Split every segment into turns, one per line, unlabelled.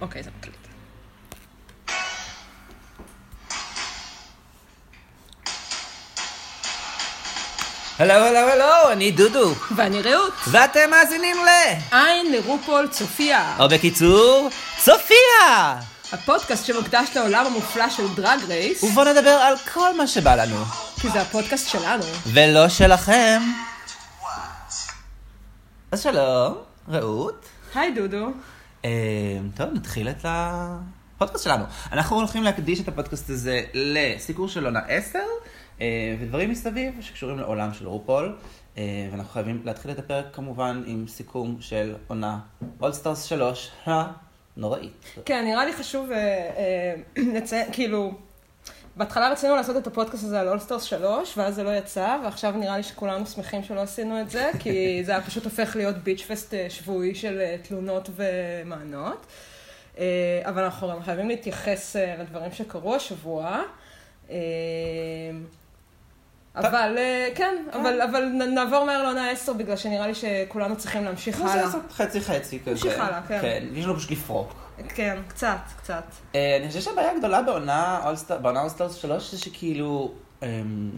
אוקיי, זה מקליט.
הלו, הלו, הלו, אני דודו,
ואני רעות.
ואתם מאזינים ל...
עין לרופול צופיה.
או בקיצור, צופיה!
הפודקאסט שמוקדש לעולם המופלא של דרג רייס,
ובואו נדבר על כל מה שבא לנו,
כי זה הפודקאסט שלנו.
ולא שלכם. אז שלום, רעות.
היי דודו.
אה, טוב, נתחיל את הפודקאסט שלנו. אנחנו הולכים להקדיש את הפודקאסט הזה לסיקור של עונה 10, אה, ודברים מסביב שקשורים לעולם של רופול. אה, ואנחנו חייבים להתחיל את הפרק כמובן עם סיכום של עונה אולסטארס 3 הנוראית.
כן, נראה לי חשוב אה, אה, לציין, כאילו, בהתחלה רצינו לעשות את הפודקאסט הזה על אולסטרס 3, ואז זה לא יצא, ועכשיו נראה לי שכולנו שמחים שלא עשינו את זה, כי זה היה פשוט הופך להיות ביץ' פסט אה, שבועי של אה, תלונות ומענות. אה, אבל אנחנו גם חייבים להתייחס אה, לדברים שקרו השבוע. אה, אבל, אה, כן, אבל, אבל נ- נעבור מהר לעונה 10, בגלל שנראה לי שכולנו צריכים להמשיך
זה
הלאה.
לעשות חצי חצי כזה.
נמשיך הלאה, כן.
כן, יש לנו פשוט לפרוק.
כן, קצת, קצת.
אה, אני חושבת שהבעיה הגדולה בעונה אולסטאר- בעונה אולסטארס 3 זה שכאילו... אמ,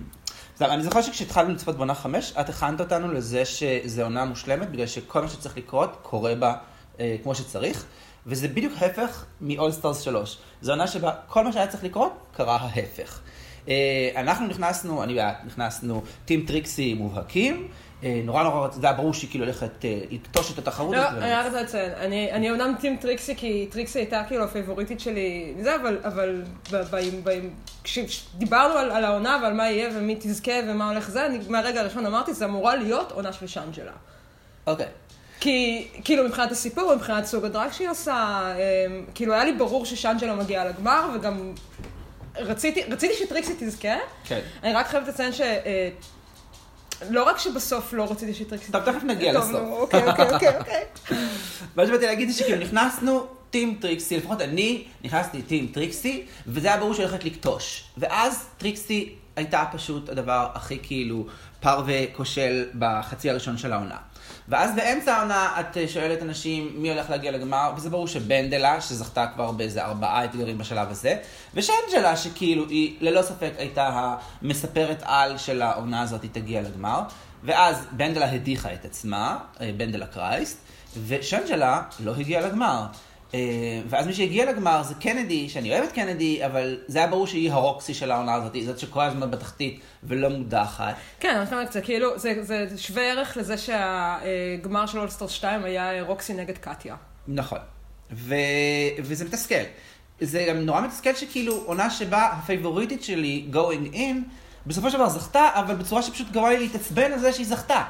זה- אני זוכר שכשהתחלנו לצפות בעונה 5, את הכנת אותנו לזה שזו עונה מושלמת, בגלל שכל מה שצריך לקרות קורה בה אה, כמו שצריך, וזה בדיוק ההפך מאולסטארס 3. זו עונה שבה כל מה שהיה צריך לקרות, קרה ההפך. אה, אנחנו נכנסנו, אני ואת נכנסנו, טים טריקסי מובהקים, אה, נורא נורא רצ- זה היה ברור שהיא כאילו הולכת אה, לכתוש את התחרות.
לא,
הזאת, אה,
אני רק רוצה לציין, אני אני אומנם טים טריקסי, כי טריקסי הייתה כאילו הפייבוריטית שלי, זה, אבל, אבל ב- ב- ב- כשדיברנו על, על העונה ועל מה יהיה ומי תזכה ומה הולך זה, אני מהרגע הראשון אמרתי, זה אמורה להיות עונה של שאנג'לה.
אוקיי.
כי, כאילו, מבחינת הסיפור, מבחינת סוג הדרג שהיא עושה, אמ, כאילו, היה לי ברור ששאנג'לה מגיעה לגמר, וגם רציתי, רציתי שטריקסי תזכה.
כן.
אני רק חייבת לציין ש... אה, לא רק שבסוף לא רציתי שטריקסי...
טוב, תכף נגיע
טוב,
לסוף.
נו, אוקיי, אוקיי, אוקיי, אוקיי.
מה שבאתי להגיד זה שכאילו נכנסנו טים טריקסי, לפחות אני נכנסתי טים טריקסי, וזה היה ברור שהיא הולכת לכתוש. ואז טריקסי הייתה פשוט הדבר הכי כאילו פר וכושל בחצי הראשון של העונה. ואז באמצע העונה את אה, שואלת אנשים מי הולך להגיע לגמר, וזה ברור שבנדלה, שזכתה כבר באיזה ארבעה אתגרים בשלב הזה, ושאנג'לה, שכאילו היא ללא ספק הייתה המספרת על של העונה הזאת, היא תגיע לגמר. ואז בנדלה הדיחה את עצמה, אה, בנדלה קרייסט, ושאנג'לה לא הגיעה לגמר. אה, ואז מי שהגיע לגמר זה קנדי, שאני אוהב את קנדי, אבל זה היה ברור שהיא הרוקסי של העונה הזאת, היא זאת שכל הזמן בתחתית ולא מודחת.
כן, אני חושבת שזה כאילו, זה, זה שווה ערך לזה שהגמר של אולסטר 2 היה אה, רוקסי נגד קטיה.
נכון. ו... וזה מתסכל. זה גם נורא מתסכל שכאילו עונה שבה הפייבוריטית שלי, going in, בסופו של דבר זכתה, אבל בצורה שפשוט גרמה לי להתעצבן על זה שהיא זכתה.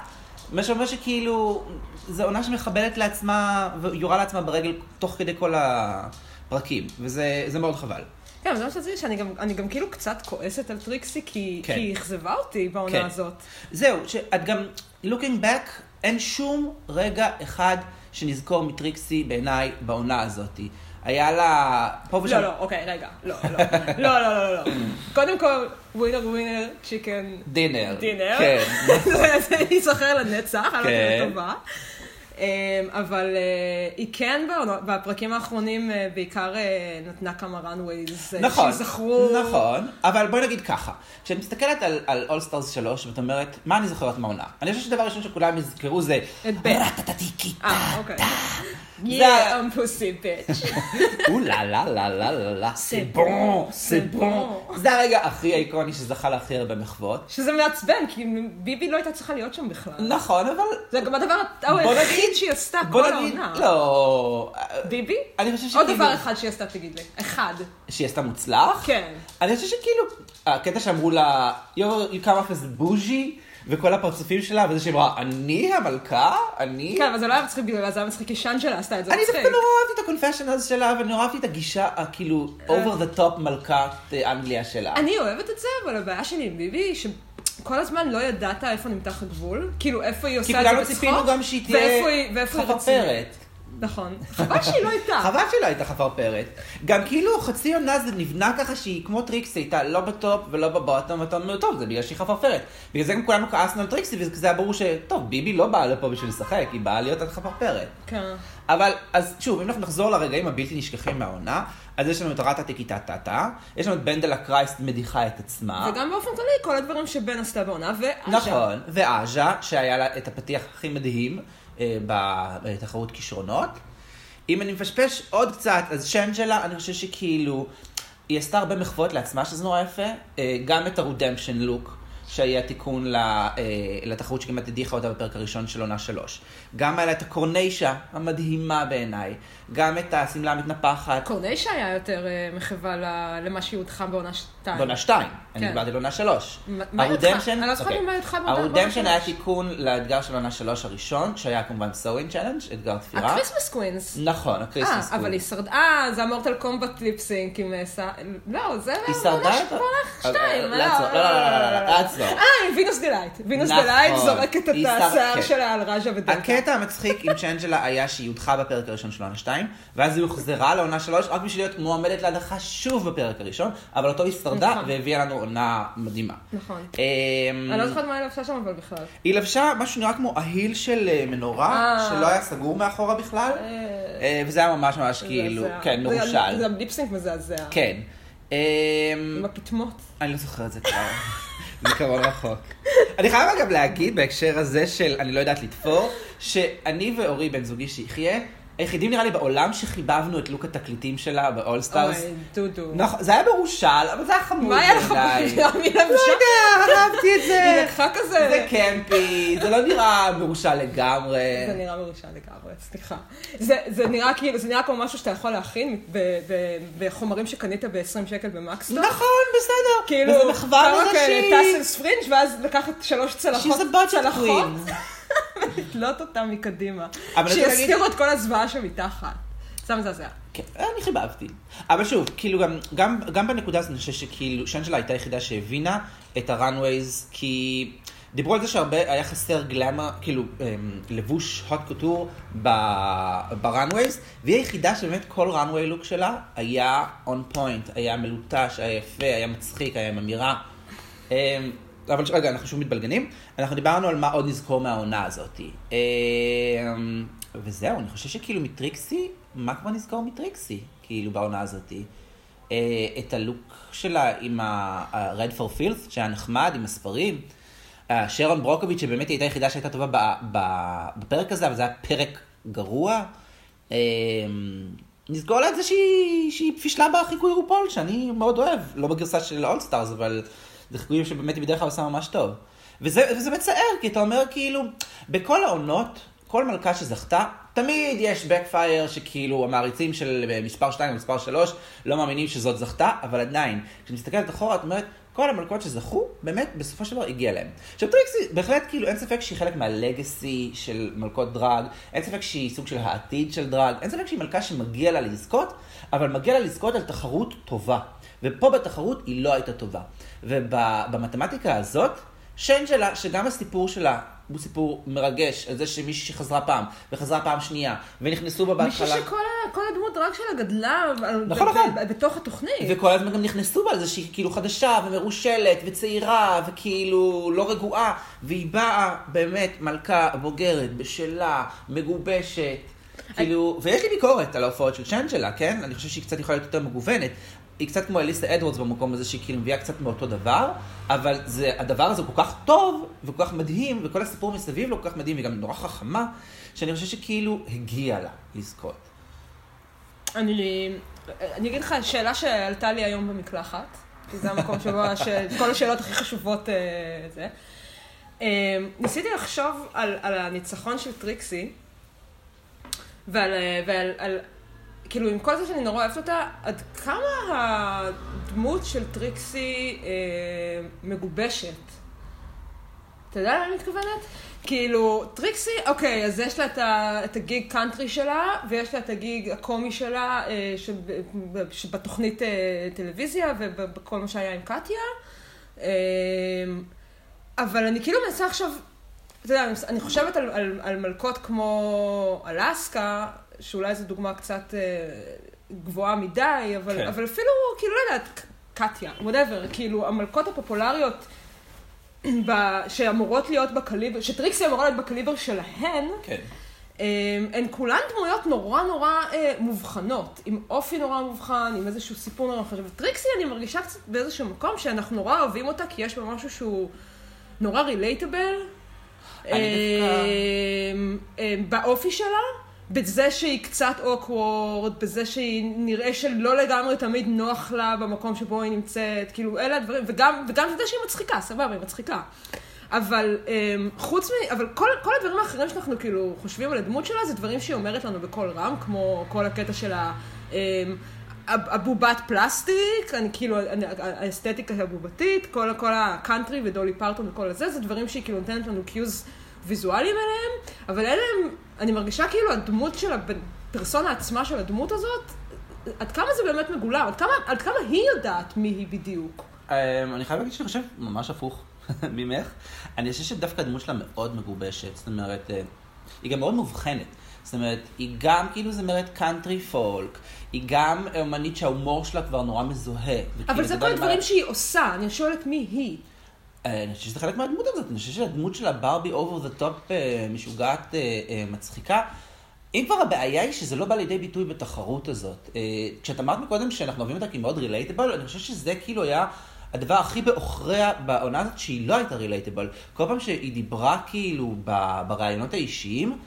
מה שאומר שכאילו, זו עונה שמחבלת לעצמה ויורה לעצמה ברגל תוך כדי כל הפרקים, וזה זה מאוד חבל.
כן, זה מה שרציתי, שאני גם, אני גם כאילו קצת כועסת על טריקסי, כי,
כן.
כי היא אכזבה אותי בעונה
כן.
הזאת.
זהו, שאת גם, looking back, אין שום רגע אחד שנזכור מטריקסי בעיניי בעונה הזאת. היה לה פה ושם...
לא, לא, אוקיי, רגע. לא, לא, לא, לא, לא, לא. קודם כל, ווינר ווינר צ'יקן
דינר.
דינר.
כן.
זה זה ייזכר לנצח, על
כן.
הכרת טובה. אמ, אבל אה, היא כן בעונות- בפרקים האחרונים אה, בעיקר אה, נתנה כמה runways אה,
נכון,
שיזכרו.
נכון, אבל בואי נגיד ככה, כשאת מסתכלת על, על All Stars 3 ואת אומרת, מה אני זוכרת מהעונה? אני חושבת שדבר ראשון שכולם יזכרו זה, "אה,
את בן.
"רטטטיקי,
אה, אוקיי.
זה-
Yeah, I'm pussy bitch.
אולה לה לה לה לה לה,
C'est
סי
bon,
בון, סי
c'est
בון.
bon.
זה הרגע הכי איקוני שזכה להכי הרבה מחוות.
שזה מעצבן, כי ביבי לא הייתה צריכה להיות שם בכלל.
נכון, אבל
זה גם הדבר
בוא נגיד-
היחיד שהיא עשתה
בוא
כל
נגיד,
העונה.
לא,
ביבי?
אני חושב
עוד
שכאילו-
דבר אחד שהיא עשתה, תגיד לי. אחד.
שהיא עשתה מוצלח.
כן.
אני חושב שכאילו, הקטע שאמרו לה, you come off as bougie, וכל הפרצופים שלה, וזה שהיא אמרה, אני המלכה? אני?
כן, אבל זה לא היה מצחיק בגלל זה היה מצחיק כי שאנג'לה עשתה את זה
אני
מצחיק.
דווקא לא- נורא אהבתי את הקונפשיונלס שלה, ונורא אהבתי את הגישה, הכאילו, over the top מלכת אה, אנגליה שלה.
כן. אני אוהבת את זה, אבל הבעיה שלי עם ביבי היא שכל הזמן לא ידעת איפה נמתח הגבול. כאילו, איפה היא
כי
עושה את זה
כולנו
בצחוק.
ציפינו גם שהיא
ואיפה
תהיה
היא- ואיפה היא רצינית.
חפפרת.
נכון. חבל שהיא לא הייתה.
חבל שהיא לא הייתה חפרפרת. גם כאילו חצי עונה זה נבנה ככה שהיא כמו טריקסי, הייתה לא בטופ ולא בבוטום, ואתה אומר, טוב, זה בגלל שהיא חפרפרת. בגלל זה גם כולנו כעסנו על טריקסי, וזה היה ברור שטוב, ביבי לא באה לפה בשביל לשחק, היא באה להיות עד חפרפרת.
כן.
אבל, אז שוב, אם אנחנו נחזור לרגעים הבלתי נשכחים מהעונה, אז יש לנו את רטה טקיטה טאטה, יש לנו את בנדל הקרייסט מדיחה את עצמה.
וגם באופן כללי, כל הדברים שבן עשתה בעונה, ועכשיו.
אה. נכון, ועז'ה, שהיה לה את הפתיח הכי מדהים אה, בתחרות כישרונות. אם אני מפשפש עוד קצת, אז שם שלה, אני חושב שכאילו, היא עשתה הרבה מחוות לעצמה, שזה נורא יפה. אה, גם את הרודמפשן לוק, שהיה תיקון ל- אה, לתחרות שכמעט הדיחה אותה בפרק הראשון של עונה שלוש. גם היה לה את הקורניישה המדהימה בעיניי. גם את השמלה המתנפחת.
קורניישה היה יותר אה, מחווה ל- למה שהיא הודחה בעונה שתיים.
בעונה 2, לא, אני
כן.
דיברתי על עונה 3.
מה- מה היא לקחה? אני לא זוכרת מה היא לקחה בעונה-
הרודמפשן
בעונה
היה
שלוש.
תיקון לאתגר של עונה 3 הראשון, שהיה כמובן סווין צ'אלנג', אתגר תפירה.
הקריסמס קווינס.
נכון, הקריסמס.
אה, אבל היא שרדה, אה, זה המורטל קומבט ליפסינק עם סע... לא, זה
היא
בעונה
שרדה את ה-
שבערך
אה,
שתיים.
אה, לעצור, לא, לא, לא, לא, לא, לא, לעצור.
אה, עם וינוס דלייט. וינוס
נכון.
דלייט זורקת
היא
את
שרדה, כן.
השיער שלה על רג'ה ודלקה.
הקטע המצחיק עם צ'אנג'לה היה שהיא הודחה בפרק הראשון של עונה 2, ואז היא הוחזרה לעונה 3 רק בשביל להיות מועמדת להדחה שוב בפרק הראשון, אבל אותו היא שרדה
נכון.
והביאה לנו עונה מדהימה.
נכון.
אמ,
אני לא זוכרת מה היא לבשה שם, אבל בכלל.
היא לבשה משהו נראה כמו אהיל של אה, מנורה,
אה.
שלא היה סגור מאחורה בכלל, אה, וזה היה ממש ממש כאילו,
מזעזע.
כן,
זה- זה
מרושל.
גם ליפסינק מזעזע.
כן. אמ,
עם הפטמות.
אני לא זוכר את זה כבר. זיכרון רחוק. אני חייב אגב להגיד בהקשר הזה של אני לא יודעת לתפור, שאני ואורי, בן זוגי שיחיה, היחידים נראה לי בעולם שחיבבנו את לוק התקליטים שלה באולסטארס.
אוי, דודו.
נכון, זה היה מרושל, אבל זה היה חמוד
מה היה לך
בעיניי.
בחירה מלבשה?
לא יודע, אהבתי את זה.
היא לקחה כזה-
זה קמפי, זה לא נראה מרושל לגמרי.
זה נראה מרושע לגמרי, סליחה. זה, זה נראה כאילו, זה נראה כמו משהו שאתה יכול להכין ב- ב- בחומרים שקנית ב-20 שקל במקסטור.
נכון, בסדר.
כאילו,
וזה מחווה
כמה
מזה
כאלה,
שהיא...
טסלס פרינג' ואז לקחת שלוש צלחות,
She's a budget
צלחות,
queen.
לתלות אותה מקדימה.
אבל אני רוצה
שיסתירו את כל הזוועה שמתחת. זה מזעזע.
כן, אני חיבבתי. אבל שוב, כאילו גם, גם, גם בנקודה הזאת אני חושב שכאילו, שאנג'לה הייתה היחידה שהבינה את הראנווייז, כי דיברו על זה שהרבה היה חסר גלמה, כאילו אמ, לבוש hot couture ב- בראנווייז, והיא היחידה שבאמת כל ראנוויי לוק שלה היה on point, היה מלוטש, היה יפה, היה מצחיק, היה עם אמירה. אמ, אבל ש- רגע, אנחנו שוב מתבלגנים. אנחנו דיברנו על מה עוד נזכור מהעונה הזאת. אמ, וזהו, אני חושב שכאילו מטריקסי, מה כבר נזכור מטריקסי, כאילו, בעונה הזאת? אה, את הלוק שלה עם ה-Red for Filth, שהיה נחמד, עם הספרים. אה, שרון ברוקוביץ', שבאמת היא הייתה היחידה שהייתה טובה ב- ב- בפרק הזה, אבל זה היה פרק גרוע. אמ, נסגור לה את זה שהיא, שהיא פישלה בחיקוי רופול, שאני מאוד אוהב, לא בגרסה של אולסטארס, אבל זה חיקויים שבאמת היא בדרך כלל עושה ממש טוב. וזה, וזה מצער, כי אתה אומר כאילו, בכל העונות, כל מלכה שזכתה, תמיד יש backfire שכאילו המעריצים של אה, מספר 2 ומספר 3 לא מאמינים שזאת זכתה, אבל עדיין, כשמסתכלת אחורה, את אומרת, כל המלכות שזכו, באמת, בסופו של דבר הגיע להם. עכשיו טריקסי, בהחלט, כאילו, אין ספק שהיא חלק מהלגסי של מלכות דרג, אין ספק שהיא סוג של העתיד של דרג, אין ספק שהיא מלכה שמגיע לה לזכות, אבל מגיע לה לזכות על תחרות טובה. ופה בתחרות היא לא הייתה טובה. ובמתמטיקה הזאת, שיינג'לה, שגם הסיפור שלה הוא סיפור מרגש, על זה שמישהי שחזרה פעם, וחזרה פעם שנייה, ונכנסו בה
מישהי
בהתחלה.
שכל ה- כל הדמות רק שלה גדלה על-
נכון,
ב-
נכון.
ב- בתוך התוכנית.
וכל הזמן גם נכנסו בה על זה שהיא כאילו חדשה ומרושלת וצעירה וכאילו לא רגועה והיא באה באמת מלכה בוגרת, בשלה, מגובשת כאילו, ויש לי ביקורת על ההופעות של צ'אנג'לה, כן? אני חושב שהיא קצת יכולה להיות יותר מגוונת. היא קצת כמו אליסה אדוורדס במקום הזה שהיא כאילו מביאה קצת מאותו דבר, אבל זה, הדבר הזה כל כך טוב וכל כך מדהים וכל הסיפור מסביב לו כל כך מדהים והיא גם נורא חכמה, שאני חושב שכאילו הגיע לה לזכות.
אני, אני אגיד לך, שאלה שעלתה לי היום במקלחת, כי זה המקום שבו הש... כל השאלות הכי חשובות אה, זה. אה, ניסיתי לחשוב על, על הניצחון של טריקסי, ועל, אה, ועל על, כאילו, עם כל זה שאני נורא אוהבת אותה, עד כמה הדמות של טריקסי אה, מגובשת. אתה יודע למה אני מתכוונת? כאילו, טריקסי, אוקיי, אז יש לה את, ה, את הגיג קאנטרי שלה, ויש לה את הגיג הקומי שלה, אה, שב, ב- שבתוכנית אה, טלוויזיה, ובכל מה שהיה עם קטיה. אה, אבל אני כאילו מנסה עכשיו, אתה יודע, אני חושבת על, על, על מלכות כמו אלסקה, שאולי זו דוגמה קצת אה, גבוהה מדי, אבל,
כן.
כן. אבל אפילו, כאילו, לא יודעת, ק- קטיה, וואטאבר, כאילו, המלכות הפופולריות ב, שאמורות להיות בקליבר, שטריקסי אמורה להיות בקליבר שלהן,
כן.
אה, הן כולן דמויות נורא נורא אה, מובחנות, עם אופי נורא מובחן, עם איזשהו סיפור נורא חשוב. טריקסי, אני מרגישה קצת באיזשהו מקום שאנחנו נורא אוהבים אותה, כי יש בה משהו שהוא נורא רילייטבל.
אני דווקא-
אמ, באופי שלה, בזה שהיא קצת אוקוורד, בזה שהיא נראה שלא לגמרי תמיד נוח לה במקום שבו היא נמצאת, כאילו אלה הדברים, וגם, וגם זה שהיא מצחיקה, סבבה, היא מצחיקה. אבל אמ, חוץ מ... אבל כל, כל הדברים האחרים שאנחנו כאילו חושבים על הדמות שלה, זה דברים שהיא אומרת לנו בקול רם, כמו כל הקטע של ה... אמ, הב- הבובת פלסטיק, אני כאילו, אני- האסתטיקה הבובתית, כל, כל הקאנטרי ודולי פרטון וכל הזה, זה דברים שהיא כאילו נותנת לנו קיוז ויזואליים אליהם, אבל אלה הם, אני מרגישה כאילו הדמות של הפרסונה עצמה של הדמות הזאת, עד כמה זה באמת מגולם, עד כמה, עד כמה היא יודעת מי היא בדיוק.
אמ, אני חייב להגיד שאני חושב ממש הפוך ממך. אני חושב שדווקא הדמות שלה מאוד מגובשת, זאת אומרת, אה, היא גם מאוד מובחנת. זאת אומרת, היא גם כאילו זמרת קאנטרי פולק, היא גם אומנית שההומור שלה כבר נורא מזוהה.
אבל
וכאילו,
זה
בא
כל
לי מה-
הדברים שהיא עושה, אני שואלת מי היא.
אה, אני חושב שזה חלק מהדמות הזאת, אני חושב שהדמות של הברבי אובר דה טופ משוגעת אה, אה, מצחיקה. אם כבר הבעיה היא שזה לא בא לידי ביטוי בתחרות הזאת. אה, כשאת אמרת מקודם שאנחנו אוהבים אותה כי היא מאוד רילייטבל, אני חושב שזה כאילו היה הדבר הכי בעוכריה בעונה הזאת, שהיא לא הייתה רילייטבל. כל פעם שהיא דיברה כאילו ב- בראיונות האישיים,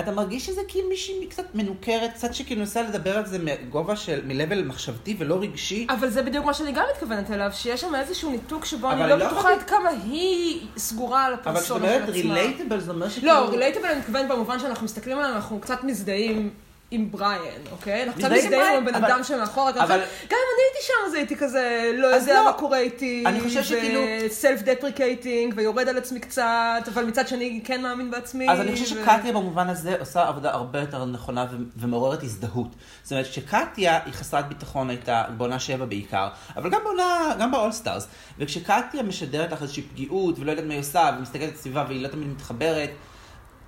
אתה מרגיש שזה כאילו מישהי קצת מנוכרת, קצת שכאילו ניסה לדבר על זה מגובה של, מ-level מחשבתי ולא רגשי.
אבל זה בדיוק מה שאני גם מתכוונת אליו, שיש שם איזשהו ניתוק שבו
אבל
אני לא
לא
בטוחה
יכולתי-
עד כמה היא סגורה על
אבל כשאת
הפרסונה של עצמה.
אומרת רילייטבל, זה אומר שכאילו...
לא, רילייטבל אני מתכוונת במובן שאנחנו מסתכלים עליו, אנחנו קצת מזדהים עם בריאן, אוקיי? אנחנו קצת
מזדהים עם
מזדהים עם
בריאן,
הבן
אבל-
אדם שמאחורה. אתה
אבל-
אומר, גם אם אני הייתי שם, אז הייתי כזה, לא
אז
יודע
לא.
מה קורה איתי.
אני חושב שכאילו-
סלף דפריקייטינג, ויורד על עצמי קצת, אבל מצד שני כן מאמין בעצמי.
אז אני חושב
ו-
שקטיה במובן הזה עושה עבודה הרבה יותר נכונה ו- ומעוררת הזדהות. זאת אומרת שקטיה היא חסרת ביטחון הייתה בעונה 7 בעיקר, אבל גם בעונה, גם באולסטארס. וכשקטיה משדרת לך איזושהי פגיעות ולא יודעת מה היא עושה ומסתכלת על הסביבה והיא לא תמיד מתחברת,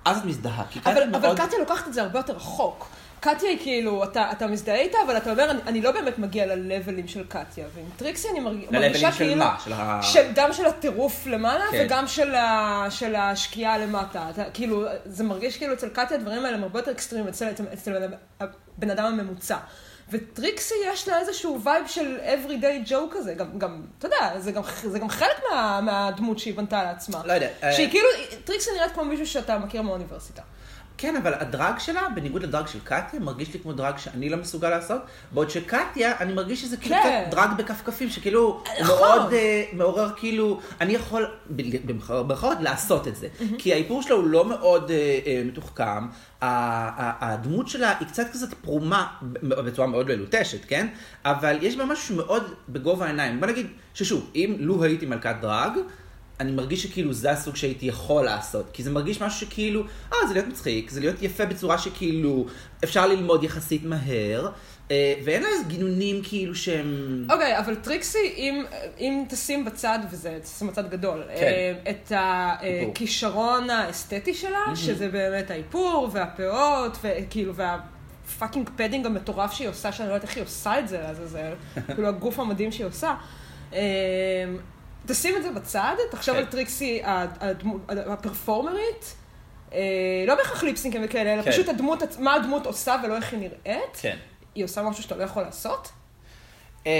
אז את מזדהה. כי קטיה
אבל, אבל
מאוד...
קטיה לוקחת את זה הרבה יותר רחוק. קטיה היא כאילו, אתה, אתה מזדהה איתה, אבל אתה אומר, אני, אני לא באמת מגיע ללבלים של קטיה. ועם טריקסי אני מרג...
ללבלים
מרגישה
של
כאילו...
מה? של ה-
של, גם של הטירוף למעלה,
כן.
כן. וגם של, ה, של השקיעה למטה. אתה, כאילו, זה מרגיש כאילו אצל קטיה הדברים האלה הם הרבה יותר אקסטרימים אצל, אצל, אצל הבן- הבן אדם הממוצע. וטריקסי יש לה איזשהו וייב של everyday joke כזה, גם, גם אתה יודע, זה גם, זה גם חלק מה, מהדמות שהיא בנתה לעצמה.
לא יודע. אה,
שהיא כאילו, טריקסי נראית כמו מישהו שאתה מכיר מהאוניברסיטה.
כן, אבל הדרג שלה, בניגוד לדרג של קטיה, מרגיש לי כמו דרג שאני לא מסוגל לעשות, בעוד שקטיה, אני מרגיש שזה כאילו
כן.
קצת דרג בכפכפים, שכאילו, הוא
נכון.
מאוד אה, מעורר כאילו, אני יכול, ב- במחר- במרכאות, לעשות את זה. כי האיפור שלה הוא לא מאוד אה, אה, מתוחכם, ה- ה- הדמות שלה היא קצת כזאת פרומה, ב- בצורה מאוד מלוטשת, כן? אבל יש בה משהו מאוד בגובה העיניים. בוא נגיד, ששוב, אם לו הייתי מלכת דרג, אני מרגיש שכאילו זה הסוג שהייתי יכול לעשות, כי זה מרגיש משהו שכאילו, אה, זה להיות מצחיק, זה להיות יפה בצורה שכאילו אפשר ללמוד יחסית מהר, אה, ואין לה איזה גינונים כאילו שהם...
אוקיי, אבל טריקסי, אם, אם תשים בצד, וזה תשים בצד גדול,
כן.
אה, את
איפור. Mm-hmm.
הכישרון האסתטי שלה, שזה באמת האיפור, והפאות, וכאילו, והפאקינג פדינג המטורף שהיא עושה, שאני לא יודעת איך היא עושה את זה לעזאזל, כאילו הגוף המדהים שהיא עושה. אה, תשים את זה בצד, תחשוב
כן.
על טריקסי הד- הדמו- הד- הפרפורמרית, אה, לא בהכרח ליפסינקים וכאלה, אלא
כן.
פשוט הדמות, עצ- מה הדמות עושה ולא איך היא נראית.
כן.
היא עושה משהו שאתה לא יכול לעשות.
אמ,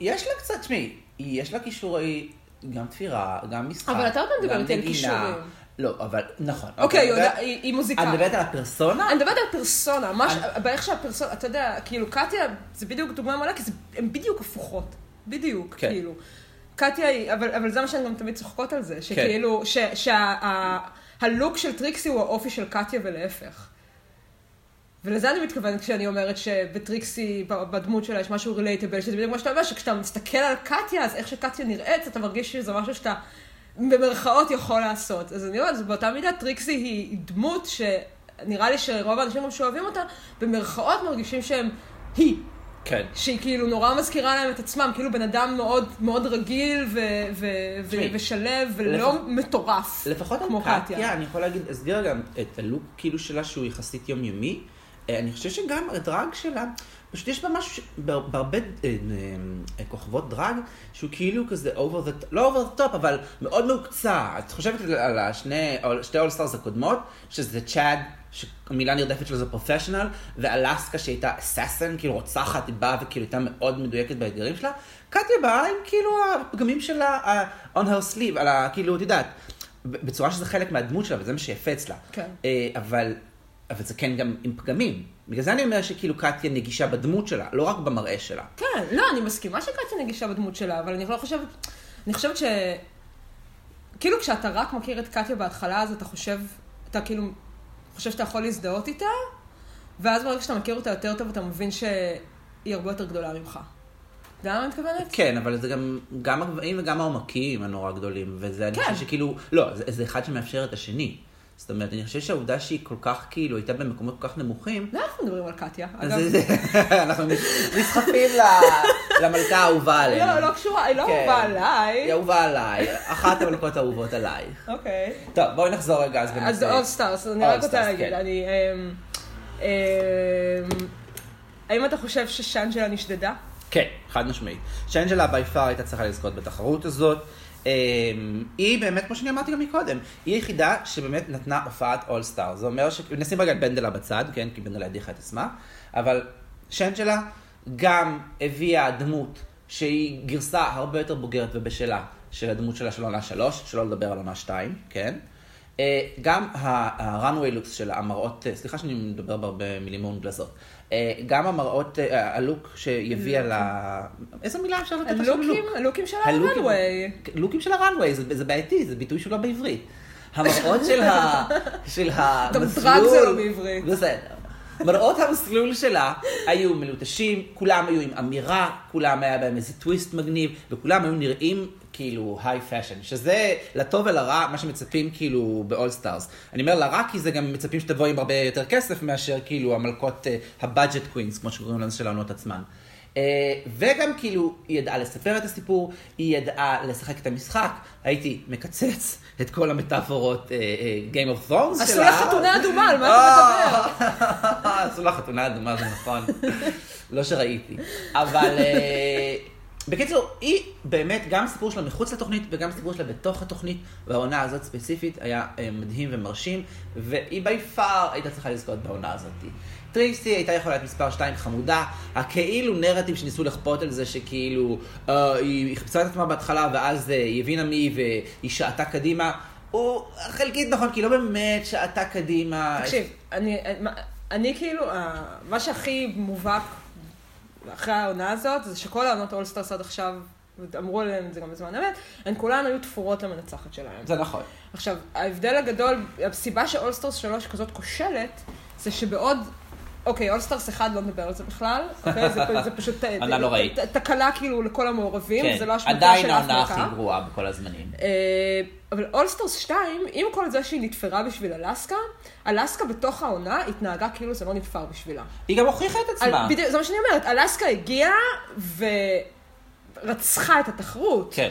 יש לה קצת, תשמעי, יש לה כישורי, גם תפירה, גם משחק,
אבל אתה עוד פעם
גם
מדבר איתי על
נגינה.
כישורים.
לא, אבל, נכון.
אוקיי, היא
אבל-
יודע- היא היא
את
מוזיקאית. לא,
מדברת על הפרסונה?
אני מדברת על פרסונה, מה ש- באיך שהפרסונה, אתה יודע, כאילו, קטיה זה בדיוק דוגמה מעולה, כי הן בדיוק הפוכות. בדיוק,
כן.
כאילו. קטיה היא, אבל אבל זה מה שהן גם תמיד צוחקות על זה, שכאילו, שהלוק של טריקסי הוא האופי של קטיה ולהפך. ולזה אני מתכוונת כשאני אומרת שבטריקסי, ב- בדמות שלה, יש משהו רילייטבל, שזה בדיוק מה שאתה אומר, שכשאתה מסתכל על קטיה, אז איך שקטיה נראית, אתה מרגיש שזה משהו שאתה במרכאות יכול לעשות. אז אני אומרת, אז באותה מידה טריקסי היא דמות שנראה לי שרוב האנשים גם שאוהבים אותה, במרכאות מרגישים שהם היא.
כן.
שהיא כאילו נורא מזכירה להם את עצמם, כאילו בן אדם מאוד, מאוד רגיל ו- ו- ו-
תשמעי,
ושלב ולא
לפ-
מטורף.
לפחות כן, על
כמו
קטיה, אני יכול להגיד, הסבירה גם את הלוק כאילו שלה שהוא יחסית יומיומי. אה, אני חושב שגם הדרג שלה, פשוט יש בה משהו, ש- בה- בהרבה אה, אה, כוכבות דרג, שהוא כאילו כזה over the, לא over the top, אבל מאוד מהוקצע. את חושבת על- על השני, על שתי אולסטארס הקודמות, שזה צ'אד, שהמילה נרדפת שלו זה פרופשיונל, ואלסקה שהייתה אסאסן, כאילו רוצחת, היא באה וכאילו הייתה מאוד מדויקת באתגרים שלה. קטיה באה עם כאילו הפגמים שלה ה- on her sleeve, על ה... כאילו, את יודעת, ב- בצורה שזה חלק מהדמות שלה, וזה מה שיפה אצלה.
כן.
אה, אבל, אבל זה כן גם עם פגמים. בגלל זה אני אומר שכאילו קטיה נגישה בדמות שלה, לא רק במראה שלה.
כן, לא, אני מסכימה שקטיה נגישה בדמות שלה, אבל אני לא חושבת... אני חושבת ש... כאילו כשאתה רק מכיר את קטיה בהתחלה, אז אתה חושב... אתה כאילו חושב שאתה יכול להזדהות איתה, ואז ברגע שאתה מכיר אותה יותר טוב, אתה מבין שהיא הרבה יותר גדולה ממך. אתה יודע מה אני מתכוונת?
כן, אבל זה גם, גם הגבהים וגם העומקים הנורא גדולים, וזה,
כן.
אני חושב שכאילו, לא, זה, זה אחד שמאפשר את השני. זאת אומרת, אני חושב שהעובדה שהיא כל כך, כאילו, הייתה במקומות כל כך נמוכים,
לא, אנחנו מדברים על קטיה.
אז
אגב,
זה- אנחנו נסחפים ל- למלכה האהובה עלינו.
לא, לא קשורה, היא לא
כן.
אהובה עליי.
היא אהובה עליי, אחת המלכות האהובות עלייך.
אוקיי.
טוב, בואי נחזור רגע אז
אז זה אולסטארס, אני רק
All
רוצה
Stars,
להגיד,
כן.
אני... אמ, אמ, האם אתה חושב ששאנג'לה נשדדה?
כן, חד משמעית. שאנג'לה בי פאר הייתה צריכה לזכות בתחרות הזאת. אמ, היא באמת, כמו שאני אמרתי גם מקודם, היא היחידה שבאמת נתנה הופעת אולסטאר. זה אומר ש... נשים רגע את בנדלה בצד, כן? כי בנדלה הדיחה את עצמה, אבל שאנג'לה גם הביאה דמות שהיא גרסה הרבה יותר בוגרת ובשלה של הדמות שלה של עונה שלוש, שלא לדבר על עונה שתיים, כן? אה, גם ה-runway looks של המראות, אה, סליחה שאני מדבר בהרבה מילים מאונגלזות, אה, גם המראות, אה, הלוק שהיא הביאה ל... איזו מילה אפשר לתת עכשיו
הלוקים,
לוק?
הלוקים של
הלוקים-
הרנווי.
לוקים של הראנוויי, זה, זה בעייתי, זה ביטוי שהוא לא בעברית. המראות של, ה, של
גם
המסלול...
דרג זה לא בעברית.
בסדר. מראות המסלול שלה היו מלוטשים, כולם היו עם אמירה, כולם היה בהם איזה טוויסט מגניב, וכולם היו נראים כאילו היי פאשן, שזה לטוב ולרע מה שמצפים כאילו באול סטארס. אני אומר לרע כי זה גם מצפים שתבוא עם הרבה יותר כסף מאשר כאילו המלכות הבאג'ט קווינס, כמו שקוראים לזה של העונות עצמן. אה, וגם כאילו, היא ידעה לספר את הסיפור, היא ידעה לשחק את המשחק, הייתי מקצץ את כל המטאפורות אה, אה, Game of Thrones שלה.
עשו לה חתונה אדומה, על מה אתה מדבר?
אה, עשו לה חתונה אדומה, זה נכון. לא שראיתי. אבל אה, בקיצור, היא באמת, גם הסיפור שלה מחוץ לתוכנית וגם הסיפור שלה בתוך התוכנית, והעונה הזאת ספציפית היה אה, מדהים ומרשים, והיא בי פאר הייתה צריכה לזכות בעונה הזאת. טריקסי הייתה יכולה להיות מספר 2 חמודה, הכאילו נרטיב שניסו לכפות על זה שכאילו אה, היא חיפשה את עצמה בהתחלה ואז אה, היא הבינה מי היא והיא שעטה קדימה, הוא חלקית נכון, כי היא לא באמת שעטה קדימה.
תקשיב, אני, מה- אני כאילו, ה- מה שהכי מובהק אחרי העונה הזאת, זה שכל העונות אולסטארס עד עכשיו, אמרו עליהן את זה גם בזמן אמת, הן כולן היו תפורות למנצחת שלהן.
זה נכון.
עכשיו, ההבדל הגדול, הסיבה שאולסטארס 3 כזאת כושלת, זה שבעוד... אוקיי, אולסטארס 1 לא נדבר על זה בכלל, אוקיי? זה, זה פשוט...
עונה נוראית.
ת- תקלה כאילו לכל המעורבים,
לא כן,
זה לא השמטה
עדיין
של אף
העונה
מלכה.
הכי גרועה בכל הזמנים.
אה, אבל אולסטרס 2, עם כל זה שהיא נתפרה בשביל אלסקה, אלסקה בתוך העונה התנהגה כאילו זה לא נתפר בשבילה.
היא גם הוכיחה את
על,
עצמה.
בדיוק, זה מה שאני אומרת, אלסקה הגיעה ורצחה את התחרות.
כן.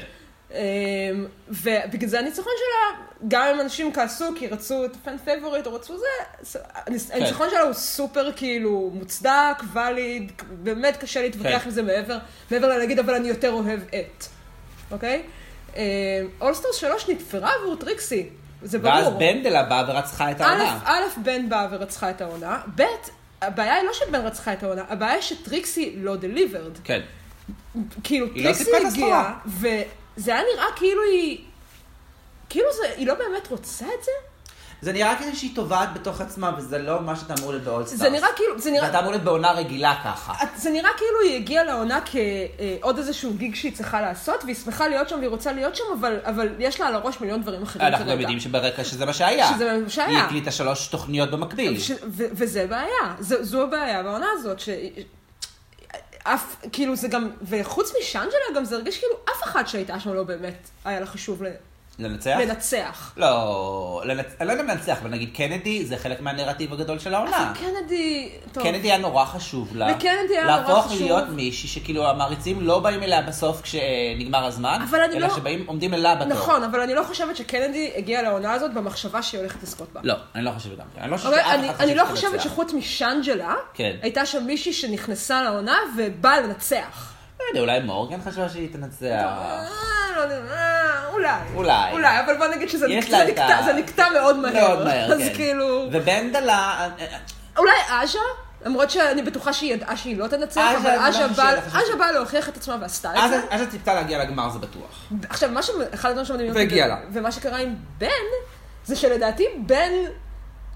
אה, ובגלל זה הניצחון שלה, גם אם אנשים כעסו כי רצו את הפן פייבוריט או רצו זה, ס- הניצ-
כן.
הניצחון שלה הוא סופר כאילו מוצדק, ואליד, באמת קשה להתווכח
כן.
עם זה מעבר, מעבר ללהגיד אבל אני יותר אוהב את, אוקיי? אולסטרס 3 נתפרה עבור טריקסי, זה ברור.
ואז בנדלה באה ורצחה את העונה.
א', א', בן באה ורצחה את העונה, ב', הבעיה היא לא שבן רצחה את העונה, הבעיה היא שטריקסי לא דליברד.
כן.
כאילו,
היא לא
טריקסי
סיפקה את הסחורה.
הגיעה, וזה היה נראה כאילו היא... כאילו זה, היא לא באמת רוצה את זה?
זה נראה כאילו שהיא טובעת בתוך עצמה, וזה לא מה שאתה אמור להיות באולסטארס.
זה נראה כאילו, זה
ואתה
נראה...
אמור להיות בעונה רגילה ככה.
את- זה נראה כאילו היא הגיעה לעונה כעוד איזשהו גיג שהיא צריכה לעשות, והיא שמחה להיות שם והיא רוצה להיות שם, אבל, אבל יש לה על הראש מיליון דברים אחרים
אנחנו גם יודעים שברקע שזה מה שהיה.
שזה מה שהיה.
היא הקליטה שלוש תוכניות במקביל.
ש... ו- וזה בעיה, זו, זו הבעיה בעונה הזאת, ש... אף, כאילו זה גם, וחוץ משאנג'לה גם זה הרגיש כאילו אף אחת שהייתה שם לא באמת היה לה חשוב ל...
לנצח?
לנצח.
לא, לנצ... אני לא יודע אם לנצח, אבל נגיד קנדי זה חלק מהנרטיב הגדול של העונה.
אבל קנדי, טוב.
אה. קנדי כן, היה נורא חשוב לה.
לקנדי היה נורא
להפוך
חשוב.
להיות מישהי שכאילו המעריצים לא באים אליה בסוף כשנגמר הזמן,
אבל אני
אלא
לא-
שבאים, עומדים אליה בתור.
נכון, אבל אני לא חושבת שקנדי הגיע לעונה הזאת במחשבה שהיא הולכת לזכות בה.
לא, אני לא חושבת גם. אני לא חושבת
אבל
שאף אחד
אני,
חושב
אני לא
שתנצח.
חושבת שחוץ משאנג'לה,
כן.
הייתה שם מישהי שנכנסה לעונה ובאה לנצח.
לא יודע, אולי מורגן חשבה שהיא
אה,
תנצח.
לא יודע, אה, אולי.
אולי.
אולי, אבל בוא נגיד שזה
יש
נק-
לה
זה
את
נקטע-
ה-
זה נקטע מאוד מהר.
מאוד מהר,
אז
כן.
כאילו...
ובנדלה, אה,
אולי עז'ה? למרות שאני בטוחה שהיא ידעה שהיא לא תנצח,
עז'ה,
אבל
אני לא
עז'ה
חושבת,
באה-
אני חושבת.
עז'ה באה להוכיח את עצמה ועשתה את
אז
זה.
אז את ציפתה להגיע לגמר זה בטוח.
עכשיו, מה ש... אחד הדברים שמדהים אותי,
והגיע לה.
ומה שקרה עם בן, זה שלדעתי בן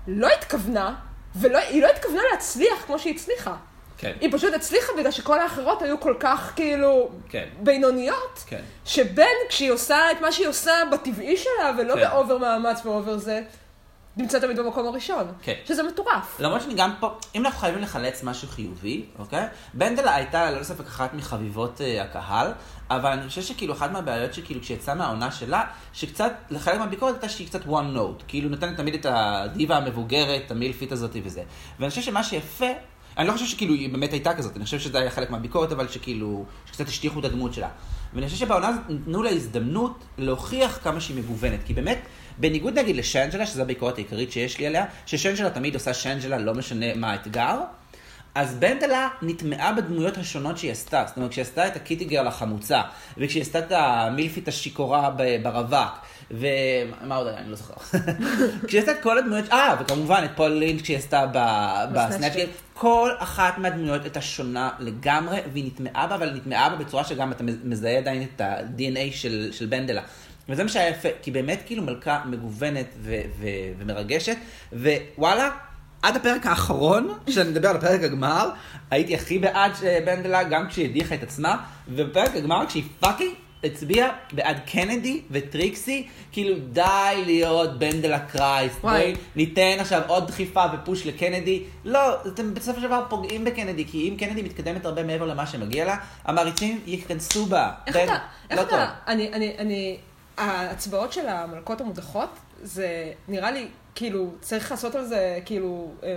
לא התכוונה, והיא לא התכוונה להצליח כמו שהיא הצליחה.
כן.
היא פשוט הצליחה בגלל שכל האחרות היו כל כך כאילו
כן.
בינוניות,
כן.
שבן כשהיא עושה את מה שהיא עושה בטבעי שלה ולא
כן.
באובר מאמץ ואובר זה, נמצא תמיד במקום הראשון,
כן.
שזה מטורף.
למרות שאני גם פה, אם אנחנו חייבים לחלץ משהו חיובי, אוקיי? בנדלה הייתה ללא ספק אחת מחביבות אה, הקהל, אבל אני חושב שכאילו אחת מהבעיות שכאילו כשיצאה מהעונה שלה, שקצת, לחלק מהביקורת הייתה שהיא קצת one note, כאילו נותנת תמיד את הדיבה המבוגרת, המילפית הזאת וזה. ואני חושב שמה שיפה, אני לא חושב שכאילו היא באמת הייתה כזאת, אני חושב שזה היה חלק מהביקורת, אבל שכאילו, שקצת השטיחו את הדמות שלה. ואני חושב שבעונה הזאת נתנו לה הזדמנות להוכיח כמה שהיא מגוונת, כי באמת, בניגוד נגיד לשנג'לה, שזו הביקורת העיקרית שיש לי עליה, ששנג'לה תמיד עושה שנג'לה, לא משנה מה האתגר, אז בנדלה נטמעה בדמויות השונות שהיא עשתה. זאת אומרת, כשהיא עשתה את הקיטי גרל החמוצה, וכשהיא עשתה את המילפית השיכורה ב- ברווק, ומה עוד היה? אני לא זוכר. כשהיא עשתה את כל הדמויות, אה, וכמובן את פול לינץ' כשהיא עשתה ב-
בסנאצ'
בסנאצ'גל,
גיים.
כל אחת מהדמויות הייתה שונה לגמרי, והיא נטמעה בה, אבל היא נטמעה בה בצורה שגם אתה מזהה עדיין את ה-DNA של, של בנדלה. וזה מה שהיה יפה, כי באמת כאילו מלכה מגוונת ו- ו- ומרגשת, ווואלה, עד הפרק האחרון, כשאני מדבר על פרק הגמר, הייתי הכי בעד אה, בנדלה, גם כשהיא הדיחה את עצמה, ובפרק הגמר כשהיא פאקינג הצביעה בעד קנדי וטריקסי, כאילו די להיות בנדלה קרייסט,
וואי.
בואי ניתן עכשיו עוד דחיפה ופוש לקנדי. לא, אתם בסופו של דבר פוגעים בקנדי, כי אם קנדי מתקדמת הרבה מעבר למה שמגיע לה, המעריצים ייכנסו בה.
איך
בן,
אתה, איך
לא טוב.
אתה, אני, אני, אני, ההצבעות של המלכות המודחות, זה נראה לי, כאילו, צריך לעשות על זה, כאילו, אמ,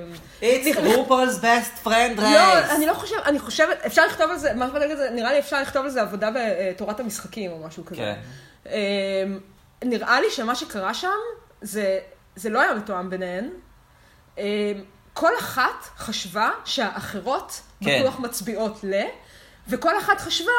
It's RuPaul's best friend
לא,
race.
אני לא חושבת, אני חושבת, אפשר לכתוב על זה, מה שבדק את זה, נראה לי אפשר לכתוב על זה עבודה בתורת המשחקים או משהו כזה.
כן.
אמ, נראה לי שמה שקרה שם, זה, זה לא היה מתואם ביניהן. אמ, כל אחת חשבה שהאחרות
כן.
בטוח מצביעות ל, וכל אחת חשבה,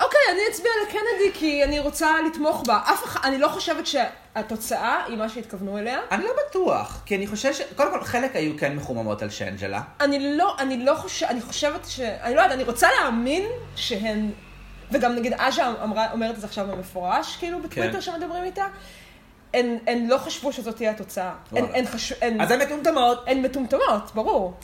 אוקיי, אני אצביע לקנדי כי אני רוצה לתמוך בה. אף אחד, אני לא חושבת שהתוצאה היא מה שהתכוונו אליה.
אני לא בטוח, כי אני חושב ש... קודם כל, חלק היו כן מחוממות על שאנג'לה.
אני לא, אני לא חושבת, אני חושבת ש... אני לא יודעת, אני רוצה להאמין שהן... וגם נגיד עז'ה אמרה- אומרת את זה עכשיו במפורש, כאילו, בטוויטר
כן.
שמדברים איתה. הן, הן לא חשבו שזאת תהיה התוצאה. הן,
וואלה.
הן, חש... הן,
אז הן מטומטמות.
הן מטומטמות, ברור.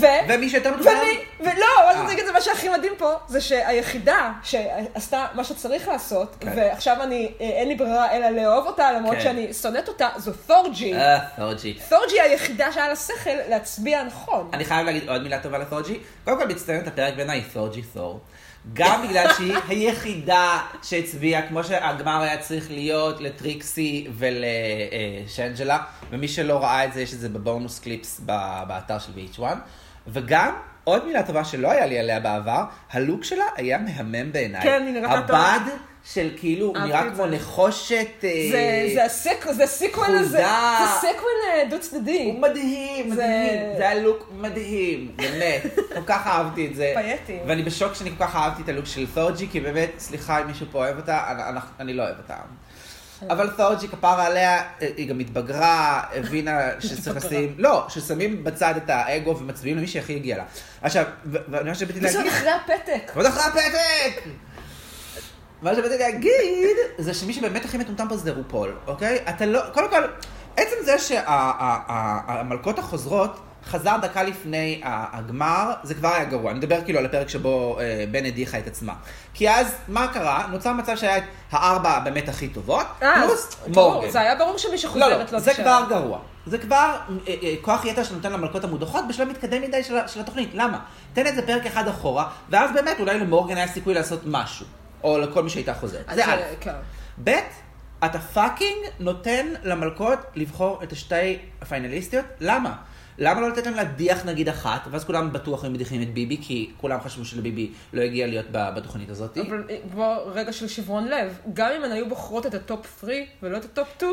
ו...
ומי שיותר מטומטם...
ואני, ולא, אבל
אה.
אני אגיד את זה, מה שהכי מדהים פה, זה שהיחידה שעשתה מה שצריך לעשות,
כן.
ועכשיו אני, אה, אין לי ברירה אלא לאהוב אותה, למרות
כן.
שאני שונאת אותה, זו פורג'י.
אה, פורג'י.
פורג'י היא היחידה שהיה לה שכל להצביע נכון.
אני חייב להגיד עוד מילה טובה לתורג'י. קודם כל מצטיינת הפרק בעיניי תורג'י תור. גם בגלל שהיא היחידה שהצביעה, כמו שהגמר היה צריך להיות, לטריקסי ולשנג'לה, ומי שלא ראה את זה, יש את זה בבונוס קליפס ב- באתר של VH1. וגם, עוד מילה טובה שלא היה לי עליה בעבר, הלוק שלה היה מהמם בעיניי.
כן, היא נראתה טוב.
הבד של כאילו, הוא
אהבתי
נראה
את
כמו
זה.
נחושת...
זה-
אה,
זה הסק- זה הסיקוול הזה,
חולדה.
זה סיקוול אה, דו צדדי.
הוא מדהים,
זה-
מדהים. זה היה לוק מדהים, באמת. כל כך אהבתי את זה.
פייטי.
ואני בשוק שאני כל כך אהבתי את הלוק של תורג'י, כי באמת, סליחה אם מישהו פה אוהב אותה, אני- אנחנו- אני לא אוהב אותה.
אוקיי.
אבל תורג'י כפרה עליה, אה, היא גם התבגרה, הבינה שצריך לשים, לא, ששמים בצד את האגו ומצביעים למי שהכי הגיע לה. עכשיו, ו- ומה שבאתי
זה עוד
להגיד...
אחרי הפתק.
ועוד אחרי הפתק! מה שבאתי להגיד, זה שמי שבאמת הכי מטומטם פה זה רופול, אוקיי? אתה לא, קודם כל, עצם זה שהמלכות החוזרות חזר דקה לפני ה- הגמר, זה כבר היה גרוע. אני מדבר כאילו על הפרק שבו אה, בן הדיחה את עצמה. כי אז, מה קרה? נוצר מצב שהיה את הארבע באמת הכי טובות,
אה,
פלוס
אז ברור,
לא, מורגן.
זה היה ברור שמי
לא, לא,
שחוזרת לא
זה
תשאר.
כבר גרוע. זה כבר אה, אה, כוח יתר שנותן למלכות המודחות בשלב מתקדם מדי של, ה- של התוכנית. למה? תן את זה פרק אחד אחורה, ואז באמת אולי למורגן היה סיכוי לעשות משהו. או לכל מי שהייתה חוזרת.
אז
זה א'.
כן.
ב', אתה פאקינג נותן למלכות לבחור את השתי הפיינליסטיות, למה? למה לא לתת להם להדיח נגיד אחת, ואז כולם בטוח היו מדיחים את ביבי, כי כולם חשבו שלביבי לא הגיע להיות ב- בתוכנית הזאת.
אבל אה, בוא, רגע של שברון לב. גם אם הן היו בוחרות את הטופ 3 ולא את הטופ 2,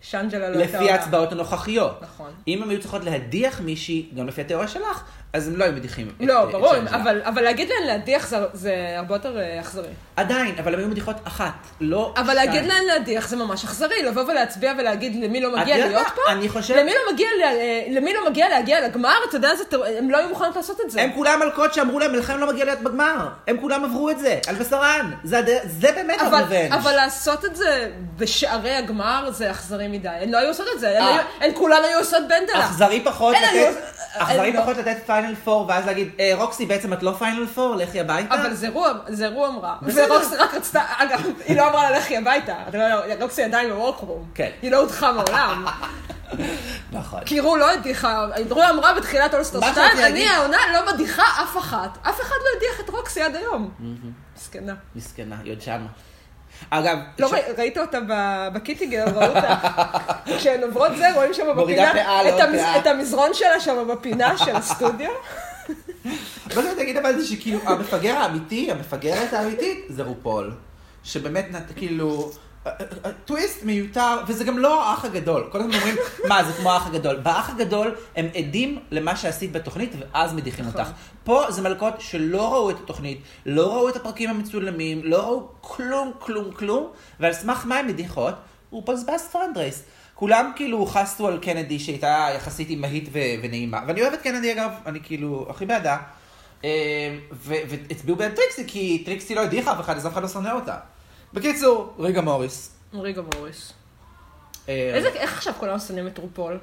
שאנג'לה לא הייתה
לפי
עולה.
ההצבעות הנוכחיות.
נכון.
אם הם היו צריכות להדיח מישהי, גם לפי התיאוריה שלך, אז הם לא היו מדיחים. את-
לא,
את
ברור,
שאנג'לה.
אבל, אבל להגיד להן להדיח זה, זה הרבה יותר אה, אכזרי.
עדיין, אבל הם היו מדיחות אחת, לא
אבל להגיד
שתיים.
להן להדיח זה ממש אכזרי, לבוא ולהצביע ולהגיד למי לא
את
מגיע
יודעת
להיות
מה?
פה?
אני חושב...
למי לא מגיע, ל- אה, למי לא מגיע להגיע לגמר? אתה יודע, זה, טר- הם לא היו מוכנות לעשות את זה.
הם כולם מלכות שאמרו להם, לכם לא מגיע להיות בגמר. הם כולם עברו את זה, על בשרן. זה הד- זה באמת
אבל,
הריבנג'.
אבל לעשות את זה בשערי הגמר זה אכזרי מדי. הן לא היו עושות את זה, הן,
אה.
היו, הן כולן היו עושות בנדלה.
אכזרי פחות
אין,
לתת...
אני-
אכזרי
אין, לא.
פחות לתת פיינל פור, ואז להגיד, "אה, רוקסי, בעצם את לא פיינל פור, לכי הביתה.
אבל זה רוע, זה רוע אמרה.
בסדר.
ורוקסי רק רצתה, אגב, היא לא אמרה לה לכי הביתה. אתה יודע, רוקסי עדיין בוורקרום.
כן.
היא לא הודחה מעולם.
נכון.
כי רו לא הדיחה, רוע אמרה בתחילת אולסטר
מה
2,
שרציתי
אני
להגיד-
העונה לא מדיחה אף אחת. אף אחד לא הדיח את רוקסי עד היום. מסכנה.
מסכנה, היא עוד שמה. אגב,
לא,
ש-
ראי- ראית אותה ב- בקיטיגל, ראו אותה. כשהן עוברות זה, רואים שם
מורידה
בפינה,
פאה, לא
את המז-
פאה.
את המזרון שלה שם בפינה של הסטודיו.
מה שאני תגיד אבל זה שכאילו המפגר האמיתי, המפגרת האמיתית, זה רופול. שבאמת נת- כאילו... אה, אה, אה, טוויסט מיותר, וזה גם לא האח הגדול. כל הזמן אומרים, מה, זה כמו האח הגדול. באח הגדול הם עדים למה שעשית בתוכנית, ואז מדיחים
נכון.
אותך. פה זה מלכות שלא ראו את התוכנית, לא ראו את הפרקים המצולמים, לא ראו כלום, כלום, כלום, ועל סמך מה הן מדיחות? רופול's best friend race. כולם כאילו חסו על קנדי שהייתה יחסית אימהית ו- ונעימה. ואני אוהב את קנדי אגב, אני כאילו הכי בעדה. אמ, ו- והצביעו בעד טריקסי, כי טריקסי לא הדיחה אף אחד, אז אף אחד לא שונא אותה. בקיצור, ריגה מוריס.
ריגה מוריס.
אמ,
איזה, איך עכשיו כולם שונאים את רופול?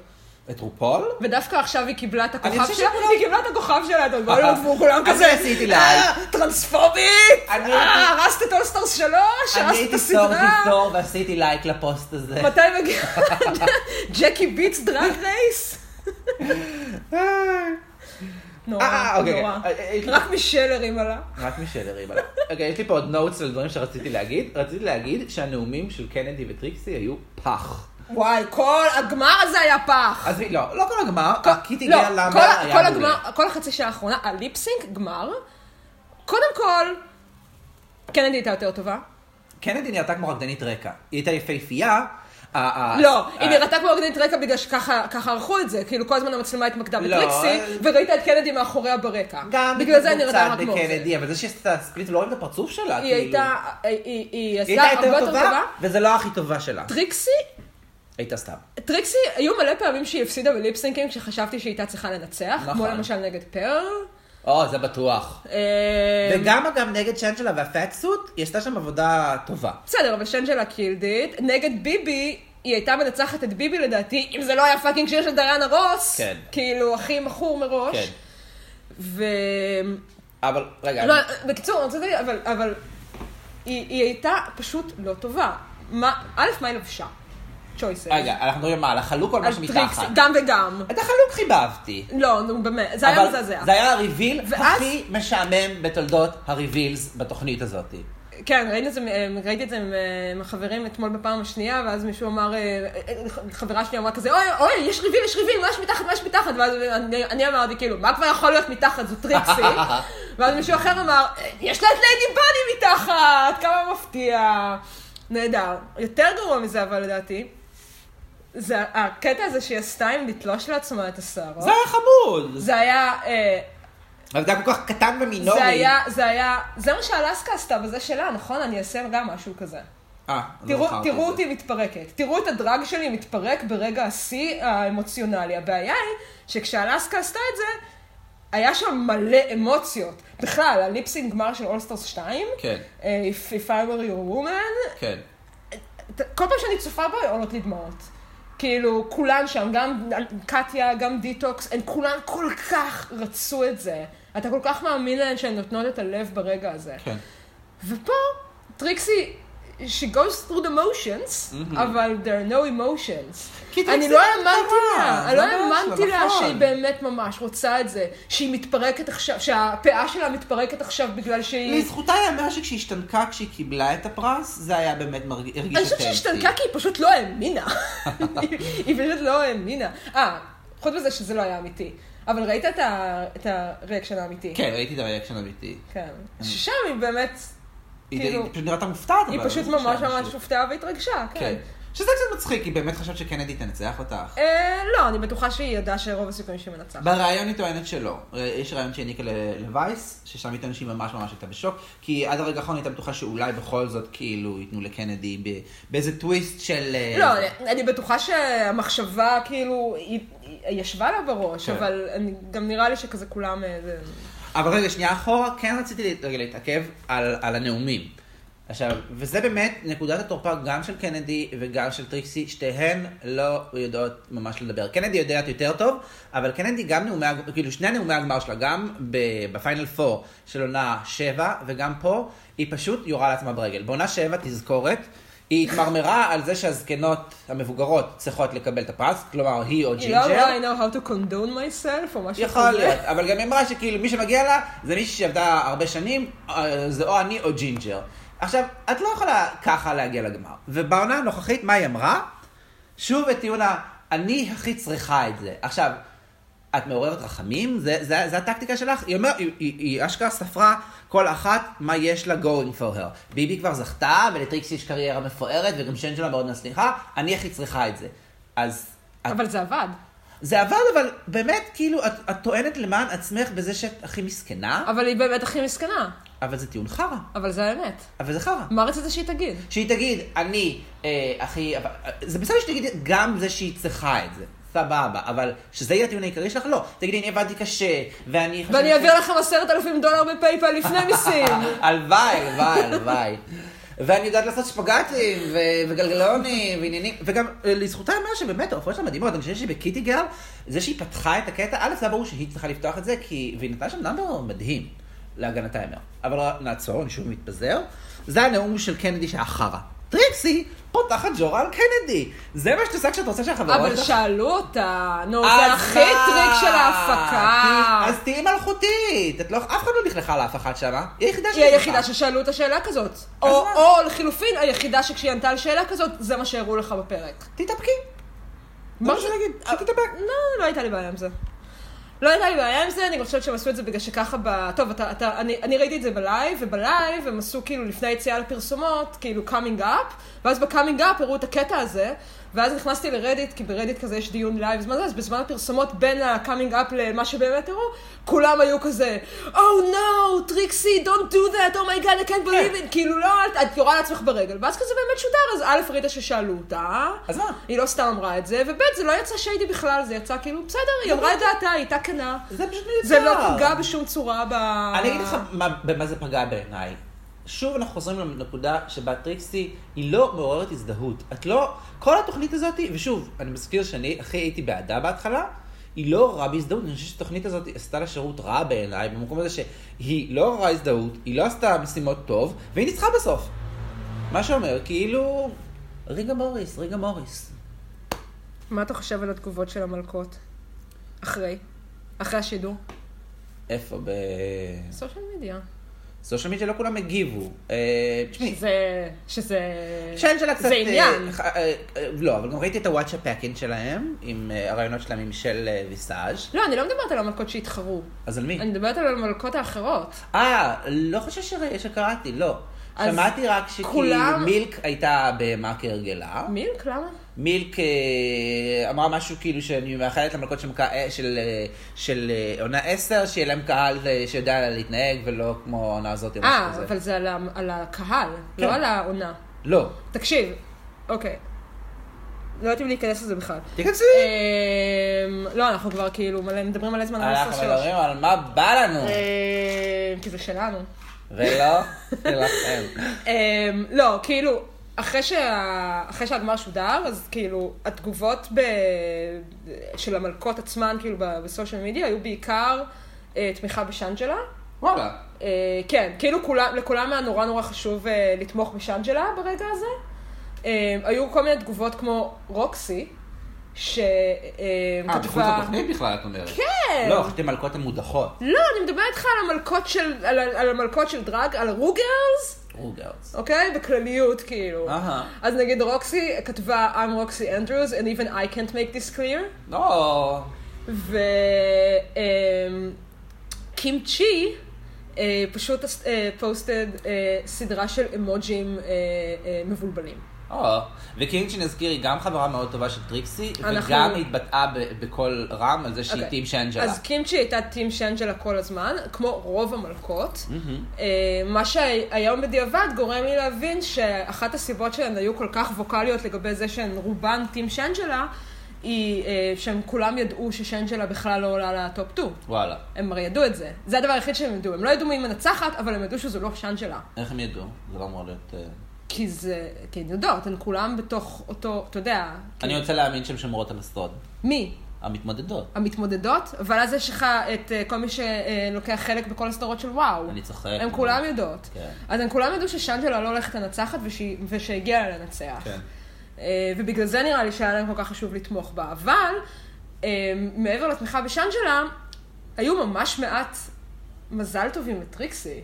את רופול?
ודווקא עכשיו היא קיבלה את
אני
הכוכב
חושב
שלה,
שכולם-
היא קיבלה את הכוכב שלה, אתה גולד, וכולם
אז
לא, כזה,
עשיתי לה.
"אה, טרנספובית!
אני-
אה, הרסת את אולסטארס 3?
אני
הרסת את
הייתי סור
הסדרה?
גיסור ועשיתי לייק לפוסט הזה.
מתי מגיע? ג'קי ביטס דרג רייס?
אה,
נורא,
אה, אוקיי.
נורא.
אה, אה, יש לי-
רק מישל הרימה לה.
רק משדר ריבה. אוקיי, יש לי פה עוד נוטס על דברים שרציתי להגיד. רציתי להגיד שהנאומים של קנדי וטריקסי היו פח.
וואי, כל הגמר הזה היה פח.
אז לא, לא כל הגמר, קיטי
לא,
גל
כל,
למבר
כל
היה מעולה.
הגמר, כל החצי שעה האחרונה, הליפסינק גמר. קודם כל, קנדי הייתה יותר טובה.
קנדי נראתה כמו רקדנית רקע. היא הייתה יפהפייה. ה- ה-
לא,
ה-
היא נראתה כמו רקדנית רקע בגלל שככה ככה ערכו את זה, כאילו כל הזמן המצלמה התמקדה
לא,
בטריקסי,
אה,
וראית את קנדי מאחוריה ברקע.
גם
בגלל זה היא
התנגדות
נראתה
צד
רק כמו זה.
בקנדי, אבל זה שעשית את הספליט ולא רואים את הפרצוף שלה,
היא
כאילו.
הייתה, היא- היא היא
היא
עשתה
הייתה
הרבה
יותר
יותר
טובה,
טובה.
וזה לא הכי טובה שלה.
טריקסי,
הייתה סתם.
טריקסי, היו מלא פעמים שהיא הפסידה בליפסינקים כשחשבתי שהיא הייתה צריכה לנצח, כמו
נכון.
למשל נגד פרל.
או, זה בטוח.
אה,
אמ- וגם אגב נגד שנצ'לה והפאט סוט, היא עשתה שם עבודה טובה.
בסדר, אבל שנג'לה קילדית, נגד ביבי, היא הייתה מנצחת את ביבי לדעתי, אם זה לא היה פאקינג שיר של דריאנה רוס.
כן.
כאילו, הכי מכור מראש.
כן.
ו...
אבל רגע,
לא,
אני-
בקיצור, רציתי, להגיד, אבל, אבל היא, היא הייתה פשוט לא טובה. מה, א', מה היא לבשה? צ'ויסס.
רגע, אנחנו מדברים מה, על החלוק או על מה שמתחת?
גם וגם.
את החלוק חיבבתי.
לא, נו, באמת, זה היה
אבל
מזעזע.
זה היה הריביל
ואז-
הכי משעמם בתולדות הריבילס בתוכנית הזאת.
כן, ראיתי את זה, מ- ראיתי את זה עם, אה, עם החברים אתמול בפעם השנייה, ואז מישהו אמר, אה, אה, חברה שלי אמרה כזה, אוי, אוי, יש ריבים, יש ריבים, מה יש מתחת, מה יש מתחת? ואז אני, אני אמרתי, כאילו, מה כבר יכול להיות מתחת, זו טריקסי. ואז מישהו אחר אמר, "אה, יש לה את ליידי בני מתחת, כמה מפתיע. נהדר. יותר גרוע מזה, אבל לדעתי, זה הקטע הזה שהיא עשתה עם לתלוש לעצמה את השערות.
זה היה חמוד.
זה היה... אה,
אבל זה היה כל כך קטן ומינורי.
זה היה, זה היה, זה מה שאלסקה עשתה בזה שלה, נכון? אני אעשה גם משהו כזה.
אה, לא
תראו,
זכרתי
תראו
את זה.
אותי מתפרקת. תראו את הדרג שלי מתפרק ברגע השיא האמוציונלי. הבעיה היא שכשאלסקה עשתה את זה, היה שם מלא אמוציות. בכלל, הליפסינג גמר של אולסטרס 2,
כן,
אה, If If I were your woman,
כן.
ת- כל פעם שאני צופה בו, עולות לי דמעות. כאילו, כולן שם, גם קטיה, גם דיטוקס, הן כולן כל כך רצו את זה. אתה כל כך מאמין להן שהן נותנות את הלב ברגע הזה.
כן.
ופה, טריקסי she goes through the motions, אבל there are no emotions.
כי טריקסי
אני לא
לא
האמנתי לה,
מטרה, זה
אני לא
ממש לא
האמנתי לה
נכון.
שהיא באמת ממש רוצה את זה, שהיא מתפרקת עכשיו, שהפאה שלה מתפרקת עכשיו בגלל שהיא...
לזכותה ייאמר שכשהיא השתנקה כשהיא קיבלה את הפרס, זה היה באמת מרגיש אותנטי.
אני חושבת שהיא
כן.
השתנקה כי היא פשוט לא האמינה. היא- היא פשוט לא האמינה. אה, חוץ מזה שזה לא היה אמיתי. אבל ראית את ה- את הריאקשן האמיתי.
כן, ראיתי את הריאקשן האמיתי.
כן. ששם היא באמת,
היא
כאילו-
היא פשוט נראתה מופתעת.
היא
אבל,
פשוט
זה
ממש
שם
ממש
פשוט.
הופתעה והתרגשה, כן.
כן. שזה קצת מצחיק, היא באמת חשבת שקנדי תנצח אותך.
אה, לא, אני בטוחה שהיא ידעה שרוב הסיכויים שהיא מנצחת.
בריאיון היא טוענת שלא. יש ריאיון שהעניקה ל- לווייס, ששם היא טוענת שהיא ממש ממש הייתה בשוק, כי עד הרגע האחרון היא הייתה בטוחה שאולי בכל זאת כאילו ייתנו לקנדי ב- באיזה טוויסט של... אה,
לא, אני- אני בטוחה שהמחשבה כאילו, היא היא ישבה לה בראש,
כן.
אבל אני- גם נראה לי שכזה כולם... אה, זה-
אבל רגע, שנייה אחורה, כן רציתי להת- רגע להתעכב על, על הנאומים. עכשיו, וזה באמת נקודת התורפה גם של קנדי וגם של טריקסי, שתיהן לא יודעות ממש לדבר. קנדי יודעת יותר טוב, אבל קנדי גם נאומי, הג- כאילו שני נאומי הגמר שלה, גם ב- בפיינל 4 של עונה 7 וגם פה, היא פשוט יורה לעצמה ברגל. בעונה 7, תזכורת, היא התמרמרה על זה שהזקנות המבוגרות צריכות לקבל את הפרס, כלומר היא או
היא לא
ג'ינג'ר.
אמרה, I know how to condone myself, או משהו כזה.
יכול להיות, אבל גם היא אמרה שכאילו מי שמגיע לה זה מישהי שעבדה הרבה שנים, אה, זה או אני או ג'ינג'ר. עכשיו, את לא יכולה ככה להגיע לגמר. ובעונה הנוכחית, מה היא אמרה? שוב את טיעון ה... אני הכי צריכה את זה. עכשיו, את מעוררת רחמים? זה, זה, זה הטקטיקה שלך? היא אומרת, היא, היא, היא אשכרה ספרה כל אחת מה יש לה going for her. ביבי כבר זכתה, ולטריקסי יש קריירה מפוארת, וגם שן שלה מאוד מצליחה, אני הכי צריכה את זה. אז... את
אבל זה עבד.
זה עבד, אבל באמת, כאילו, את, את טוענת למען עצמך בזה שאת הכי מסכנה,
אבל היא באמת הכי מסכנה.
אבל זה טיעון חרא.
אבל זה האמת.
אבל זה חרא.
מה רצית שהיא תגיד?
שהיא תגיד, אני אה, הכי... אבל- אה, זה בסדר שתגידי גם זה שהיא צריכה את זה. סבבה, אבל שזה יהיה הטיעון העיקרי שלך? לא. תגידי, אני עבדתי קשה, ואני... חושבת
ואני
ש-
אעביר לכם עשרת אלפים דולר בפייפל לפני מיסים.
הלוואי, הלוואי, הלוואי. ואני יודעת לעשות שפגטים, ו- וגלגלונים, ועניינים, וגם אה, לזכותה ייאמר שבאמת ההופעות שלה מדהימות, אני חושבת שבקיטי גר, זה שהיא פתחה את הקטע, א', זה היה ברור שהיא צריכה לפתוח את זה, כי, והיא נתנה שם נאמבר מדהים, להגנתה ייאמר. אבל נעצור, אני שוב מתפזר. זה הנאום של קנדי שהיה חרא. טריקסי פותחת ג'ורה על קנדי. זה מה שאת עושה כשאת רוצה שהחברות
אבל
שלך-
שאלו אותה, נו,
לא, אז
זה הכי
מה?
טריק של
כי-
ההפקה.
אז תהיי מלכותית, את לא, אף אחד לא נכלכה לאף אחת שמה, היא היחידה
היא
שנכלכה.
היחידה ששאלו את השאלה כזאת. או
מה?
או לחילופין, היחידה שכשהיא ענתה על שאלה כזאת, זה מה שהראו לך בפרק.
תתאפקי.
מה
מה
זה-
שנגיד, שתתאפק.
לא, לא הייתה לי בעיה עם זה. לא הייתה לי בעיה עם זה, אני גם חושבת שהם עשו את זה בגלל שככה ב... טוב, אתה, אתה, אני, אני ראיתי את זה בלייב, ובלייב הם עשו כאילו לפני היציאה לפרסומות, כאילו coming up, ואז ב-coming up הראו את הקטע הזה, ואז נכנסתי לרדיט, כי ברדיט כזה יש דיון לייב, זמן זה, אז בזמן הפרסומות בין ה-coming up למה שבאמת הראו, כולם היו כזה, Oh no, טריקסי, don't do that, oh my god, I can't believe it, כאילו לא, אל- את יורה לעצמך ברגל, ואז כזה באמת שודר, אז א', ראית ששאלו אותה,
אז מה?
היא לא סתם אמרה את זה, וב' זה לא יצא שיידי בכלל, זה יצא כאילו, בסדר, היא אמרה את דעתה, היא הייתה כנה.
זה פשוט
זה לא
מיותר.
פגע בשום צורה ב...
אני אגיד לך מה- במה זה פגע בעיניי. שוב אנחנו חוזרים לנקודה שבה טריקסי היא לא מעוררת הזדהות. את לא, כל התוכנית הזאת, ושוב, אני מזכיר שאני הכי הייתי בעדה בהתחלה, היא לא רעה בהזדהות, אני חושב שהתוכנית הזאת עשתה לה שירות רע בעיניי, במקום הזה שהיא לא רעה הזדהות, היא לא עשתה משימות טוב, והיא ניצחה בסוף. מה שאומר, כאילו, ריגה מוריס, ריגה מוריס.
מה אתה חושב על התגובות של המלכות? אחרי? אחרי השידור?
איפה? ב...
סושיאל מדיה.
סושיאל מדיה לא כולם הגיבו. אה, תשמעי,
שזה... שזה...
שאין שלה קצת...
זה
אה,
עניין.
ח- אה, אה, לא, אבל גם ראיתי את הוואטסאפ פאקינג שלהם, עם אה, הרעיונות שלהם עם של אה, ויסאז'.
לא, אני לא מדברת על המלכות שהתחרו.
אז על מי?
אני מדברת על המלכות האחרות.
אה, לא חושב שרא- שקראתי, לא.
אז
שמעתי רק שכאילו
כולם-
מילק הייתה בהמה כהרגלה.
מילק? למה?
מילק אה, אמרה משהו כאילו שאני מאחלת למלכות של מכה- אה, של, אה, של אה, עונה 10, שיהיה להם קהל אה, שיודע להתנהג ולא כמו העונה הזאת או משהו
אה,
כזה.
אבל זה על ה- על הקהל,
כן.
לא על העונה.
לא.
תקשיב, אוקיי. לא יודעת אם להיכנס לזה בכלל.
תיכנסי.
אמ, לא, אנחנו כבר כאילו מלא, מדברים מלא זמן על
אנחנו
הסוס שלוש. אה,
מדברים על מה בא לנו,
אמ, כי זה שלנו.
ולא שלכם.
אמ, לא, כאילו, אחרי שה- אחרי שהגמר שודר, אז כאילו, התגובות ב- של המלכות עצמן, כאילו, ב- בסושיאל מדיה, היו בעיקר אה, תמיכה בשאנג'לה.
וואלה.
אה, כן, כאילו כולם, לכולם היה נורא נורא חשוב אה, לתמוך בשאנג'לה ברגע הזה. אה, היו כל מיני תגובות כמו רוקסי, שכתבה...
אה, בחוץ לתוכנית בכלל, את אומרת.
כן!
לא, אחת המלכות המודחות.
לא, אני מדברת איתך על המלכות של, על, על המלכות של דרג, על הרוגרס,
רוגרס.
אוקיי? בכלליות, כאילו.
אהה.
אז נגיד רוקסי כתבה, I'm Roxy Andrews, and even I can't make this clear.
לא.
וקים אמ, צ'י אה, פשוט אה, פוסטד אה, סדרה של אמוג'ים אה, אה, מבולבלים.
או, וקינג'י נזכיר, היא לא. גם חברה מאוד טובה של טריקסי,
אנחנו-
וגם היא התבטאה ב- בקול רם על זה שהיא
אוקיי.
טים שאנג'לה.
אז קימצ'י הייתה טים שאנג'לה כל הזמן, כמו רוב המלכות.
Mm-hmm.
אה, מה שהיום בדיעבד גורם לי להבין שאחת הסיבות שהן היו כל כך ווקאליות לגבי זה שהן רובן טים שאנג'לה, היא אה, שהם כולם ידעו ששאנג'לה בכלל לא עולה לטופ 2.
וואלה.
הם הרי ידעו את זה. זה הדבר היחיד שהם ידעו. הם לא ידעו מי מנצחת, אבל הם ידעו שזו לא שאנג'לה.
איך הם ידעו? זה לא אמור להיות... אה,
כי זה, כי הן יודעות, הן כולם בתוך אותו, אתה יודע,
אני רוצה להאמין שהן שומרות על הסוד.
מי?
המתמודדות.
המתמודדות, אבל אז יש לך את אה, כל מי שלוקח חלק בכל הסדרות של וואו.
אני צוחק.
הן כולם יודעות.
כן.
אז הן כולם ידעו ששאנג'לה לא הולכת לנצחת ושהיא- ושהגיעה לה לנצח.
כן.
אה, ובגלל זה נראה לי שהיה להם כל כך חשוב לתמוך בה. אבל אה, מעבר לתמיכה בשאנג'לה, היו ממש מעט מזל טובים לטריקסי.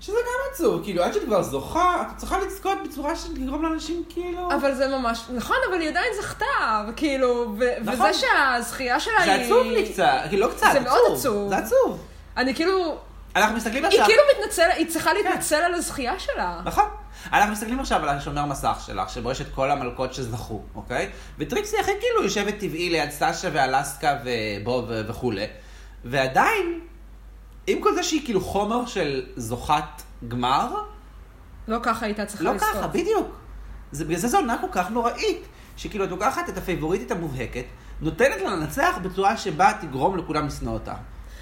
שזה גם עצוב, כאילו, עד שאת כבר זוכה, את צריכה לזכות בצורה שתגרום לאנשים כאילו...
אבל זה ממש, נכון, אבל היא עדיין זכתה, וכאילו, ו-
נכון.
וזה שהזכייה שלה
זה
היא...
עצוב לי קצת, כאילו, לא קצת,
זה מאוד עצוב.
זה עצוב.
אני כאילו,
אנחנו מסתכלים
היא
עכשיו...
כאילו מתנצלת, היא צריכה
כן.
להתנצל על הזכייה שלה.
נכון. אנחנו מסתכלים עכשיו על השומר מסך שלך, שבו יש את כל המלכות שזכו, אוקיי? וטריקסי הכי כאילו יושבת טבעי ליד סשה ואלסקה ובוב וכולי. ועדיין, עם כל זה שהיא כאילו חומר של זוכת גמר,
לא ככה הייתה צריכה
לא
לזכות.
ככה, בדיוק. זה, בגלל זה זו עונה כל כך נוראית, שכאילו את לוקחת את הפייבוריטית המובהקת, נותנת לה לנצח בצורה שבה תגרום לכולם לשנוא אותה.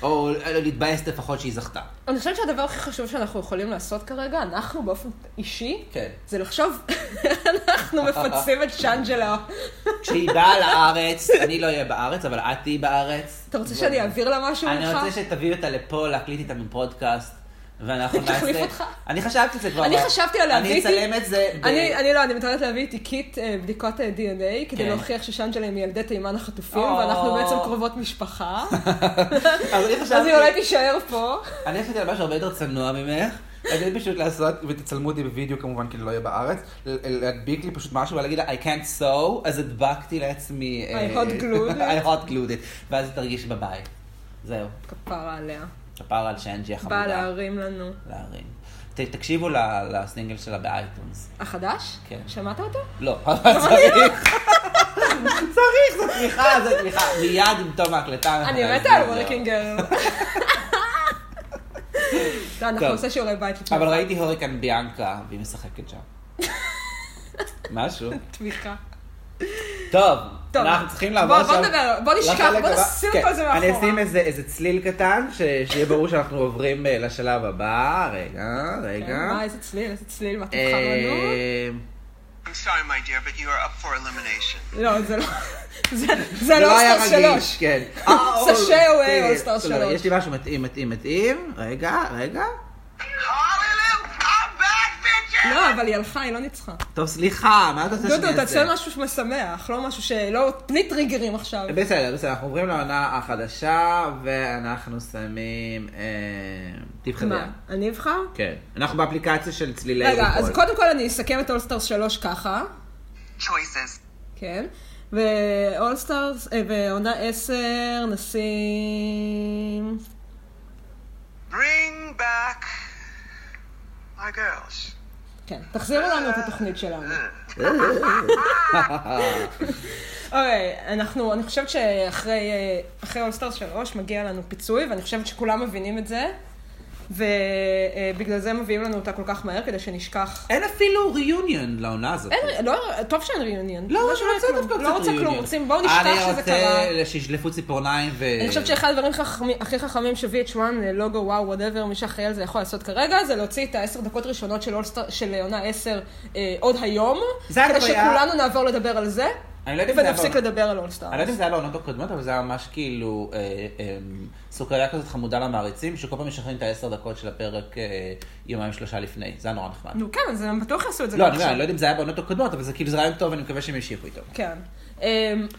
או אה, להתבאס לפחות שהיא זכתה.
אני חושבת שהדבר הכי חשוב שאנחנו יכולים לעשות כרגע, אנחנו באופן אישי,
כן.
זה לחשוב איך אנחנו מפצים את שאנג'לה.
כשהיא באה לארץ, אני לא אהיה בארץ, אבל את תהיי בארץ.
אתה רוצה שאני אעביר לה משהו ממך?
אני רוצה שתביאי אותה לפה, להקליט איתה מפודקאסט, ואנחנו
תחליף
נעשה...
אותך.
אני חשבתי את זה כבר.
אני חשבתי על להביא
אני
איתי-
אצלם את זה ב...
אני, אני לא, אני מתארת להביא איתי קיט אה, בדיקות אה, DNA, כדי
כן.
להוכיח ששאנג'לה היא מילדי תימן החטופים,
או.
ואנחנו בעצם קרובות משפחה.
אבל אני
אז
חשבתי...
היא אולי תישאר פה.
אני חשבתי על משהו הרבה יותר צנוע ממך. אני פשוט לעשות, ותצלמו אותי בווידאו כמובן, כי אני לא אהיה בארץ, ל- להדביק לי פשוט משהו ולהגיד לה, I can't sew, אז הדבקתי לעצמי...
I
אה,
hot glued it.
I hot glued it, ואז היא תרגיש בבית. זהו,
כפרה עליה.
כפרה על שאנג'י החמודה.
באה להרים לנו.
להרים. ת- תקשיבו ל- לסינגל שלה באייטונס.
החדש?
כן.
שמעת אותו?
לא, אבל צריך. צריך, זו תמיכה, זו תמיכה. מיד עם תום ההקלטה. אנחנו
אני מתה
נעשה
על
את זה.
וורקינג גרל. טוב, אנחנו
טוב.
נעשה שיעורי בית לפני
אבל ראיתי הוריקן ביאנקה, והיא משחקת שם. משהו.
תמיכה.
טוב,
טוב.
אנחנו צריכים לעבור
בוא-
עכשיו.
בוא נדבר, בוא נשכח,
לחלק
בוא
הבא.
נשים
כן,
כל זה מאחורה.
אני אשים איזה- איזה צליל קטן, ש- שיהיה ברור שאנחנו עוברים אה, לשלב הבא. רגע, רגע.
כן, מה, איזה צליל, איזה צליל, מה תבחר לנו?
אה,
I'm sorry, my dear, but you are up for elimination.
לא, זה לא... זה- זה
זה
לא
לא היה
אוסטר
רגיש,
שלוש.
כן.
סשה הוא
כן,
אולסטאר
לא,
שלוש.
יש לי משהו מתאים, מתאים, מתאים. רגע, רגע.
Hallelujah! I'm back, bitches!
לא, אבל היא הלכה, היא לא ניצחה.
טוב, סליחה, מה את רוצה שאני אעשה?
דודו, תעשה משהו שמשמח, לא משהו שלא... תני טריגרים
אה,
עכשיו.
בסדר, בסדר, אנחנו עוברים לעונה החדשה, ואנחנו שמים... אה, תבחרי.
מה, אני אבחר?
כן. אנחנו באפליקציה של צלילי
רגע,
ריקול.
אז קודם כל אני אסכם את אולסטאר שלוש ככה.
Choices.
כן. ואולסטארס, ועונה 10 נשים...
Bring back my girls.
כן, תחזירו לנו את התוכנית שלנו. אוקיי, אנחנו, אני חושבת שאחרי אה, אחרי אולסטארס 3 מגיע לנו פיצוי, ואני חושבת שכולם מבינים את זה, ובגלל זה מביאים לנו אותה כל כך מהר, כדי שנשכח.
אין אפילו ריוניון לעונה הזאת.
אין, לא, טוב שאין ריוניון.
לא, אני רוצה
כלום,
דווקא קצת
לא רוצה כלום,
ריוניון.
רוצים, בואו נשכח שזה קרה.
אני רוצה שישלפו ציפורניים ו...
אני חושבת שאחד הדברים חכמי- הכי חכמים ש-VH1, אה, לוגו, וואו, וואטאבר, מי שאחראי על זה יכול לעשות כרגע, זה להוציא את העשר דקות הראשונות של, All Star- של עונה עשר אה, עוד היום,
זה
כדי
הטעיה.
שכולנו נעבור לדבר על זה.
אני לא יודע אם זה היה
ונפסיק
בעונות-
לדבר על אולסטארס.
אני לא יודעת אם זה היה בעונות הקודמות, אבל זה היה ממש כאילו אה, אה, סוכריה כזאת חמודה למעריצים, שכל פעם משחררים את העשר דקות של הפרק אה, יומיים שלושה לפני. זה היה נורא נחמד.
נו, כן, אז הם בטוח יעשו את זה
לא,
גם
אני אומר, אני לא יודע אם זה היה בעונות הקודמות, אבל זה כאילו זה רעיון טוב, אני מקווה שהם ימשיכו איתו.
כן. אמ,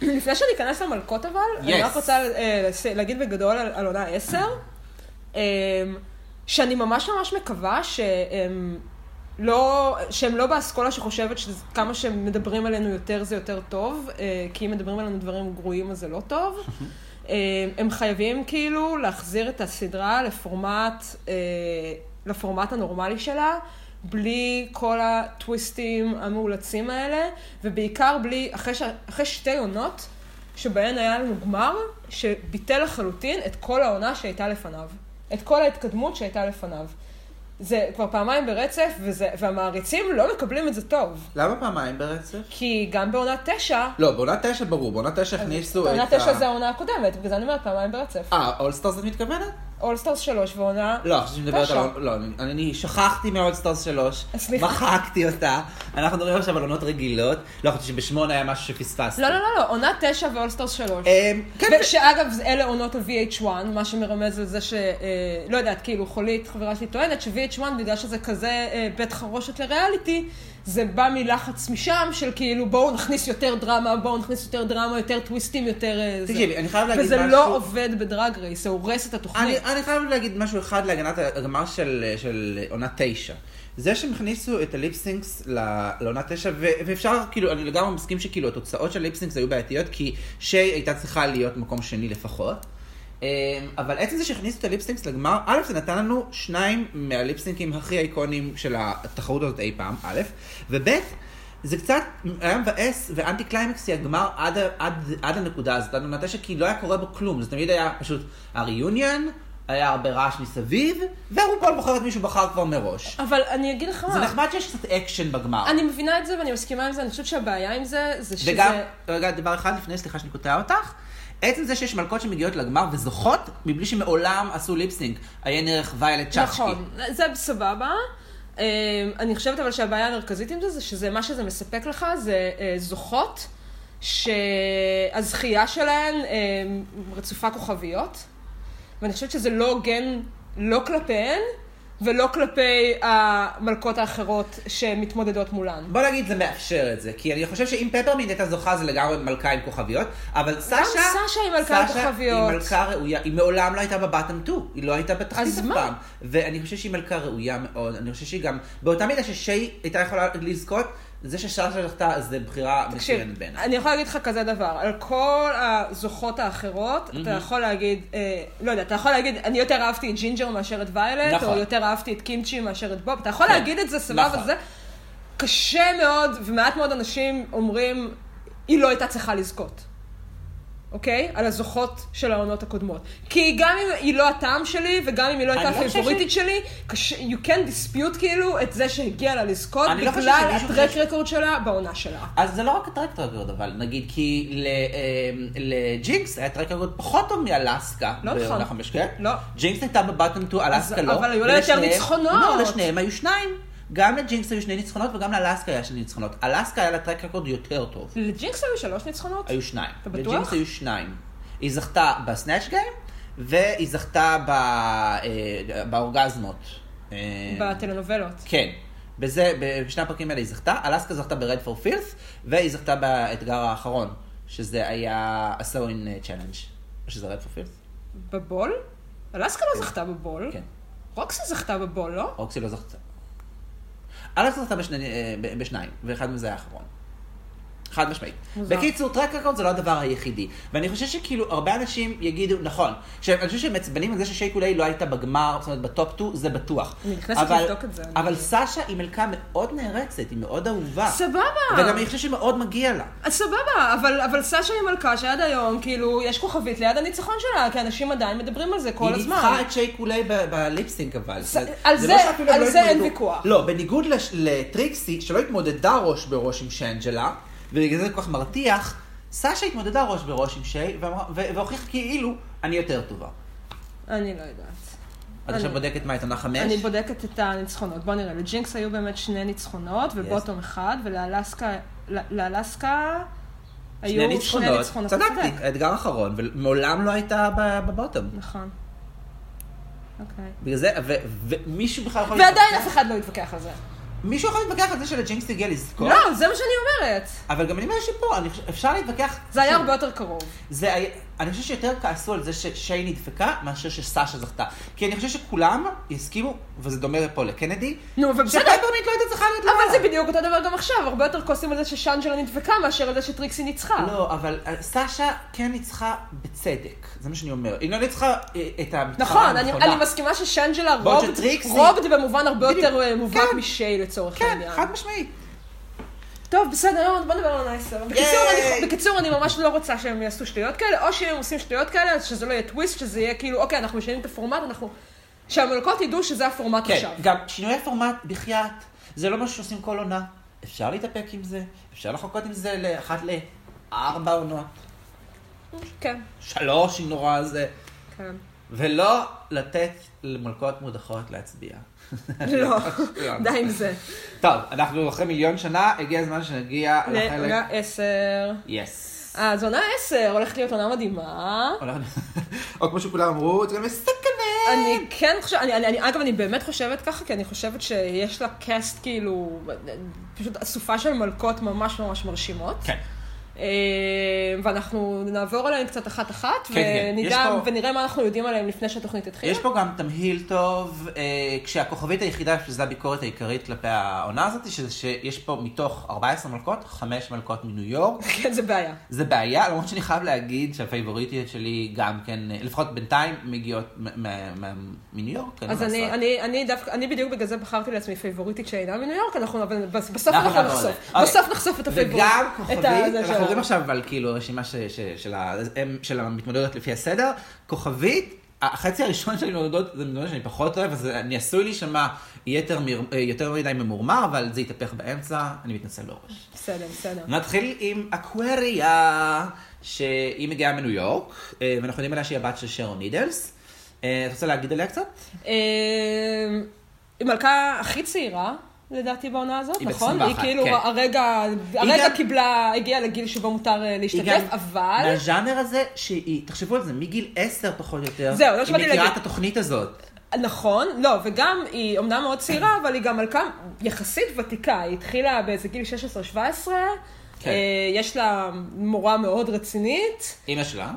לפני שניכנס למלכות אבל, אני
Yes.
רק רוצה אה, לס- להגיד בגדול על על עונה 10, אמ, שאני ממש ממש מקווה שהם לא, שהם לא באסכולה שחושבת שכמה שהם מדברים עלינו יותר זה יותר טוב, אה, כי אם מדברים עלינו דברים גרועים אז זה לא טוב. אמ, הם חייבים כאילו להחזיר את הסדרה לפורמט, אה, לפורמט הנורמלי שלה, בלי כל הטוויסטים המאולצים האלה, ובעיקר בלי, אחרי, ש... אחרי שתי עונות, שבהן היה לנו גמר, שביטל לחלוטין את כל העונה שהייתה לפניו. את כל ההתקדמות שהייתה לפניו. זה כבר פעמיים ברצף, וזה... והמעריצים לא מקבלים את זה טוב.
למה פעמיים ברצף?
כי גם בעונה תשע,
לא, בעונה תשע ברור, בעונה תשע הכניסו את ה...
עונה תשע זה העונה הקודמת, בגלל זה אני אומרת פעמיים ברצף.
אה, אולסטארס את מתכוונת?
אולסטארס שלוש ועונה...
לא, עכשיו שאני מדברת
תשע.
על... עול- לא, אני- אני שכחתי מאולסטארס שלוש,
סליחה.
מחקתי אותה, אנחנו מדברים עכשיו על עונות רגילות, לא חשבתי שבשמונה היה משהו שפספסתי.
לא, לא, לא, לא, עונה תשע ואולסטארס שלוש.
אמ, כן,
ושאגב, זה- אלה עונות ה-VH1, מה שמרמז על זה ש... אה, לא יודעת, כאילו, חולית, חברה שלי טוענת ש-VH1, בגלל שזה כזה אה, בית חרושת לריאליטי, זה בא מלחץ משם של כאילו, בואו נכניס יותר דרמה, בואו נכניס יותר דרמה, יותר טוויסטים, יותר... אה, זה.
תקשיבי, אני חייב להגיד
וזה
משהו-
לא עובד בדרג רייס, זה הורס את
אני,
התוכנית.
אני חייב להגיד משהו אחד להגנת הגמר של, של עונה תשע. זה שהם הכניסו את הליפסינקס ל- לעונה תשע, ו- ואפשר, כאילו, אני לגמרי מסכים שכאילו התוצאות של הליפסינקס היו בעייתיות, כי שיי הייתה צריכה להיות מקום שני לפחות. אמ, אבל עצם זה שהכניסו את הליפסינקס לגמר, א', זה נתן לנו שניים מהליפסינקים הכי איקונים של התחרות הזאת אי פעם, א', וב', זה קצת היה מבאס ואנטי קליימקסי הגמר עד, ה- עד, עד הנקודה הזאת, עד עונה תשע, כי לא היה קורה בו כלום. זה תמיד היה פשוט הריוניון, היה הרבה רעש מסביב, והרופול בוחר את מי שהוא בחר כבר מראש.
אבל אני אגיד לך
זה נכון.
מה,
נחמד שיש קצת אקשן בגמר.
אה. אני מבינה את זה ואני מסכימה עם זה, אני חושבת שהבעיה עם זה, זה שזה...
וגם, לא, רגע, דבר אחד לפני, סליחה שאני קוטע אותך. עצם זה שיש מלכות שמגיעות לגמר וזוכות, מבלי שמעולם עשו ליפסינק. עיין ערך ויילט צ'אצ'קי.
נכון, זה סבבה. אמ, אני חושבת אבל שהבעיה המרכזית עם זה, זה שזה מה שזה מספק לך, זה אה, זוכות שהזכייה שלהן אמ, רצופה כוכביות, ואני חושבת שזה לא הוגן לא כלפיהן ולא כלפי המלכות האחרות שמתמודדות מולן.
בוא נגיד זה מאפשר את זה, כי אני חושב שאם פפרמינט הייתה זוכה זה לגמרי מלכה עם כוכביות, אבל סשה...
סשה היא מלכה עם כוכביות.
היא מלכה ראויה, היא מעולם לא הייתה בבטם 2, היא לא הייתה בתחתית
אז
אף
מה?
פעם. ואני חושב שהיא מלכה ראויה מאוד, אני חושב שהיא גם, באותה מידה ששיי הייתה יכולה לזכות, זה שסשה זכתה זה בחירה מצוינת
תקשיב,
בעיניי.
אני יכולה להגיד לך כזה דבר, על כל הזוכות האחרות, אתה יכול להגיד, אה, לא יודע, אתה יכול להגיד, אני יותר אהבתי את ג'ינג'ר מאשר את ויילט,
נכון.
או יותר אהבתי את קימצ'י מאשר את בוב, אתה יכול
כן,
להגיד את זה, סבבה,
נכון.
זה קשה מאוד, ומעט מאוד אנשים אומרים, היא לא הייתה צריכה לזכות. אוקיי? על הזוכות של העונות הקודמות. כי גם אם היא לא הטעם שלי, וגם אם היא לא
אני
הייתה
לא חושב
הפייבוריטית שלי, קשה- you can dispute כאילו את זה שהגיע לה לזכות,
אני לא חושב
בגלל
שמישהו
הטרק
חושב-
רקורד שלה בעונה שלה.
אז זה לא רק הטרק רקורד, אבל נגיד, כי ל- אמ, לג'ינקס היה טרק רקורד פחות טוב מאלסקה.
לא
בעונה
נכון.
חמש, כן?
לא.
ג'ינקס הייתה בבטם 2, אלסקה
אז-
לא.
אבל היו לה יותר
ולשניהם-
ניצחונות.
לא, לשניהם היו שניים. גם לג'ינקס היו שני ניצחונות וגם לאלסקה היה שני ניצחונות. אלסקה היה לה טרק רקורד יותר טוב.
לג'ינקס היו שלוש ניצחונות?
היו שניים.
אתה בטוח?
לג'ינקס היו שניים. היא זכתה בסנאצ' גיים, והיא זכתה ב- אה, באורגזמות. אה,
בטלנובלות.
כן. בזה, בשני הפרקים האלה היא זכתה, אלסקה זכתה ברד פור פילס, והיא זכתה באתגר האחרון, שזה היה הסלואין צ'אלנג', שזה רד פור פילס.
בבול? אלסקה לא זכתה בבול.
כן.
רוקסי זכתה בבול, לא?
אוקסי לא זכתה. אלסקה זכתה בשני, אה, ב- בשניים, ואחד מזה היה האחרון. חד משמעית.
מוזר.
בקיצור, טרק רקורד זה לא הדבר היחידי. ואני חושב שכאילו, הרבה אנשים יגידו, נכון, ש- אני חושב שהם מעצבנים על זה ששיי קולי לא הייתה בגמר, זאת אומרת, בטופ 2, זה בטוח.
אני נכנסת
אבל-
לבדוק את זה, אני-
אבל סשה היא מלכה מאוד נערצת, היא מאוד אהובה.
סבבה.
וגם אני חושב שמאוד מגיע לה.
אז סבבה, אבל, אבל סשה היא מלכה שעד היום, כאילו, יש כוכבית ליד הניצחון שלה, כי אנשים עדיין מדברים על זה כל
היא
הזמן.
ניצחה את שיי קולי ב- בליפסינק אבל.
ס- על
לא
זה-
שאפילו הם
על
לא
זה אין
התמודדו.
ויכוח.
לא, בניגוד לש- לטריקסי, שלא התמודדה ראש בראש עם שאנג'לה, ובגלל זה כל כך מרתיח, סשה התמודדה ראש בראש עם שיי, ואמרה- ו- והוכיחה כאילו, אני יותר טובה.
אני לא יודעת.
את
אני-
עכשיו בודקת מה, את עונה חמש?
אני בודקת את הניצחונות. בוא נראה, לג'ינקס היו באמת שני ניצחונות, ובוטום אחד, ולאלסקה, ל- לאלסקה היו שני ניצחונות. כן,
צדקתי,
צודק.
אתגר אחרון, ומעולם לא הייתה ב- בבוטום.
נכון. אוקיי.
בגלל זה, ו- ומישהו בכלל יכול...
ועדיין אף
להתווכח-
אחד לא התווכח על זה.
מישהו יכול להתווכח על זה שלג'ינקס הגיע לזכות?
לא, זה מה שאני אומרת.
אבל גם אני אומר שפה, אני חושב- אפשר להתווכח...
זה היה
שוב,
הרבה יותר קרוב.
זה היה... אני חושב שיותר כעסו על זה ששיי נדפקה, מאשר שסאשה זכתה. כי אני חושב שכולם יסכימו, וזה דומה פה לקנדי,
נו, ובסדר.
שפייפרמינט לא הייתה צריכה להיות
אבל
למעלה.
זה בדיוק אותו דבר גם עכשיו, הרבה יותר כועסים על זה ששאנג'לה נדבקה מאשר על זה שטריקסי ניצחה.
לא, אבל אה, סשה כן ניצחה בצדק, זה מה שאני אומר. היא לא ניצחה אה, את המתחרה
נכון,
הנכונה.
אני אני מסכימה ששאנג'לה
בעוד
רובד-
שטריקסי-
רובד במובן הרבה
בדיוק.
יותר אה, מובהק
כן.
משיי לצורך
כן,
העניין.
חד משמעית.
טוב, בסדר, יום, בוא נדבר על הנייסר. בקיצור,
ייי!
אני- בקיצור, אני ממש לא רוצה שהם יעשו שטויות כאלה, או שהם עושים שטויות כאלה, אז שזה לא יהיה טוויסט, שזה יהיה כאילו, אוקיי, אנחנו משנים את הפורמט, אנחנו... שהמלכות ידעו שזה הפורמט
כן,
עכשיו.
גם שינויי פורמט, בחייאת, זה לא משהו שעושים כל עונה. אפשר להתאפק עם זה, אפשר לחכות עם זה לאחת לארבע עונות,
כן,
שלוש, אם נורא זה,
כן.
ולא לתת למלכות מודחות להצביע.
לא, די עם זה.
טוב, אנחנו אחרי מיליון שנה, הגיע הזמן שנגיע לחלק...
לעונה עשר. אה,
יס.
אז עונה עשר הולכת להיות עונה מדהימה.
או כמו שכולם אמרו, זה גם מסכנה.
אני כן חושבת, אני, אני, אני, אגב, אני באמת חושבת ככה, כי אני חושבת שיש לה קאסט כאילו, פשוט אסופה של מלכות ממש ממש מרשימות.
כן.
אה, ואנחנו נעבור עליהן קצת אחת-אחת,
כן, כן.
ונדע,
יש פה-
ונראה מה אנחנו יודעים עליהן לפני שהתוכנית תתחיל.
יש פה גם תמהיל טוב, אה, כשהכוכבית היחידה, שזו הביקורת העיקרית כלפי העונה הזאת, שזה שיש פה מתוך 14 מלכות, 5 מלכות מניו יורק.
כן, זה בעיה.
זה בעיה, למרות שאני חייב להגיד שהפייבוריטיות שלי גם כן, אה, לפחות בינתיים, מגיעות מ- מ- מ- מניו יורק. אין
אז
מה
אני,
לעשות.
אני, אני דווקא, אני בדיוק בגלל זה בחרתי לעצמי פייבוריטית שאינה מניו יורק, אנחנו, אבל בס- בסוף
אנחנו
אנחנו
נעבור
נחשוף.
עליה.
בסוף נחשוף את הפייבוריט.
אוקיי. וגם
את
כוכבית,
ה- זה
אנחנו
שלנו.
מדברים עכשיו על כאילו רשימה ש- ש- של ה- הם- של המתמודדות לפי הסדר, כוכבית, החצי הראשון של המתמודדות זה מתמודדות שאני פחות אוהב, אז אני עשוי להישמע יתר מיר- אה, יותר מדי ממורמר, אבל זה יתהפך באמצע, אני מתנצל בראש.
בסדר, בסדר.
נתחיל עם אקווריה, שהיא מגיעה מניו יורק, אה, ואנחנו יודעים עליה שהיא הבת של שרון נידלס. אה, את רוצה להגיד עליה קצת?
אה, היא מלכה הכי צעירה. לדעתי בעונה הזאת,
היא בת
נכון?
21,
כאילו
כן.
הרגע, הרגע
גם-
קיבלה, הגיעה לגיל שבו מותר אה,
היא
להשתתף,
גם
אבל...
מהז'אנר הזה, שהיא, תחשבו על זה, מגיל עשר פחות או יותר,
זהו, זה מה
היא
שבאתי
מכירה את
להגיד.
התוכנית הזאת.
נכון, לא, וגם היא אומנם מאוד צעירה, אבל היא גם מלכה יחסית ותיקה, היא התחילה באיזה גיל 16-17,
כן.
אה, יש לה מורה מאוד רצינית,
אימא שלה,
אה,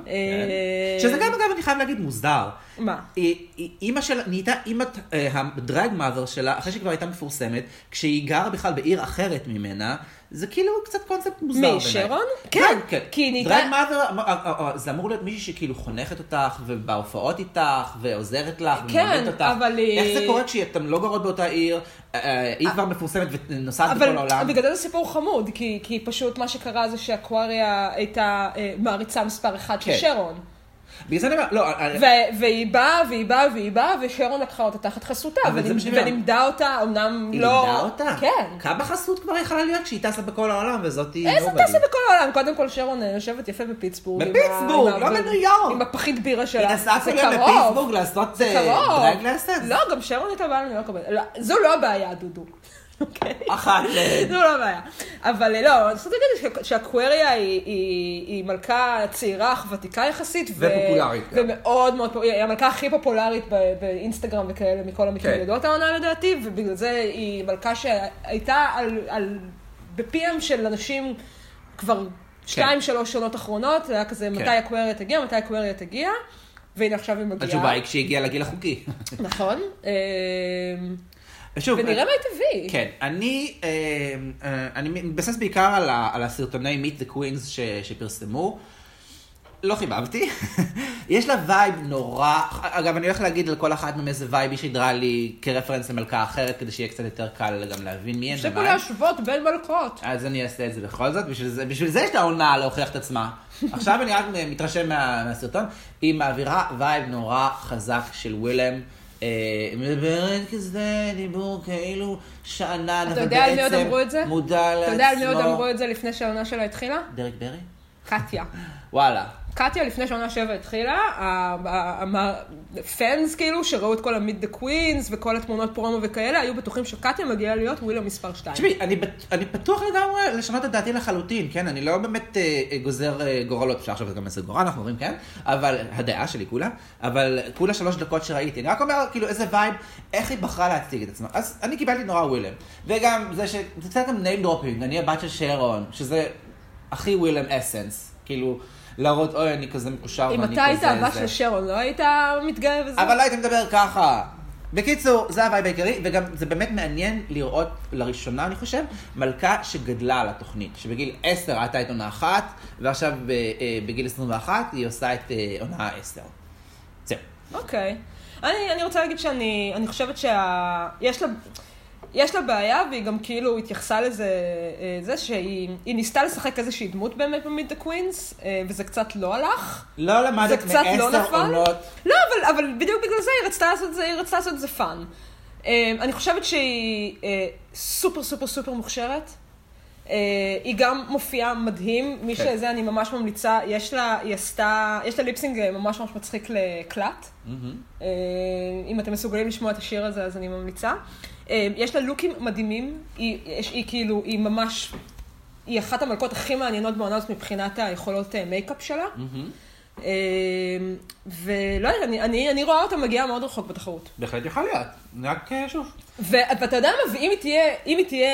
כן. שזה גם אגב אני חייב להגיד מוזר.
מה?
היא- היא- אימא שלה נהייתה אימת הדרג מאזר שלה, אחרי שהיא כבר הייתה מפורסמת, כשהיא גרה בכלל בעיר אחרת ממנה, זה כאילו קצת קונספט מוזר
מי,
בעיניי.
שרון?
כן,
כן,
כן.
כי היא נהייתה-
דרג אה, מאזר, זה אמור להיות מישהי שכאילו חונכת אותך, ובהופעות איתך, ועוזרת לך,
כן,
ומלמדת אותך.
אבל היא-
איך זה קורה כשאתם לא גרות באותה עיר, אה, אה, היא כבר מפורסמת ונוסעת אה, בכל
אבל
העולם?
בגלל זה זה סיפור חמוד, כי, כי פשוט מה שקרה זה שאקווריה הייתה אה, מעריצה מספר אחת של
כן.
שרון.
בגלל זה אני אומר, לא, אה, אה,
ו- והיא באה, והיא באה, והיא באה, ושרון לקחה אותה תחת חסותה,
אבל זה
ונמ-
מה שאני אומר.
ולימדה אותה, אמנם
היא
לא...
לימדה אותה?
כן.
כמה חסות כבר יכלה להיות כשהיא טסה בכל העולם וזאת היא
איזה
נורמלית?
טסה בכל העולם? קודם כל שרון אה, יושבת יפה בפיטסבורג. עם ה-
בפיטסבורג,
עם
לא
ה-
בניו יורק.
עם הפחית בירה שלה.
היא נסעה
זה
אפילו גם
קרוב.
לפיטסבורג לעשות
זה
אה,
קרוב.
דרג לאסס?
לא, גם שרון הייתה באה לניו יורק. אבל- לא, זו לא הבעיה, דודו. אוקיי?
אחת אה, ל...
זו לא הבעיה. אבל אה, לא, אני רוצה להגיד ש- שהקווריה היא- היא היא מלכה צעירה אך ותיקה יחסית. ו-
ופופולרית גם.
ומאוד מאוד, פופ- היא המלכה הכי פופולרית ב- באינסטגרם וכאלה מכל
כן.
המתמודדות העונה לדעתי, ובגלל זה היא מלכה שהייתה על, על, בפיהם של אנשים כבר
כן.
שתיים, שלוש שנות אחרונות, זה היה כזה מתי הקוויריה תגיע, מתי הקוויריה תגיע, והנה עכשיו היא מגיעה.
התשובה היא כשהיא הגיעה לגיל החוקי.
נכון. אמ,
שוב,
ונראה מה היא תביא.
כן, אני, אה, אה, אני מתבסס בעיקר על, ה, על הסרטוני Meet the Queens ש, שפרסמו. לא חיבבתי. יש לה וייב נורא, אגב, אני הולך להגיד על כל אחת מהם איזה וייב היא שידרה לי כרפרנס למלכה אחרת, כדי שיהיה קצת יותר קל גם להבין מי הן
אפשר פה
ומה הן.
להשוות בין מלכות.
אז אני אעשה את זה בכל זאת, בשביל זה, בשביל זה יש לה עונה להוכיח את עצמה. עכשיו אני רק מתרשם מה, מהסרטון, היא מעבירה וייב נורא חזק של ווילם. אה, מדברת כזה דיבור כאילו שאנן,
אתה
אבל
יודע על מי עוד
בעצם
אמרו את זה?
מודע לעצמו.
אתה יודע על מי עוד אמרו את זה לפני שהעונה שלה התחילה?
דרק ברי?
קטיה.
וואלה.
קטיה, לפני שעונה שבע התחילה, הפאנס כאילו, שראו את כל המיד דה קווינס וכל התמונות פרומו וכאלה, היו בטוחים שקטיה מגיעה להיות ווילה מספר 2.
תשמעי, אני, בט- אני פתוח לגמרי לשנות את דעתי לחלוטין, כן? אני לא באמת אה, אה, גוזר אה, גורלות, אפשר עכשיו גם לעשות גורל, אנחנו אומרים כן, אבל הדעה שלי כולה, אבל כולה שלוש דקות שראיתי. אני רק אומר, כאילו, איזה וייב, איך היא בחרה להציג את עצמה. אז אני קיבלתי נורא ווילם. וגם זה ש... זה קצת גם name dropping, אני הבת של שרון, שזה הכי ווילם אסנס. כאילו, להראות, אוי, אני כזה מקושר ואני
אם
כזה...
אתה היית הבת
זה."
של שרון, לא היית מתגאה בזה?
אבל לא היית מדבר ככה. בקיצור, זה הווייב העיקרי, וגם זה באמת מעניין לראות לראשונה, אני חושב, מלכה שגדלה על התוכנית. שבגיל 10 הייתה את עונה אחת, ועכשיו ב- אה, בגיל 21 היא עושה את אה, עונה 10. זהו.
אוקיי. אני, אני רוצה להגיד שאני אני חושבת שה... יש לה... יש לה בעיה, והיא גם כאילו התייחסה לזה, אה, זה שהיא היא ניסתה לשחק איזושהי דמות באמת במיד דה קווינס, אה, וזה קצת לא הלך.
לא
זה
למדת
קצת לא
מעשר
נפל.
עונות.
לא, אבל, אבל בדיוק בגלל זה היא רצתה לעשות את זה, היא רצתה לעשות את זה פאן. אה, אני חושבת שהיא אה, סופר סופר סופר מוכשרת. אה, היא גם מופיעה מדהים, מי
כן.
שזה אני ממש ממליצה, יש לה, היא עשתה, יש לה ליפסינג אה, ממש ממש מצחיק לקלט. אה, אם אתם מסוגלים לשמוע את השיר הזה, אז אני ממליצה. אה, יש לה לוקים מדהימים, היא, יש, היא כאילו, היא ממש, היא אחת המלכות הכי מעניינות בעונה הזאת מבחינת היכולות אה, מייקאפ שלה. אה, ולא יודעת, אני, אני, אני רואה אותה מגיעה מאוד רחוק בתחרות.
בהחלט יכול להיות. רק אה, שוב.
ו, ואתה יודע מה, ואם היא תהיה, אם היא תהיה,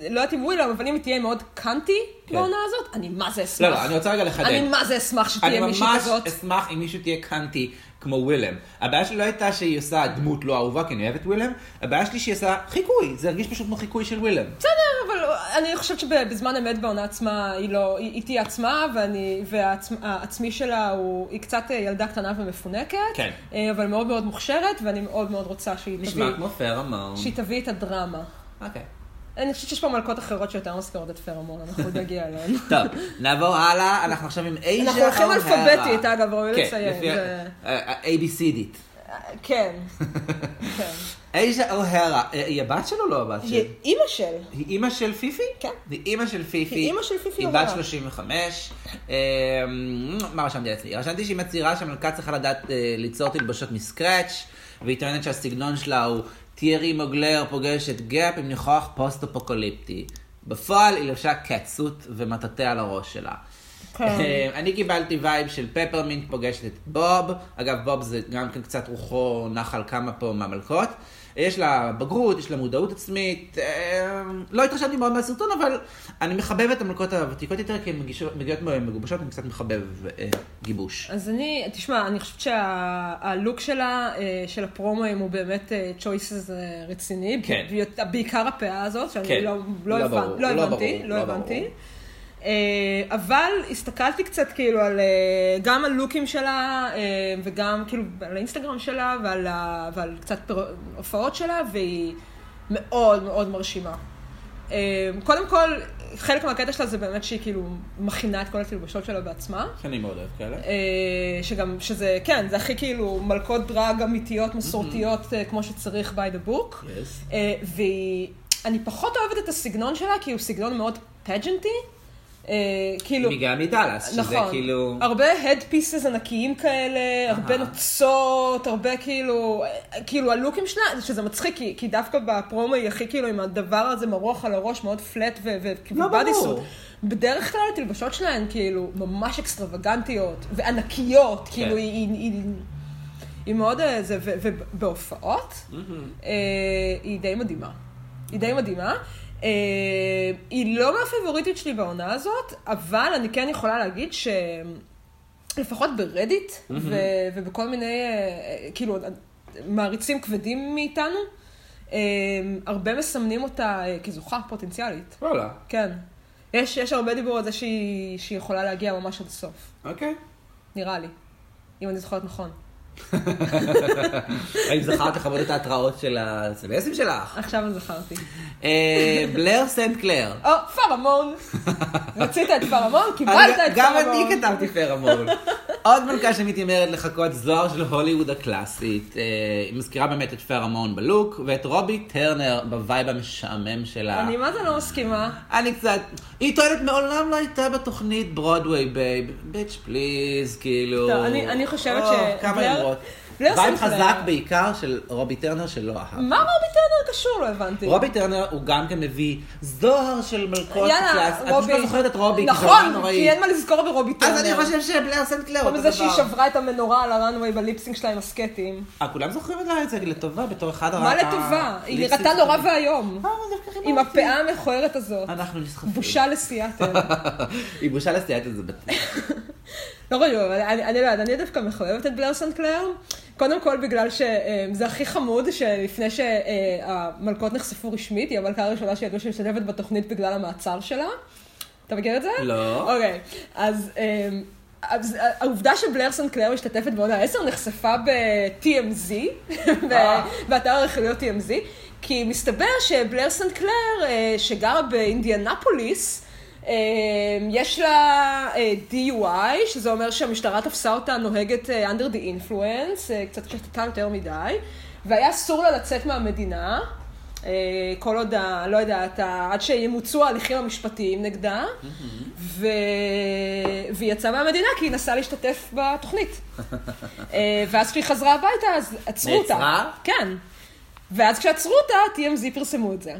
לא יודעת אם ווילם, אבל אם היא תהיה מאוד קאנטי
כן.
בעונה הזאת, אני מה זה אשמח.
לא, לא, אני רוצה רגע לחדד.
אני מה זה אשמח
אני
שתהיה מישהי
ממש
כזאת.
אשמח אם מישהו תהיה קאנטי כמו ווילם. הבעיה שלי לא הייתה שהיא עושה דמות לא אהובה, כי אני אוהב את ווילם. הבעיה שלי שהיא עושה חיקוי, זה הרגיש פשוט כמו חיקוי של ווילם.
בסדר, אבל אני חושבת שבזמן אמת בעונה עצמה היא לא, היא, היא תהיה עצמה, ואני, והעצמי שלה הוא, היא קצת אה, ילדה קטנה ומפונקת,
כן.
אה, אבל מאוד מאוד מוכשרת, ואני מאוד מאוד רוצה שהיא
נשמע
תביא,
כמו פרמון.
שהיא תביא את הדרמה.
אוקיי.
אני חושבת שיש פה מלכות אחרות שיותר מזכירות את פרמון, אנחנו עוד נגיע אליהן.
טוב, נעבור הלאה, אנחנו עכשיו עם אייג'ה
אנחנו הולכים אלפביתית, אגב, ראוי לציין,
כן, לפי
זה-
ה-ABCDית.
כן, כן.
אייג'ה אוהרה, אה, היא הבת שלו או לא הבת
היא
שלו?
אימא של.
היא אימא של פיפי?
כן.
היא אימא של פיפי.
היא אימא של פיפי
היא
אוהרה.
בת 35. אה, מה רשמתי לעצמי? רשמתי שהיא מצהירה שהמלכה צריכה לדעת אה, ליצור תלבושות מסקרץ', והיא טוענת שהסגנון שלה הוא טיירי מוגלר פוגש את גאפ עם ניחוח פוסט-אפוקוליפטי. בפועל היא לבשה קצות ומטאטא על הראש שלה.
כן.
אה, אני קיבלתי וייב של פפרמינט פוגשת את בוב. אגב, בוב זה גם כן קצת רוחו נח על כמה פה מהמלכות. יש לה בגרות, יש לה מודעות עצמית. אה, לא התרשמתי מאוד מהסרטון, אבל אני מחבב את המלכות הוותיקות יותר, כי הן מגישות- מגיעות מאוד מגובשות, אני קצת מחבב אה, גיבוש.
אז אני, תשמע, אני חושבת שהלוק שלה, אה, של הפרומואים, הוא באמת צ'וייסס רציני.
כן.
ב- בעיקר הפאה הזאת, שאני
כן.
לא, לא,
לא
הבנ...
ברור,
לא
לא
הבנתי,
ברור,
לא
לא
הבנתי.
ברור.
אה, אבל הסתכלתי קצת כאילו על, אה, גם על לוקים שלה, אה, וגם כאילו על האינסטגרם שלה, ועל, ה... ועל קצת פר... הופעות שלה, והיא מאוד מאוד מרשימה. אה, קודם כל, חלק מהקטע שלה זה באמת שהיא כאילו מכינה את כל התלבושות שלה בעצמה.
שאני מאוד אוהב כאלה.
אה, שגם, שזה, כן, זה הכי כאילו מלכות דרג אמיתיות, מסורתיות, אה, כמו שצריך by the book.
Mm-hmm. Yes.
אה, והיא, אני פחות אוהבת את הסגנון שלה, כי הוא סגנון מאוד פג'נטי. אה, כאילו,
היא גם מדאלאס, שזה
נכון.
כאילו...
הרבה head pieces ענקיים כאלה, הרבה
אהה.
נוצות, הרבה כאילו, אה, כאילו הלוקים שלה, שזה מצחיק, כי, כי דווקא בפרומו היא הכי כאילו עם הדבר הזה מרוח על הראש, מאוד פלט וכאילו
לא ברור.
בדרך כלל התלבשות שלהן כאילו ממש אקסטרווגנטיות וענקיות, כאילו היא, היא, היא, היא מאוד אה, זה, ו- ובהופעות אה, היא די מדהימה. היא די מדהימה. אה, היא לא מהפבוריטית שלי בעונה הזאת, אבל אני כן יכולה להגיד ש... לפחות ברדיט, ו- ובכל מיני, אה, אה, כאילו, אה, מעריצים כבדים מאיתנו, אה, הרבה מסמנים אותה אה, כזוכה פוטנציאלית.
וואלה,
כן. יש, יש הרבה דיבור על זה שהיא, שהיא יכולה להגיע ממש עד הסוף,
אוקיי.
נראה לי. אם אני זוכרת נכון.
האם זכרת לכבוד את ההתראות של הסמסים שלך?
עכשיו אני זכרתי.
אה, בלר סנט קלר.
או, פרמון! רצית את פרמון? קיבלת
אני-
את
גם
פרמון.
אני כתבתי פרמון. עוד מלכה שמתיימרת לחכות זוהר של הוליווד הקלאסית. אה, היא מזכירה באמת את פרמון בלוק, ואת רובי טרנר בווייב המשעמם שלה.
אני מה זה לא מסכימה?
אני קצת... היא טוענת, מעולם לא הייתה בתוכנית ברודוויי, בייב. ביץ' פליז, כאילו...
לא, אני- אני חושבת
או,
ש- לא-
כמה
בלר-
אמרות.
בלר סנקלר.
וייב חזק בעיקר של רובי טרנר שלא אהב.
מה רובי טרנר קשור? לא הבנתי.
רובי טרנר הוא גם כן מביא זוהר של מלכות
יאללה,
קלאס. את פשוט
רובי.
לא זוכרת את רובי, כי זה דבר
נכון,
נוראי.
כי אין מה לזכור ברובי טרנר.
אז אני חושב שבלר סנקלר
חוץ
אותו
מזה שהיא
דבר.
שברה את המנורה על הראנוויי בליפסינג שלה עם הסקטים.
אה, כולם זוכרים את זה? את זה לטובה, בתור אחד הרע. אה,
מה לטובה? היא נראתה נורא ואיום. עם הפאה המכוערת הזאת.
אנחנו נסחפים.
בושה לסיאטל.
היא בושה לסייעת את זה בטח.
לא חשוב, אבל אני, אני לא יודעת, אני דווקא מחויבת את בלר סנקלר. קודם כל בגלל שזה הכי חמוד שלפני שהמלכות נחשפו רשמית, היא המלכה הראשונה שידעו שהיא משתתפת בתוכנית בגלל המעצר שלה. אתה מכיר את זה?
לא.
אוקיי, אז... אמ, אז העובדה שבלר סנקלר משתתפת בעונה 10 נחשפה ב-TMZ, ב-
אה.
באתר הרכילויות TMZ, כי מסתבר שבלר סנקלר, אה, שגרה באינדיאנפוליס, אה, יש לה אה, DUI, שזה אומר שהמשטרה תפסה אותה נוהגת אה, under the influence, אה, קצת שתתה יותר מדי, והיה אסור לה לצאת מהמדינה. אה, כל עוד, ה- לא יודעת, ה- עד שימוצו ההליכים המשפטיים נגדה, ו... והיא יצאה מהמדינה כי היא נסעה להשתתף בתוכנית. אה, ואז כשהיא חזרה הביתה, אז עצרו אותה.
נעצרה?
כן. ואז כשעצרו אותה, TMZ פרסמו את זה.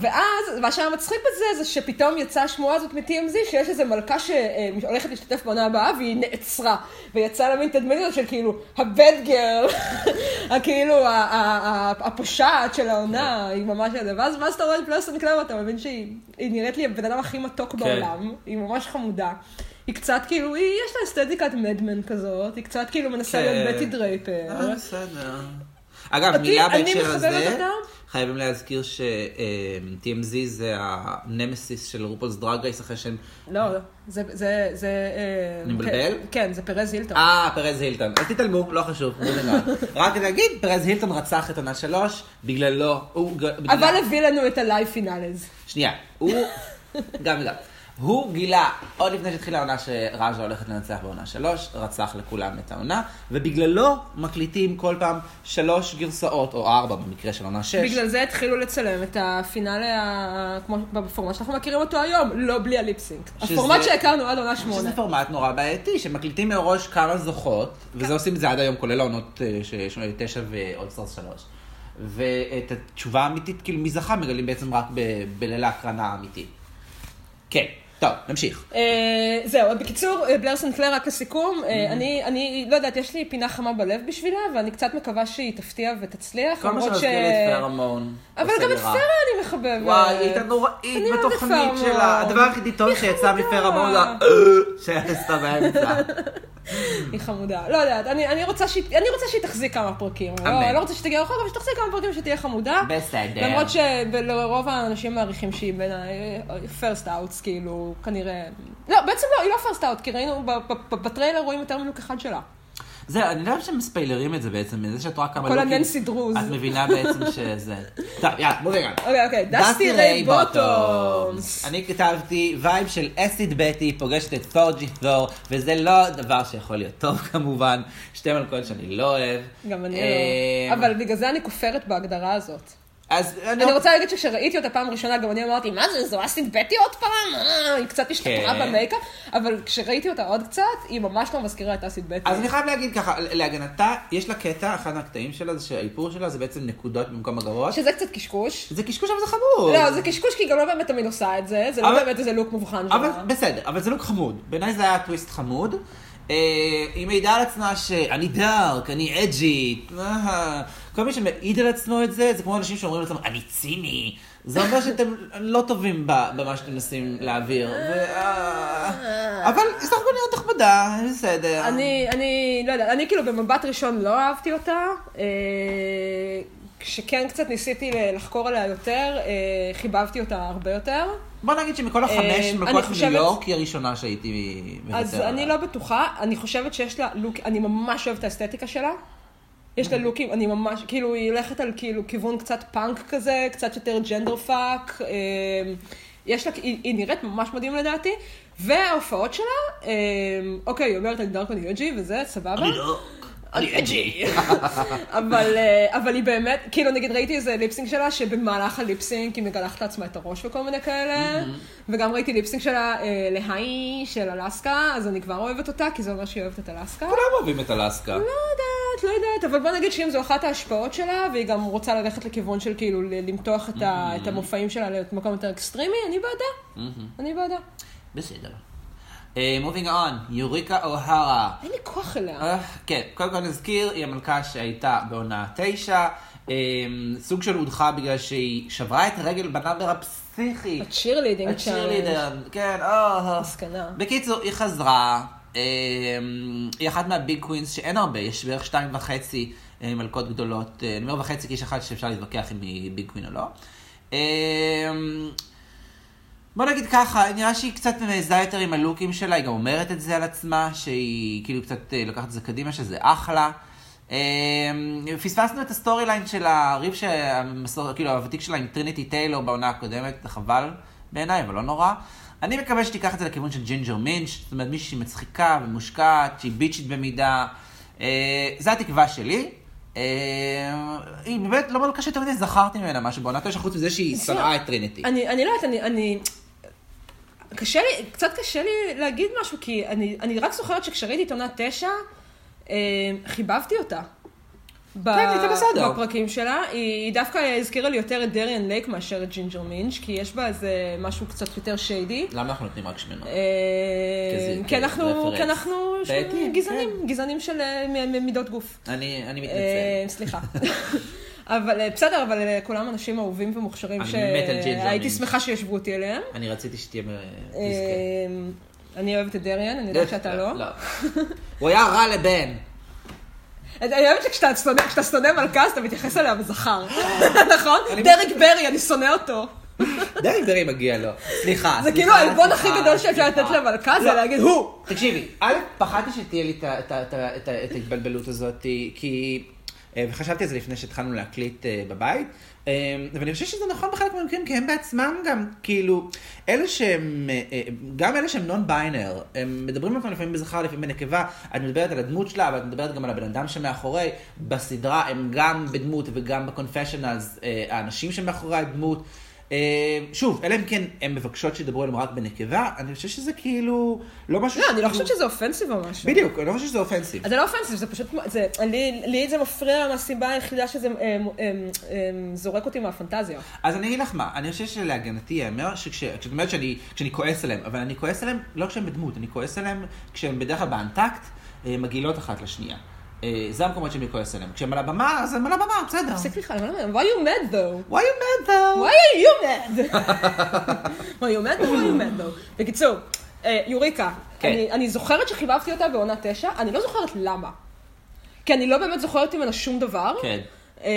ואז, מה שהיה מצחיק בזה, זה שפתאום יצאה השמועה הזאת מ-TMZ, שיש איזו מלכה שהולכת להשתתף בעונה הבאה, והיא נעצרה. ויצאה לה מין תדמית הזאת של כאילו, הבד גרל, כאילו, ה- ה- ה- הפושעת של העונה,
כן.
היא ממש... ואז ואז אתה רואה את פלסטון קלאב, אתה מבין שהיא היא נראית לי הבן אדם הכי
כן.
מתוק בעולם, היא ממש חמודה. היא קצת כאילו, היא, יש לה אסתטיקת מדמן כזאת, היא קצת כאילו מנסה
כן.
להיות בטי דרייפר.
אה, בסדר. אגב,
אותי-
מילה
אני
בהקשר
מחבבת
הזה,
אותם.
חייבים להזכיר אה, ש-TMZ זה הנמסיס של רופולס דרג רייס אחרי שהם...
לא, לא, זה, זה, זה... אה,
אני מבלבל?
כן, כן, זה פרז הילטון.
אה, פרז הילטון. אז תתעלמו, לא חשוב. זה נגמר. רק להגיד, פרז הילטון רצח את עונה שלוש, בגללו הוא... ג-
אבל
בגלל-
הביא לנו את הלייב פינאלז.
שנייה, הוא, גם וגם. הוא גילה, עוד לפני שהתחילה העונה שראז'ה הולכת לנצח בעונה שלוש, רצח לכולם את העונה, ובגללו מקליטים כל פעם שלוש גרסאות, או ארבע במקרה של עונה שש.
בגלל זה התחילו לצלם את הפינאלה, ה- כמו בפורמט שאנחנו מכירים אותו היום, לא בלי הליפסינק.
שזה-
הפורמט שהכרנו עד עונה
שזה
שמונה.
פורמט נורא בעייתי, שמקליטים מראש כמה זוכות, וזה עושים את זה עד היום, כולל העונות אה, ש- ש- תשע ואולסטרס שלוש. ואת התשובה האמיתית, כאילו מי זכה, מגלים בעצם רק ב- בליל ההקרנה האמיתי. כן, טוב, נמשיך.
אה, זהו, אז בקיצור, אה, בלר סנקלר, רק לסיכום, אה, אני, אני לא יודעת, יש לי פינה חמה בלב בשבילה, ואני קצת מקווה שהיא תפתיע ותצליח,
כל מה
למרות
שמזכיר לי את פרמון.
אבל
עושה
גם
לי
את פרה
רע.
אני מחבבת.
וואי, היא הייתה
אני
נוראית
אוהבת
בתוכנית
פרמון.
שלה. הדבר היחידי טוב
היא
שיצא
חמודה.
מפרמון זה ה- שעשתה באמצע.
היא חמודה. לא יודעת, אני, אני, רוצה שהיא, אני רוצה שהיא תחזיק כמה פרקים.
אמן.
לא, לא רוצה שתגיע רחוק, אבל שתחזיק כמה פרקים שתהיה חמודה.
בסדר.
למרות שלרוב האנשים מעריכים שהיא בין ה-first outs, כאילו, כנראה... לא, בעצם לא, היא לא first out, כי ראינו, ב- ב- ב- בטריילר רואים יותר מלוק אחד שלה.
זהו, אני לא יודעת שמספיילרים את זה בעצם, מזה שאת רואה כמה
כל
לוקים,
הננסי דרוז.
את מבינה בעצם שזה. טוב, יאללה, בואו נראה.
אוקיי, אוקיי, דסטי ריי בוטומס.
אני כתבתי וייב של אסיד בטי פוגשת את פורג'י תור, וזה לא דבר שיכול להיות טוב כמובן, שתי מלכות שאני לא אוהב.
גם אני
אה,
לא. אבל בגלל זה אני כופרת בהגדרה הזאת.
אז לא-
אני רוצה להגיד שכשראיתי אותה פעם ראשונה, גם אני אמרתי, מה זה, זו אסטין בטי עוד פעם? אה, היא קצת השתפרה
כן.
במייקאפ, אבל כשראיתי אותה עוד קצת, היא ממש לא מזכירה את אסטין בטי.
אז אני חייב להגיד ככה, להגנתה, יש לה קטע, אחד מהקטעים שלה, זה שהאיפור שלה זה בעצם נקודות במקום הגרוע.
שזה קצת קשקוש.
זה קשקוש אבל זה חמוד.
לא, זה קשקוש כי היא גם לא באמת תמיד עושה את זה, זה לא
אבל-
באמת איזה לוק מובחן
אבל
שלה.
בסדר, אבל זה לוק חמוד. בעיניי זה היה טוויסט חמוד. אה, היא מעידה על עצמה שאני דארק, אני אג'י. אה, כל מי שמעיד על עצמו את זה, זה כמו אנשים שאומרים לעצמם, אני ציני. זה אומר שאתם לא טובים ב- במה שאתם מנסים להעביר. ו- אה, אבל היא סך הכל נראית נחמדה, בסדר.
אני, אני, לא יודעת, אני כאילו במבט ראשון לא אהבתי אותה. אה, כשכן קצת ניסיתי ל- לחקור עליה יותר, אה, חיבבתי אותה הרבה יותר.
בוא נגיד שמכל
אה,
החמש
אני
מלכות ניו
חושבת-
יורק, היא הראשונה שהייתי מוותר
אז
עליה.
אני לא בטוחה, אני חושבת שיש לה לוק, אני ממש אוהבת את האסתטיקה שלה. יש לה לוקים, אני ממש, כאילו, היא הולכת על כאילו כיוון קצת פאנק כזה, קצת יותר ג'נדר פאק. יש לה, היא, היא נראית ממש מדהים לדעתי, וההופעות שלה, אה, אוקיי, היא אומרת אני דרקון יוג'י וזה, סבבה.
אני לא... אני אג'י.
אבל, אה, אבל היא באמת, כאילו נגיד ראיתי איזה ליפסינג שלה, שבמהלך הליפסינג היא מגלחת לעצמה את הראש וכל מיני כאלה,
Mm-hmm.
וגם ראיתי ליפסינג שלה אה, להיי של אלסקה, אז אני כבר אוהבת אותה, כי זה אומר שהיא אוהבת את אלסקה.
כולם אוהבים את אלסקה.
לא יודעת, לא יודעת, אבל בוא נגיד שאם זו אחת ההשפעות שלה, והיא גם רוצה ללכת לכיוון של כאילו ל- למתוח את, ה,
Mm-hmm.
את המופעים שלה למקום יותר אקסטרימי, אני בעדה. אני בעדה.
בסדר. מובינג און, יוריקה אוהרה.
אין לי כוח אליה.
אה, כן, קודם כל נזכיר, היא המלכה שהייתה בעונה תשע. אה, סוג של הודחה בגלל שהיא שברה את הרגל בנאמבר הפסיכי.
הצ'ירלידינג צ'אלנג'.
הצ'ירלידר, כן, אה.
מסקנה.
בקיצור, היא חזרה, אה, היא אחת מהביג קווינס שאין הרבה, יש בערך שתיים וחצי אה, מלכות גדולות, אה, אני אומר וחצי כי יש אחת שאפשר להתווכח אם היא ביג קווין או לא. אה, בוא נגיד ככה, נראה שהיא קצת מזהה יותר עם הלוקים שלה, היא גם אומרת את זה על עצמה, שהיא כאילו קצת אה, לוקחת את זה קדימה, שזה אחלה. אה, פספסנו את הסטורי ליין של הריב, שהמסור, כאילו הוותיק שלה עם טריניטי טיילור בעונה הקודמת, חבל בעיניי, אבל לא נורא. אני מקווה שתיקח את זה לכיוון של ג'ינג'ר מינץ', זאת אומרת מישהי מצחיקה ומושקעת, שהיא ביצ'ית במידה. אה, זו התקווה שלי. אה, היא באמת לא מלכה שיותר מדי זכרתי ממנה משהו בעונה תשע, חוץ מזה שהיא שנאה את טריניטי.
אני, אני לא יודעת, אני, אני... קשה לי, קצת קשה לי להגיד משהו, כי אני, אני רק זוכרת שכשראיתי את עונה תשע, אה, חיבבתי אותה. ב-
כן, היא הייתה בסדר.
בפרקים שלה. היא, היא דווקא הזכירה לי יותר את דריאן לייק מאשר את ג'ינג'ר מינץ', כי יש בה איזה משהו קצת יותר שיידי.
למה אנחנו נותנים רק שמנות?
אה,
כן, כזה-
כי אנחנו,
כרפרנס.
כי אנחנו ש-
בעייתי,
גזענים,
כן.
גזענים של אה, מ- מ- מידות גוף.
אני אני מתנצל.
אה, סליחה. אבל אה, בסדר, אבל אה, כולם אנשים אהובים ומוכשרים
אני מת על ג'ינג'ר
שהייתי
מינץ'.
שמחה שישבו אותי אליהם.
אני רציתי שתהיה מזכה.
אה, אני אוהבת את דריאן, אני יודעת שאתה לא.
הוא היה רע לבן.
אני אוהבת שכשאתה שונא- כשאתה שונא מלכה, אז אתה מתייחס אליה בזכר. נכון? דרק ברי, אני שונא אותו.
די דרי מגיע לו. סליחה.
זה
סליחה,
כאילו העלבון הכי
סליחה,
גדול שאפשר
סליחה.
לתת למלכה, זה
לא.
להגיד, הוא!
תקשיבי, א', פחדתי שתהיה לי את ה- את ה- את ה- את ה- את ההתבלבלות הזאת, כי... אה, וחשבתי על זה לפני שהתחלנו להקליט אה, בבית, אה, ואני חושבת שזה נכון בחלק מהמקרים, כי הם בעצמם גם, כאילו, אלה שהם, אה, אה, גם אלה שהם נון ביינר, הם מדברים על עצמם לפעמים בזכר, לפעמים בנקבה, את מדברת על הדמות שלה, אבל את מדברת גם על הבן אדם שמאחורי, בסדרה הם גם בדמות וגם בקונפשיונלס, אה, האנשים שמאחורי הדמות. אה, שוב, אלא אם כן הן מבקשות שידברו עליהם רק בנקבה, אני חושב שזה כאילו לא משהו...
לא, אני לא
שכאילו-
חושבת שזה אופנסיב או משהו.
בדיוק, אני לא חושב שזה אופנסיב.
אז זה לא אופנסיב, זה פשוט, זה, לי, לי זה מפריע מהסיבה היחידה שזה אמ, אמ, אמ, זורק אותי מהפנטזיה.
אז אני אגיד לך מה, אני חושב שלהגנתי ייאמר שכש- כשאת אומרת שאני כשאני כועס עליהם, אבל אני כועס עליהם לא כשהם בדמות, אני כועס עליהם כשהם בדרך כלל באנטקט, אה, מגעילות אחת לשנייה. אה, זה המקומות שאני כועס עליהם. כשהם על הבמה, אז הם על הבמה, בסדר.
תפסיק לך, למה, למה, why you mad though?
why you mad though?
why are you mad? why you mad though? why you mad though? לא. בקיצור, אה, יוריקה,
כן.
אני, אני זוכרת שחיבבתי אותה בעונה תשע, אני לא זוכרת למה. כי אני לא באמת זוכרת ממנה שום דבר.
כן.
אמ,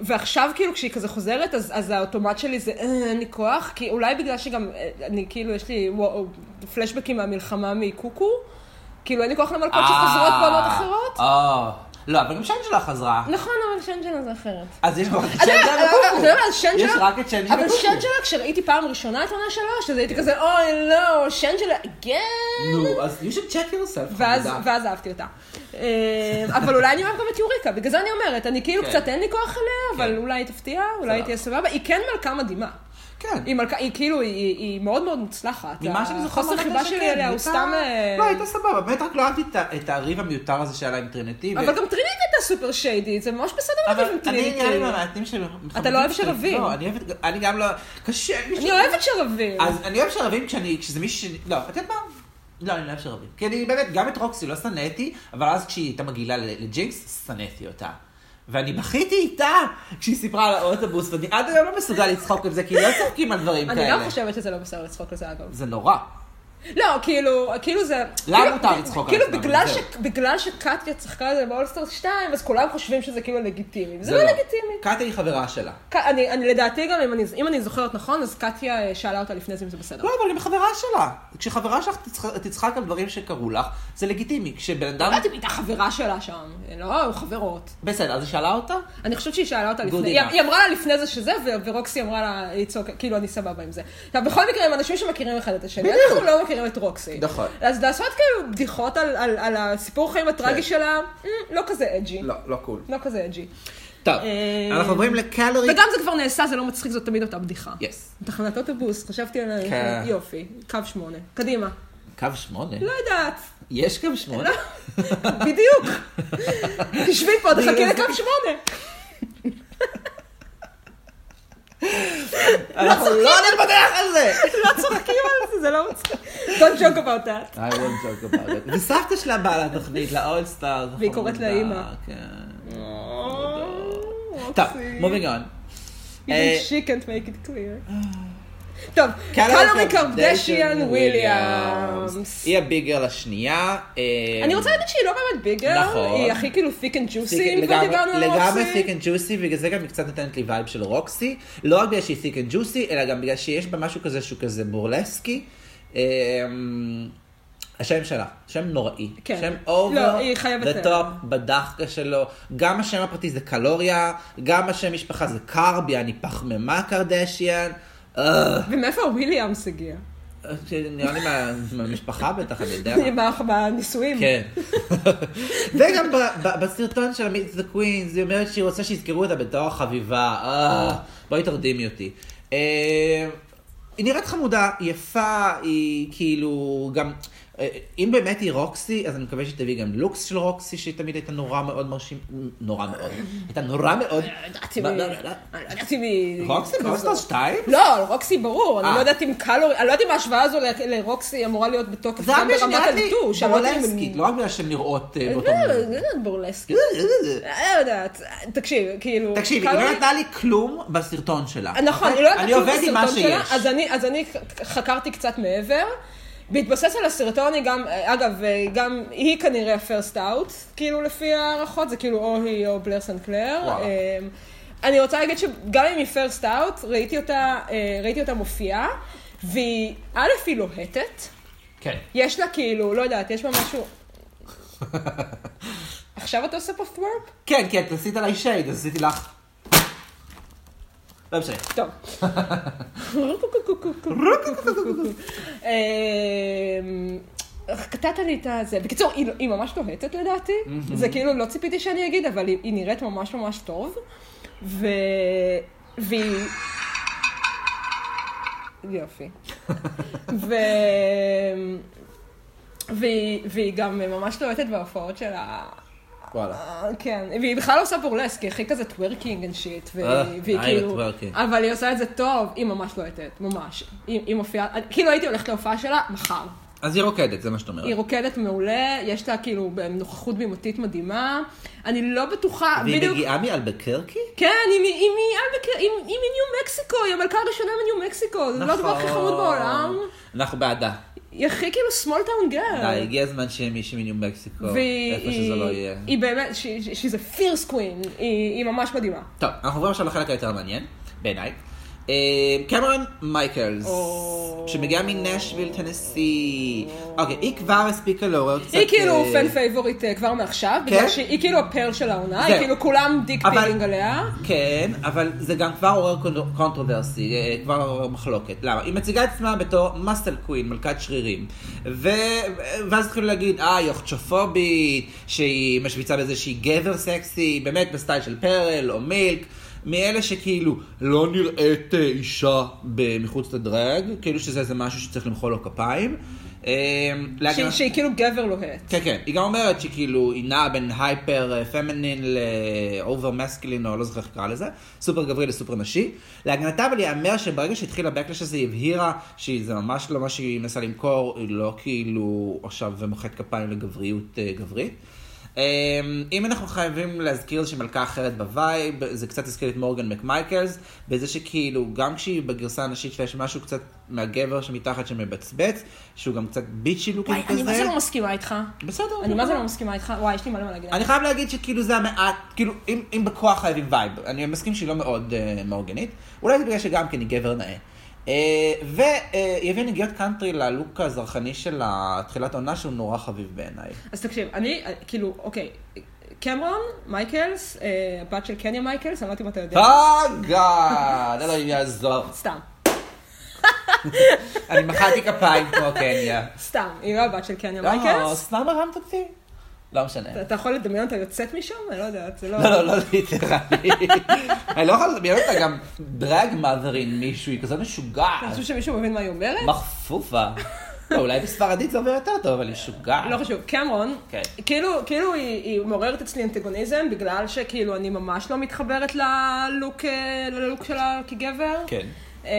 ועכשיו כאילו כשהיא כזה חוזרת, אז, אז האוטומט שלי זה "אה, אין לי כוח, כי אולי בגלל שגם אה, אני כאילו יש לי וואו, פלשבקים מהמלחמה מקוקו, כאילו אין לי כוח למלכות שחוזרות בעונות אחרות.
אה, לא, אבל גם שם שלה חזרה.
נכון, אבל שנג'לה זה אחרת.
אז יש רק את
אתה יודע,
שנג'לה
אתה
וקוקו.
מדבר על שנג'לה?
לא, יש רק את שנג'לה
אבל
וקוקו.
שנג'לה, כשראיתי פעם ראשונה את עונה שלוש, אז הייתי כזה, אוי לא, שנג'לה, כן.
נו, אז you should check yourself.
ואז,
חמודה.
ואז אהבתי אותה. אה, אבל אולי אני אוהב גם את יוריקה, בגלל זה אני אומרת, אני כאילו
כן.
קצת אין לי כוח עליה, אבל
כן.
אולי היא תפתיע, אולי
סבבה.
היא תהיה סבבה. היא כן מלכה מדהימה.
כן.
היא מלכה, היא כאילו, היא היא מאוד מאוד מוצלחת.
ממה שאני זוכר,
החוסר
אמרת
חיבה
שכן,
שלי עליה הוא
הייתה-
סתם... אה,
לא, הייתה סבבה, באמת רק לא אהבתי את ה- את הריב המיותר הזה שהיה לה עם טרינטי. ו-
אבל גם טרינית הייתה סופר שיידית, זה ממש בסדר לריב עם
אני נראה לי
טרינית. כאילו.
מהמעטים של...
אתה לא אוהב שרבים.
לא, אני אוהבת... אני גם לא... קשה לי...
אני אוהבת שרבים.
אז אני אוהב שרבים כשאני... כשזה מישהו... ש- לא, את יודעת מה? לא, אני לא אוהב שרבים. כי אני באמת, גם את רוקסי לא שנאתי, אבל אז כשהיא הייתה מגעילה ל- לג'ינקס, שנאתי אותה. ואני בכיתי איתה כשהיא סיפרה על האוטובוס, ואני עד היום לא מסוגל לצחוק על זה, כי לא צוחקים על דברים
אני
כאלה.
גם חושבת שזה לא בסדר לצחוק על זה, אגב.
זה נורא.
לא, כאילו, כאילו זה...
לה
כאילו-
מותר לצחוק על
כאילו
עצמם,
בגלל
זהו.
ש- בגלל שקטיה צחקה על זה באולסטרס 2, אז כולם חושבים שזה כאילו לגיטימי. זה
לא.
לא לגיטימי.
קטיה היא חברה שלה.
ק- אני, אני לדעתי גם, אם אני, אם אני זוכרת נכון, אז קטיה אה, שאלה אותה לפני זה אם זה בסדר.
לא, אבל היא חברה שלה. כשחברה שלך תצח- תצחק על דברים שקרו לך, זה לגיטימי. כשבן אדם...
לא יודעת אם הייתה חברה שלה שם, לא, היו חברות.
בסדר, אז היא שאלה אותה?
אני חושבת שהיא שאלה אותה
Good
לפני, היא,
enough.
היא אמרה לה לפני זה שזה, ו- ורוקסי אמרה לה, it's okay, כאילו, אני סבבה עם זה. עכשיו, בכל מקרה, הם אנשים שמכירים אחד את השני,
בדיוק.
אנחנו לא מכירים את רוקסי.
נכון.
אז לעשות כאילו בדיחות על, על, על הסיפור חיים
כן.
הטרגי שלה, mm, לא כזה אג'י.
לא, לא קול.
לא כזה אג'י.
טוב,
אה,
אנחנו עוברים לקלורי...
וגם זה כבר נעשה, זה לא מצחיק, זאת תמיד אותה בדיחה.
יס.
תחנת אוטובוס, חשבתי על ה...
כן.
יופי, קו שמונה. קדימה.
קו שמונה?
לא יודעת.
יש קו שמונה?
לא, בדיוק. תשבי פה, תחכי
בגלל זה.
לקו שמונה.
אנחנו לא נתפתח על זה!
לא צוחקים על זה, זה לא מצחיק. Don't joke about that.
I won't joke about it. וסבתא שלה באה לתוכנית, לאולסטאר.
והיא קוראת לה אימא.
כן. טוב, אה,
רוקסי.
מובינג און.
Oh, Even she can't make it clear. טוב, קלורי קרדשיאן וויליאמס.
היא הביגר לשנייה. אה,
אני רוצה להגיד שהיא לא באמת ביגר,
נכון.
היא הכי כאילו thick and juicy,
thick-
אם כבר
לגמרי-
דיברנו על
לגמרי thick
רוקסי.
and juicy, בגלל זה גם היא קצת נותנת לי וייב של רוקסי. לא רק בגלל שהיא thick and juicy, אלא גם בגלל שיש בה משהו כזה שהוא כזה בורלסקי. אה, השם שלה, שם נוראי.
כן.
שם
לא,
אובר,
היא חייבת
the top, בדחקה שלו. גם השם הפרטי זה קלוריה, גם השם משפחה זה קרבי, אני פחמימה קרדשיאן. אה,
ומאיפה וויליאמס הגיע?
נראה לי מה- מהמשפחה בטח, אני יודע. מה.
מה- בנישואים.
כן. וגם ב- ב- בסרטון של המיץ דה קווינס, היא אומרת שהיא רוצה שיזכרו אותה בתור החביבה. אה, בואי תרדימי אותי. אה, היא נראית חמודה, היא יפה, היא כאילו גם... אה, אם באמת היא רוקסי, אז אני מקווה שהיא תביא גם לוקס של רוקסי, שהיא תמיד הייתה נורא מאוד מרשים... נורא מאוד. הייתה נורא מאוד...
אני לא יודעת אם
מה-
היא-
לא, לא, לא.
אני לא יודעת אם היא...
רוקסי?
כזאת.
באוסטר 2?
לא, על רוקסי ברור, אני
אה.
לא יודעת אם קלורי, אני לא יודעת אם ההשוואה הזו ל- לרוקסי אמורה להיות בתוקף
זה היה
גם
בגלל
ברמת
שנראית לי
הליטוש. אני לא יודעת אם-
בורלסקית, לא רק בגלל שהן נראות אה,
לא,
באותו מילה.
לא יודעת בורלסקית. אני לא יודעת, תקשיב, כאילו...
תקשיבי, כן. היא
קלורי-
לא נתנה לי כלום בסרטון שלה. אוקיי?
נכון, היא לא יודעת
אני
כלום
עובד עם מה
בסרטון שלה,
שיש.
אז אני- אז אני חקרתי קצת מעבר. בהתבסס על הסרטון היא גם, אגב, גם היא כנראה הפרסט אאוט, כאילו לפי הערכות, זה כאילו או היא או בלר סנקלר.
וואלה.
אמ, אני רוצה להגיד שגם אם היא פרסט אאוט, ראיתי אותה, אה, ראיתי אותה מופיעה, והיא, א', היא לוהטת,
כן.
יש לה כאילו, לא יודעת, יש בה משהו... עכשיו אתה עושה פה פוורפ?
כן, כן, את עשית עליי שייד, אז עשיתי לך... לא משנה.
טוב. אמ, קטעת לי את הזה. בקיצור, היא- היא ממש לוהטת לדעתי. זה כאילו, לא ציפיתי שאני אגיד, אבל היא היא נראית ממש ממש טוב. ו... והיא... יופי. ו... והיא, והיא גם ממש לוהטת בהופעות שלה.
וואלה.
אה, כן, והיא בכלל לא עושה בורלסק, היא הכי כזה טוורקינג אנד שיט,
אה,
והיא
אה,
כאילו,
טוורקינג.
אבל היא עושה את זה טוב, היא ממש לוהטת, ממש. היא היא מופיעה, אני- כאילו הייתי הולכת להופעה שלה מחר.
אז היא רוקדת, זה מה שאת
היא
אומרת.
רוקדת מעולה, יש לה כאילו נוכחות בימתית מדהימה. אני לא בטוחה,
והיא
בדיוק,
מגיעה מאלבקרקי?
כן, היא מ- היא מאלבק- היא- היא מניו מקסיקו, היא המלכה הראשונה מניו מקסיקו, זה לא הדבר הכי חמוד בעולם.
נכון. אנחנו בעדה.
היא הכי כאילו small town
די,
girl.
הגיע הזמן שיהיה מישהי מניו מקסיקו,
והיא
איפה שזה לא
היא-
יהיה.
היא באמת, שהיא זה fierce queen, היא היא ממש מדהימה.
טוב, אנחנו עוברים עכשיו לחלק היותר מעניין, בעיניי. אה, קמרון מייקלס,
או.
שמגיעה מנשוויל, טנסי. אוקיי, היא כבר הספיקה לעורר קצת...
היא כאילו
אה, כן?
פן פייבוריט אה, כבר מעכשיו, בגלל שהיא כאילו הפרל של העונה, היא
זהו.
כאילו כולם דיק
אבל-
פילינג עליה.
כן, אבל זה גם כבר עורר קונ- קונטרוברסי, אה, כבר עורר מחלוקת. למה? היא מציגה את עצמה בתור מסל קווין, מלכת שרירים. ו... ואז התחילו להגיד, אה, היא אוכצ'ופובית, שהיא משוויצה בזה שהיא גבר סקסי, באמת בסטייל של פרל או מילק. מאלה שכאילו לא נראית אה, אישה ב- מחוץ לדרג, כאילו שזה איזה משהו שצריך למחוא לו כפיים. אה,
שהיא-
להגנה-
שהיא כאילו גבר לוהט.
כן, כן. היא גם אומרת שכאילו היא נעה בין אה, הייפר פמינין לאובר מסקלין, או לא זוכר איך קרא לזה, סופר גברי לסופר נשי. להגנתה אבל ייאמר שברגע שהתחיל הבקלש הזה היא הבהירה שזה ממש לא מה שהיא מנסה למכור, היא לא כאילו עכשיו מוחאת כפיים לגבריות אה, גברית. אמ, אם אנחנו חייבים להזכיר איזושהי מלכה אחרת בווייב, זה קצת הזכיר את מורגן מקמייקלס, בזה שכאילו, גם כשהיא בגרסה הנשית שלה יש משהו קצת מהגבר שמתחת שמבצבץ, שהוא גם קצת ביצ'י לוקים
וואי, אני מה זה
כזה.
לא מסכימה איתך.
בסדר.
אני מה זה
בסדר.
לא מסכימה איתך? וואי, יש לי מלא מה להגיד.
אני חייב להגיד שכאילו זה המעט, כאילו, אם, אם בכוח חייבים וייב, אני מסכים שהיא לא מאוד uh, מאורגנית, אולי זה בגלל שגם כן היא גבר נאה. Uh, והיא הביאה נגיעות קאנטרי ללוק הזרחני של התחילת העונה, שהוא נורא חביב בעיניי.
אז תקשיב, אני, אה, כאילו, אוקיי, קמרון, מייקלס, אה, הבת של קניה מייקלס, אני לא יודעת אם אתה יודע.
אה? פאגאד, Oh אלוהים יעזור.
סתם,
אני מחאתי כפיים כמו קניה.
סתם, היא לא הבת של קניה
לא,
מייקלס.
סתם הרמת אותי? לא משנה.
אתה- אתה יכול לדמיין אותה יוצאת משם? אני לא יודעת, זה לא...
לא, לא, לא ליטרלי. אני לא יכול לדמיין אותה גם דרג מאזרין מישהו, היא כזאת
אתה
משוגעת.
חושב שמישהו מבין מה היא אומרת?
מחפופה. לא, אולי בספרדית זה עובר יותר טוב, אבל היא שוגעת.
לא חשוב, קמרון,
כן.
כאילו, כאילו היא, היא מעוררת אצלי אנטגוניזם, בגלל שכאילו אני ממש לא מתחברת ללוק, אה, ללוק שלה כגבר.
כן.
אמ,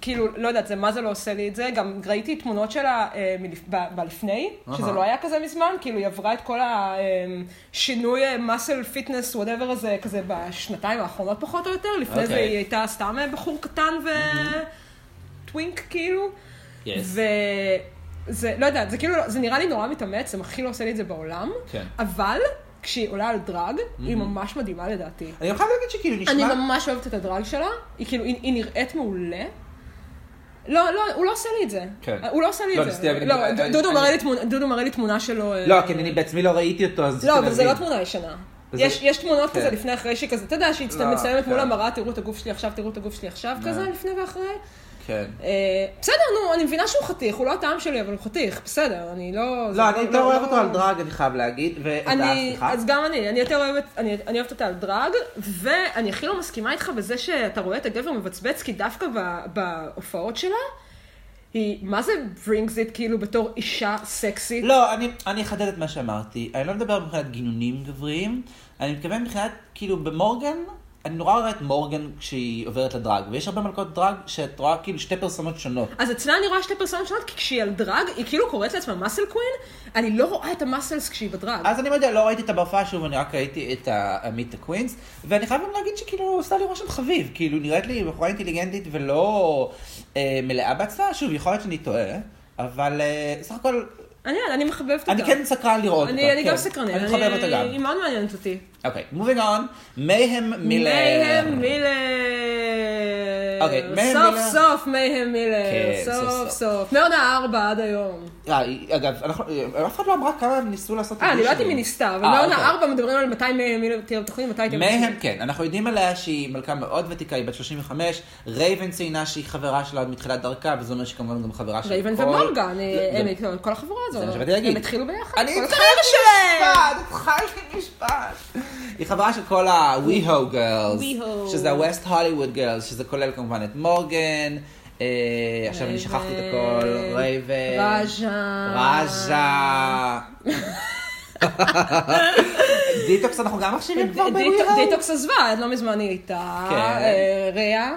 כאילו, לא יודעת, זה מה זה לא עושה לי את זה. גם ראיתי תמונות שלה אה, מלפ... ב- בלפני, שזה
אהה.
לא היה כזה מזמן, כאילו היא עברה את כל אמ, השינוי מסל פיטנס, וואטאבר הזה, כזה בשנתיים האחרונות פחות או יותר. לפני זה
אוקיי.
היא הייתה סתם אה, בחור קטן ו... טווינק כאילו.
Yes.
וזה, לא יודעת, זה כאילו, זה נראה לי נורא מתאמץ, זה הכי לא עושה לי את זה בעולם.
כן. Mm-hmm.
אבל כשהיא עולה על דרג, היא ממש מדהימה לדעתי.
אני גם חייב להגיד שכאילו
אני לא
נשמע...
ממש אוהבת את הדרג שלה, היא כאילו, היא, היא נראית מעולה. לא, לא, הוא לא עושה לי את זה.
כן.
הוא לא עושה לי
לא,
את
ניסיתי
זה.
להבין,
לא,
אני-
ד-
אני-
דודו
אני-
מראה לי תמונה- דודו מראה לי תמונה שלו. אה,
לא, כי אני בעצמי לא ראיתי אותו, אז...
לא,
כאילו
אבל זה לא
נבין.
תמונה ישנה.
וזה-
יש, יש תמונות
כן.
כזה לפני אחרי שכזה, אתה יודע שהיא
לא,
מצלמת מול
כן.
המראה, תראו את הגוף שלי עכשיו, תראו את הגוף שלי עכשיו, כזה לפני ואחרי.
כן.
אה, בסדר, נו, אני מבינה שהוא חתיך, הוא לא הטעם שלי, אבל הוא חתיך, בסדר, אני לא... זה
לא, אני יותר אוהב אותו על דרג, אני חייב להגיד. ואת ה-
אני,
סליחה?
אז גם אני, אני יותר אוהבת, אני, אני אוהבת אותה על דרג, ואני הכי לא מסכימה איתך בזה שאתה רואה את הגבר מבצבץ, כי דווקא ב, בהופעות שלה, היא, מה זה brings it כאילו בתור אישה סקסית?
לא, אני- אני אחדד את מה שאמרתי. אני לא מדבר מבחינת גינונים גבריים, אני מתכוון מבחינת, כאילו, במורגן, אני נורא רואה את מורגן כשהיא עוברת לדרג, ויש הרבה מלכות דרג שאת רואה כאילו שתי פרסומות שונות.
אז אצלה אני רואה שתי פרסונות שונות, כי כשהיא על דרג, היא כאילו קוראת לעצמה מאסל קווין, אני לא רואה את המאסלס כשהיא בדרג.
אז אני לא יודע, לא ראיתי את הבהופעה שוב, אני רק ראיתי את המיט הקווינס, ואני חייב גם להגיד שכאילו, הוא עושה לי רושם חביב, כאילו, נראית לי בחורה אינטליגנטית ולא אה, מלאה בעצמה, שוב, יכול להיות שאני טועה, אבל אה, סך הכל,
אני, אני מחבבת אותה.
אני כן סקרן לראות אותה.
אני, אני גם
כן.
סקרנית,
אני חובב אותה
היא
גם.
מאוד מעניינת אותי.
אוקיי, מובינג און, מייהם מילר.
מייהם מילר.
אוקיי, מייהם
סוף
מילר.
סוף מייהם מילר.
כן, סוף
סוף
סוף.
סוף. מעונה ארבע עד היום.
אה, היא- אגב, אנחנו- אה, אף אחד לא אמרה כמה הם ניסו לעשות
אה, אני לא יודעת אם
אודישנים.
היא ניסתה, אבל
אה,
מעונה
אוקיי.
ארבע מדברים על מתי מייהם מילר תהיה בתוכנית, מתי תהיה
מהם
בתוכנית.
כן, אנחנו יודעים עליה שהיא מלכה מאוד ותיקה, היא בת 35, רייבן ציינה שהיא חברה שלה מתחילת דרכה, וזה אומר שכמובן גם חברה של
רייבן
כל-
ומורגן,
זה-
אה, הם איתו, כל החבורה הזאת.
לא, זה מה שבאתי להגיד.
הם התחילו ביחד.
אני
כל
התחלתי
החברה שלהם.
משפט, התחלתי משפט. היא חברה של כל ה-WeHo גרלס,
WeHo.
שזה ה-West Hollywood גרלס, שזה כולל כמובן את מורגן, אה, עכשיו אני שכחתי את הכל,
רייבן,
רייבן,
רג'ה.
רג'ה. דיטוקס אנחנו גם מחשיבים כבר
דיטוק-
ב-WeHo?
דיטוקס עזבה, עד לא מזמן היא הייתה.
כן.
אה, ריאה.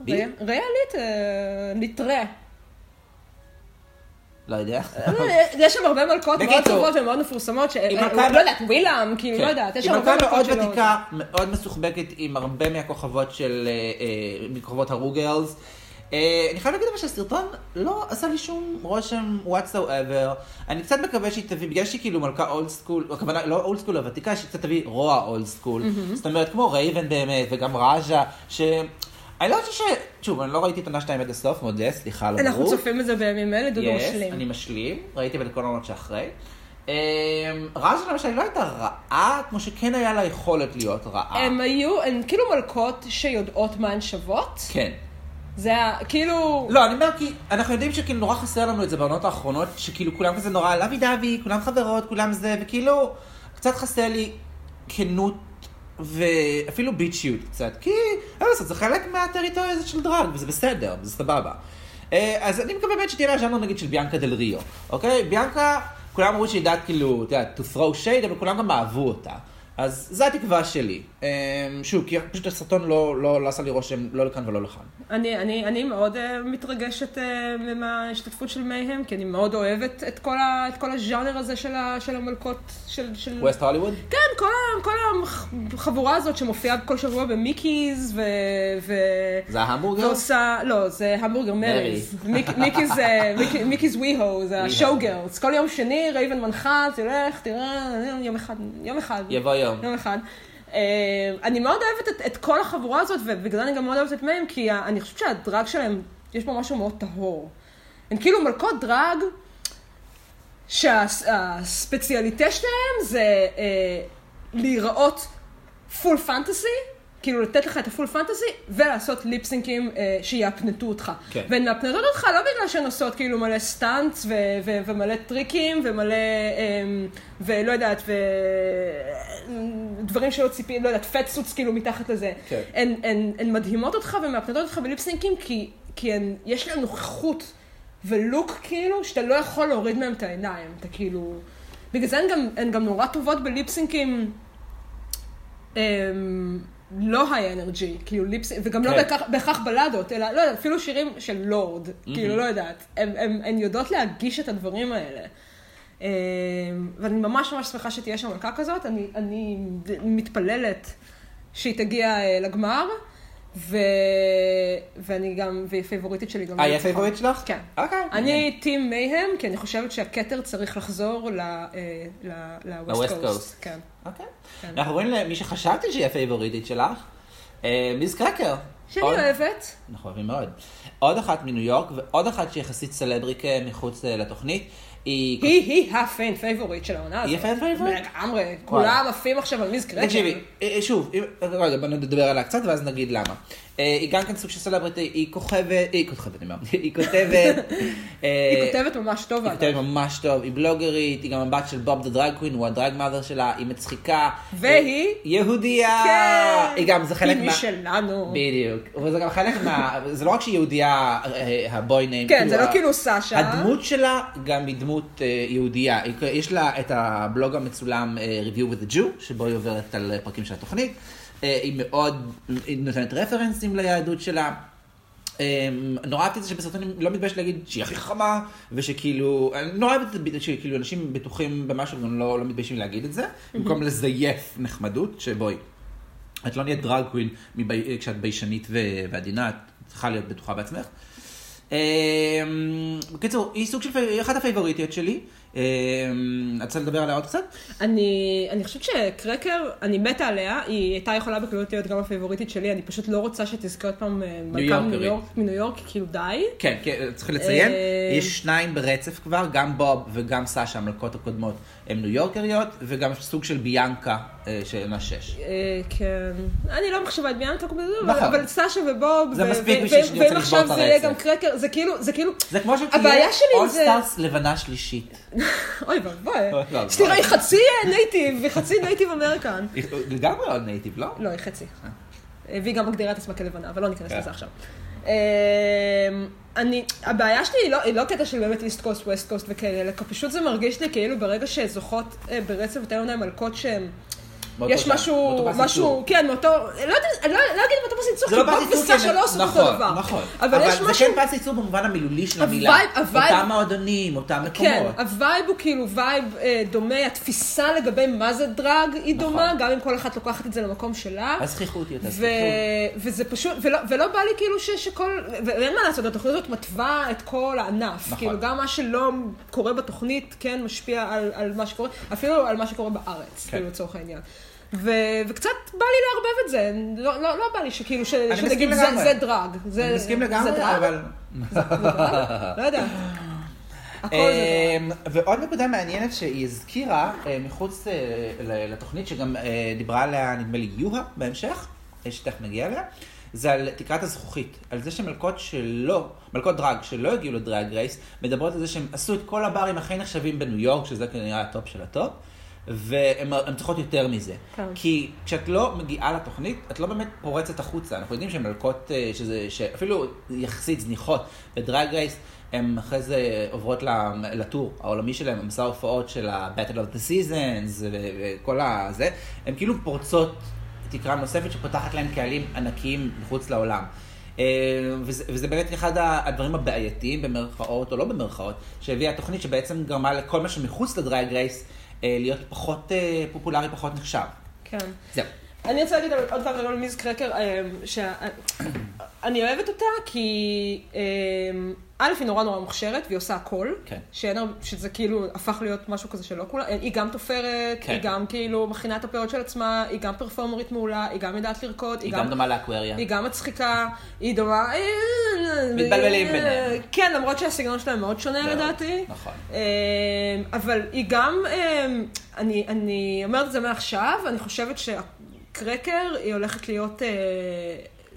בי?
ריאה ריאה ליט... אה, ליטרה.
לא יודע.
יש שם הרבה מלכות מאוד
בקיצור,
טובות ומאוד מפורסמות, ש-
היא
אה,
מלכה-
לא יודעת, ווילאם, כאילו, לא
כן.
יודעת, יש
היא
שם הרבה
מלכה
מלכות
מאוד
שלו.
ותיקה, מאוד מסוחבקת עם הרבה מהכוכבות של, אה, אה, מכוכבות הרוגלס. אה, אני חייב להגיד אבל שהסרטון לא עשה לי שום רושם whatsoever. אני קצת מקווה שהיא תביא, בגלל שהיא כאילו מלכה אולד סקול, הכוונה לא אולד סקול, אבל ותיקה, שהיא קצת תביא רוע אולד סקול. זאת אומרת, כמו רייבן באמת, וגם רג'ה, ש... אני לא חושב ש... שוב, אני לא ראיתי את עונה 2 עד הסוף, מודה, סליחה על
אנחנו
הברור.
צופים את זה בימים אלה, דודו
Yes,
משלים.
אני משלים, ראיתי אבל את כל העונות שאחרי. אמ, רז למשל היא לא הייתה רעה, כמו שכן היה לה יכולת להיות רעה.
הם היו, הן כאילו מלכות שיודעות מה הן שוות.
כן.
זה היה, כאילו...
לא, אני אומר כי אנחנו יודעים שכאילו נורא חסר לנו את זה בעונות האחרונות, שכאילו כולם כזה נורא לוי דווי, כולם חברות, כולם זה, וכאילו קצת חסר לי כנות. ואפילו ביצ'יות קצת, כי אין מה לעשות, זה חלק מהטריטוריה הזאת של דרג, וזה בסדר, וזה סבבה. אה, אז אני מקווה באמת שתהיה לה ז'אנר נגיד של ביאנקה דל ריו, אוקיי? ביאנקה, כולם אמרו שהיא יודעת כאילו, אתה יודע, to throw shade, אבל כולם גם אהבו אותה. אז זו התקווה שלי. אה, אמ, שוב, כי פשוט הסרטון לא, לא, לא עשה לי רושם לא לכאן ולא לכאן.
אני, אני, אני מאוד אה, מתרגשת אה, מההשתתפות של מייהם, כי אני מאוד אוהבת את כל, ה, את כל הז'אנר הזה של, ה, של המלכות, של... של...
ווסט הוליווד?
כן, כל, ה, כל החבורה הזאת שמופיעה כל שבוע במיקיז, ו... ו...
זה ההמבורגר?
ועושה, לא, זה המבורגר מריז. מיק- מיקיז, אה, מיק- מיקיז וויהו, זה השואו גרלס. כל יום שני, רייבן מנחה, תלך, תראה, יום אחד, יום אחד.
יבוא היום.
יום אחד. אה, אני מאוד אוהבת את, את כל החבורה הזאת, ובגלל אני גם מאוד אוהבת את מהם, כי ה- אני חושבת שהדרג שלהם, יש בו משהו מאוד טהור. הן כאילו מלכות דרג, שהספציאליטה שלהם זה אה, להיראות פול פנטסי, כאילו לתת לך את הפול פנטסי, ולעשות ליפסינקים אה, שיאפנטו אותך.
כן.
והן מאפנטות אותך לא בגלל שהן עושות כאילו מלא סטאנץ ו- ו- ומלא טריקים ומלא, אה, ולא יודעת, ו... דברים שלא ציפי, לא יודעת, פטסוץ כאילו מתחת לזה.
כן.
הן, הן, הן מדהימות אותך ומאפנטות אותך בליפסינקים כי, כי הן, יש להן נוכחות ולוק כאילו, שאתה לא יכול להוריד מהם את העיניים, אתה כאילו... בגלל זה הן גם, הן גם נורא טובות בליפסינקים. אמ, לא היי אנרג'י, כאילו ליפסינק, וגם לא
כן.
בהכרח, בהכרח בלדות, אלא לא יודעת, אפילו שירים של לורד,
Mm-hmm.
כאילו לא יודעת, הן- הן הן יודעות להגיש את הדברים האלה. אמ, ואני ממש ממש שמחה שתהיה שם מלכה כזאת, אני, אני מתפללת שהיא תגיע אה, לגמר, ו... ואני גם, והיא פייבוריטית שלי גם.
אה, היא
לניצחון.
הפייבוריט שלך?
כן.
אוקיי.
אני טים מייהם, כי אני חושבת שהכתר צריך לחזור אה,
ל-West
ל-West
Coast.
Coast. כן.
אוקיי.
כן.
אנחנו עוברים למי שחשבתי שהיא הפייבוריטית שלך, אה, מיס קרקר.
שאני
עוד-
אוהבת.
אנחנו אוהבים מאוד. עוד אחת מניו יורק, ועוד אחת שהיא יחסית סלבריקה מחוץ אה, לתוכנית. היא...
היא היא הפיין פייבוריט של העונה הזאת.
היא הפיין פייבוריט?
לגמרי. כולם עפים עכשיו על מיס קרקר.
תקשיבי, אה, שוב, אם- רגע, בוא נדבר עליה קצת ואז נגיד למה. אה, היא גם כן סוג של סלבריטי, היא כוכבת, היא כוכבת, אני אומר, היא כותבת. אה,
היא כותבת ממש טוב.
היא
אגב.
כותבת ממש טוב, היא בלוגרית, היא גם הבת של בוב דה דרג קווין, הוא הדרג מאזר שלה, היא מצחיקה.
והיא?
יהודייה!
כן.
אה, היא גם, זה חלק
היא
מה...
משלנו.
בדיוק. וזה גם חלק מה... זה לא רק שהיא יהודייה, אה, הבוי ניים.
כן, זה לא
ה-
כאילו סשה.
הדמות שלה גם היא דמות אה, יהודייה. היא- יש לה את הבלוג המצולם אה, Review with the Jew, שבו היא עוברת על אה, פרקים של התוכנית. אה, היא מאוד, היא נותנת רפרנסים ליהדות שלה. אה, נורא אהבתי את זה שבסרטון היא לא מתביישת להגיד שהיא הכי חכמה, ושכאילו, אני נורא אוהבת את זה שכאילו אנשים בטוחים במשהו וגם לא, לא מתביישים להגיד את זה, במקום לזייף נחמדות, שבואי, את לא נהיית דרג קווין מבי- אה, כשאת ביישנית ו- ועדינה, את צריכה להיות בטוחה בעצמך. אמ, בקיצור, היא סוג של, פי- היא אחת הפייבוריטיות שלי. אמ, את רוצה לדבר עליה עוד קצת?
אני, אני חושבת שקרקר, אני מתה עליה, היא הייתה יכולה בקלות להיות גם הפייבוריטית שלי, אני פשוט לא רוצה שתזכה עוד פעם אה, מלכה
יורקרית.
מניו יורק, מניו יורק, כאילו די.
כן, כן, צריך לציין,
אה,
יש שניים ברצף כבר, גם בוב וגם סשה, המלכות הקודמות, הן ניו יורקריות, וגם יש סוג של ביאנקה, אה, שאינה שש.
אה, כן, אני לא מחשיבה את ביאנטה כל כך, אבל-
נכון.
אבל סשה ובוב,
זה
ו-
מספיק
ו-
בשביל
ו-
שאני רוצה
ואם
לשבור
עכשיו
את
זה יהיה
הרצף.
גם קרקר, זה כאילו, זה כאילו,
זה כמו שתהיה
הבעיה שלי עם זה-
All Stars לבנה שלישית.
אוי ואבוי,
ואבוי.
סליחה, היא חצי נייטיב, היא חצי נייטיב אמריקן.
היא לגמרי עוד נייטיב, לא?
לא, היא חצי. אה, והיא גם מגדירה את עצמה כלבנה, אבל לא ניכנס
כן.
לזה עכשיו. אמ, אני, הבעיה שלי היא לא, היא לא קטע של באמת איסט קוסט, ווסט קוסט וכאלה, אלא פשוט זה מרגיש לי כאילו ברגע שזוכות אה, ברצף יותר מדי מלכות שהן...
באותו
יש
שם,
משהו,
באותו פס ייצור.
משהו, כן, מאותו, לא יודעת, אני לא אני לא אגיד מאותו פס ייצור,
זה
כי
לא פס
בוב
ייצור,
וסשה
כן,
לא עושים אותו
נכון,
דבר.
נכון.
אבל יש משהו,
זה כן פס ייצור במובן המילולי של המילה.
הווייב- הווייב-
אותם מועדונים, אותם
כן,
מקומות.
הווייב הוא כאילו וייב אה, דומה, התפיסה לגבי מה זה דרג היא
נכון.
דומה, גם אם כל אחת לוקחת את זה למקום שלה.
הזכיחות היא אותה
ו-
זכיחות.
וזה פשוט, ולא, ולא בא לי כאילו ש, שכל, ו- ואין מה לעשות, התוכנית הזאת מתווה את כל הענף.
נכון.
נכון. כאילו גם מה שלא קורה בתוכנית כן משפיע על, על מה שקורה, אפילו על מה שקורה בארץ, כן.
כן.
כאילו לצורך העניין. ו, וקצת בא לי לערבב את זה, לא, לא, לא בא לי שכאילו, ש,
מסכים
שתגיד זה,
לגמרי.
זה דרג. זה,
אני מסכים
זה
לגמרי,
דרג?
אבל...
זה דרג? לא יודעת. הכל זה דרג.
אמ, ועוד נקודה מעניינת שהיא הזכירה אה, מחוץ אה, ל- לתוכנית, שגם אה, דיברה עליה, נדמה לי, יוהה בהמשך, אה, שתכף נגיע אליה, זה על תקרת הזכוכית, על זה שמלכות שלא, מלכות דרג שלא הגיעו לדרג רייס, מדברות על זה שהם עשו את כל הברים הכי נחשבים בניו יורק, שזה כנראה הטופ של הטופ. והן הן צריכות יותר מזה.
כן.
כי כשאת לא מגיעה לתוכנית, את לא באמת פורצת החוצה. אנחנו יודעים שמלכות, אה, שזה, שאפילו יחסית זניחות בדרג רייס, הן אחרי זה עוברות ל- לטור העולמי שלהם, המסע ההופעות של ה-Battle of the Seasons ו- וכל הזה, הן כאילו פורצות תקרה נוספת שפותחת להם קהלים ענקיים מחוץ לעולם. אה, וזה, וזה באמת אחד ה- הדברים הבעייתיים במרכאות, או לא במרכאות, שהביאה התוכנית שבעצם גרמה לכל מה שמחוץ לדרייג רייס אה, להיות פחות אה, פופולרי, פחות נחשב.
כן.
זהו.
אני רוצה להגיד על- עוד פעם על מיז קרקר, אה, שאני אוהבת אותה כי אמ, א', היא נורא נורא מוכשרת והיא עושה הכל,
כן.
שאין הרבה- שזה כאילו הפך להיות משהו כזה שלא כולה, אה, היא גם תופרת,
כן.
היא גם כאילו מכינה את הפאות של עצמה, היא גם פרפורמרית מעולה, היא גם יודעת לרקוד,
היא גם דומה לאקווריה.
היא גם מצחיקה, היא דומה... אה,
מתבלבלים ביניהם.
כן, למרות שהסגנון שלהם מאוד שונה
מאוד,
לדעתי.
נכון.
אמ, אבל היא גם, אמ, אני, אני אומרת את זה מעכשיו, אני חושבת שהקרקר היא הולכת להיות אה,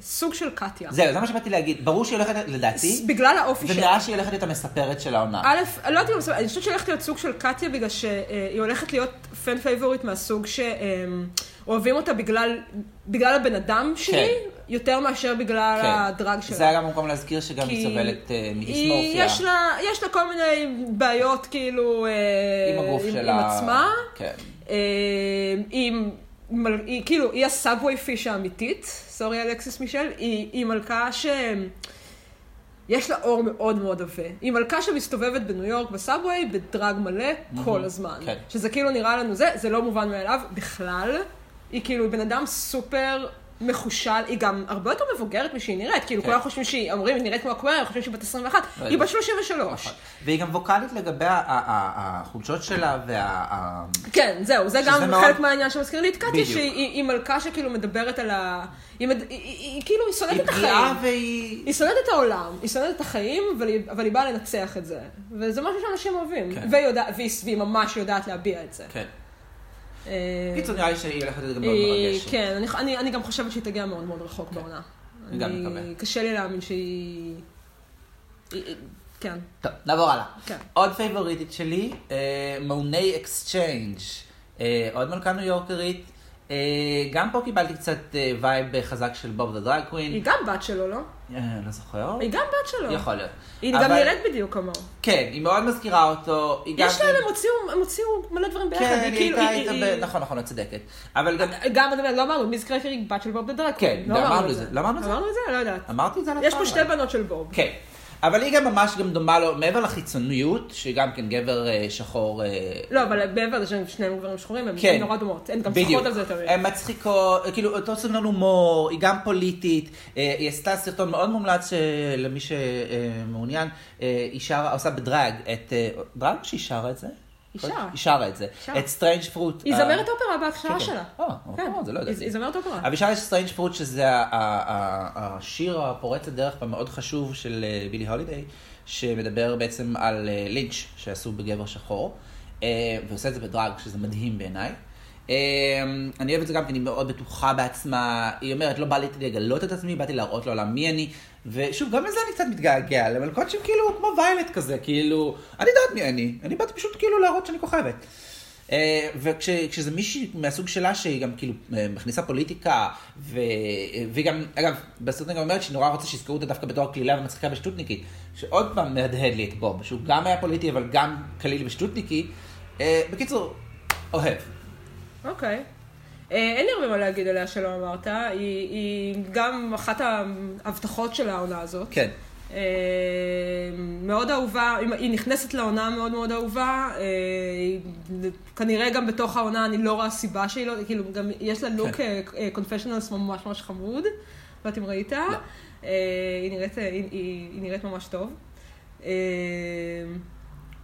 סוג של קטיה.
זהו, זה מה שבאתי להגיד. ברור שהיא הולכת, לדעתי,
בגלל האופי שלה.
ונראה שהיא הולכת להיות המספרת של העונה.
א', אני לא יודעת אם אני חושבת שהיא הולכת להיות סוג של קטיה, בגלל שהיא הולכת להיות פן פייבוריט מהסוג שאוהבים אותה בגלל, בגלל הבן אדם שלי,
כן.
יותר מאשר בגלל
כן.
הדרג שלה.
זה היה גם המקום להזכיר שגם
כי
היא סובלת אה,
היא-
מדיסמורפיה.
יש לה, יש לה כל מיני בעיות, כאילו, אה,
עם הגוף שלה.
עם עצמה.
כן.
אה, עם... מל- היא כאילו, היא הסאבווי פיש האמיתית, סורי אלכסיס מישל, היא, היא מלכה ש... יש לה אור מאוד מאוד עבה. היא מלכה שמסתובבת בניו יורק בסאבווי בדרג מלא כל הזמן.
כן.
שזה כאילו נראה לנו זה, זה לא מובן מאליו בכלל. היא כאילו בן אדם סופר מחושל, היא גם הרבה יותר מבוגרת משהיא נראית, כאילו
כן.
כולם חושבים שהיא, אומרים, היא נראית כמו הקווייר, חושבים שהיא בת 21,
לא
היא בת
יודעת.
33.
והיא גם ווקאלית לגבי ה- ה- ה- החולשות שלה וה... ה-
כן, זהו, זה
שזה
גם
מאוד-
חלק מהעניין שמזכיר לי את קטיה,
בדיוק.
שהיא היא- היא מלכה שכאילו מדברת על ה... היא מד- היא- היא היא כאילו, היא שונאת
היא
את החיים.
פגיעה והיא...
היא שונאת את העולם, היא שונאת את החיים, אבל היא- אבל היא באה לנצח את זה. וזה משהו שאנשים אוהבים.
כן.
והיא יודעת- והיא והיא ממש יודעת להביע את זה.
כן.
אה,
קיצור, נראה לי שהיא הולכת להיות גם מאוד
היא-
מרגשת.
כן, אני- אני- אני גם חושבת שהיא תגיע מאוד מאוד רחוק בעונה.
אני גם
אני-
מקווה.
קשה לי להאמין שהיא... היא- היא- כן.
טוב, נעבור הלאה.
כן.
עוד פייבוריטית שלי, אה, מעוני אקסצ'יינג', אה, עוד מלכה ניו יורקרית. אה, גם פה קיבלתי קצת אה, וייב חזק של בוב דה דרג
היא
קווין.
גם בת שלו, לא?
אה, לא זוכר.
היא גם בת שלו.
יכול להיות.
היא
אבל-
גם נראית בדיוק כמוהו.
כן, היא מאוד מזכירה אותו. היא גם-
יש להם, הם הוציאו- הם הוציאו מלא דברים ביחד.
כן,
היא
היא
כאילו-
הייתה
היא-
איתה
היא-
ב... נכון, נכון, את צודקת. אבל גם...
גם, אתה יודע, לא אמרנו, מיס קרקר היא בת של בוב דה דרקון.
כן,
לא
ואמרנו את זה. לא אמרנו את זה?
אמרנו את זה? לא יודעת.
אמרתי את זה על
יש פה
הפארק.
שתי בנות של בוב.
כן. אבל היא גם ממש גם דומה לו, מעבר לחיצוניות, שגם כן גבר אה, שחור... אה,
לא, אבל מעבר לזה שהם שניהם גברים שחורים, הם
כן.
נורא דומות. הן גם
בדיוק.
צוחקות על זה תמיד.
הן מצחיקות, כאילו אותו סגנון הומור, היא גם פוליטית, אה, היא עשתה סרטון מאוד מומלץ אה, למי שמעוניין, אה, היא שרה, עושה בדרג את... אה, דרג או שהיא שרה את זה?
היא שרה.
היא שרה את זה.
שרה.
את סטרנג' פרוט.
היא זמרת אופרה בהכשרה
אה, כן, כן.
שלה.
אה, אוקיי, זה לא
היא-
ידעתי.
היא זמרת אופרה.
אבישי סטרנג' פרוט, שזה ה- ה- ה- השיר הפורץ הדרך והמאוד חשוב של אה, בילי הולידיי, שמדבר בעצם על אה, לינץ' שעשו בגבר שחור, אה, ועושה את זה בדרג, שזה מדהים בעיניי. אה, אני אוהבת את זה גם כי אני מאוד בטוחה בעצמה, היא אומרת, לא בא לי לגלות את עצמי, באתי להראות לעולם מי אני. ושוב, גם לזה אני קצת מתגעגע, למלכות שהן כאילו כמו ויילט כזה, כאילו, אני יודעת מי אני, אני באתי פשוט כאילו להראות שאני כוכבת. אה, וכשזה מישהי מהסוג שלה שהיא גם כאילו אה, מכניסה פוליטיקה, ו- והיא גם, אגב, בסרטון גם אומרת שהיא נורא רוצה שיזכרו אותה דווקא בתור קלילה ומצחיקה ושטותניקית, שעוד פעם מהדהד לי את בוב, שהוא גם היה פוליטי אבל גם קליל ושטותניקי. אה, בקיצור, אוהב.
אוקיי. אה, אין לי הרבה מה להגיד עליה שלא אמרת. היא- היא גם אחת ההבטחות של העונה הזאת.
כן.
אה, מאוד אהובה, היא- היא נכנסת לעונה מאוד מאוד אהובה, אה, היא- כנראה גם בתוך העונה אני לא רואה סיבה שהיא לא, כאילו גם יש לה לוק
כן.
קונפשיונלס ממש ממש חמוד, לא יודעת אם ראית, אה, היא נראית, אה, היא- היא היא נראית ממש טוב. אה,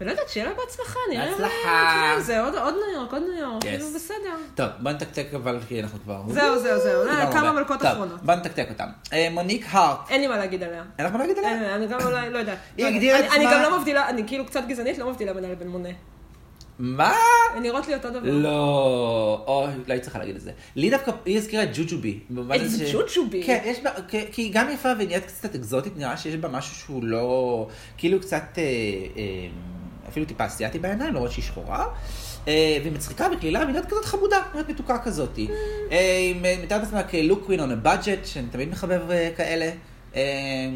ולא יודעת, שיהיה לה בהצלחה, נראה לי,
בהצלחה.
אה, זה עוד עוד ניו יורק, עוד ניו יורק,
Yes.
כאילו בסדר.
טוב, בוא נתקתק אבל כי אנחנו כבר...
זהו, זהו, זהו, אה,
דיברנו
כמה
הרבה.
מלכות
טוב,
אחרונות.
בוא נתקתק אותם. אה, מוניק הארט,
אין לי מה להגיד עליה.
אין לך מה להגיד עליה?
אין, אני גם אולי, לא יודעת.
אה. היא
לא יודעת.
הגדירה
אני-
את
אני
עצמה-
גם לא מבדילה, אני כאילו קצת גזענית, לא מבדילה בינה לבין מונה.
מה?
הן נראות לי אותו דבר.
לא, אוי, לא הייתי צריכה להגיד את זה. לי דווקא, היא הזכירה את ג'וג'ובי. במובן
את
הזה ש-
ג'וג'ובי?
כן, יש בה, כי- כי היא גם יפה והיא נהיית קצת אקזוטית, נראה שיש בה משהו שהוא לא, כאילו קצת, אה, אה, אפילו טיפה אסיאתי בעיניים, למרות שהיא שחורה. אה, והיא מצחיקה וקלילה, והיא נראית כזאת חמודה, נראית מתוקה כזאת. אה, היא מתארת לעצמה כלוק ווין און הבאג'ט, שאני תמיד מחבב אה, כאלה. אה,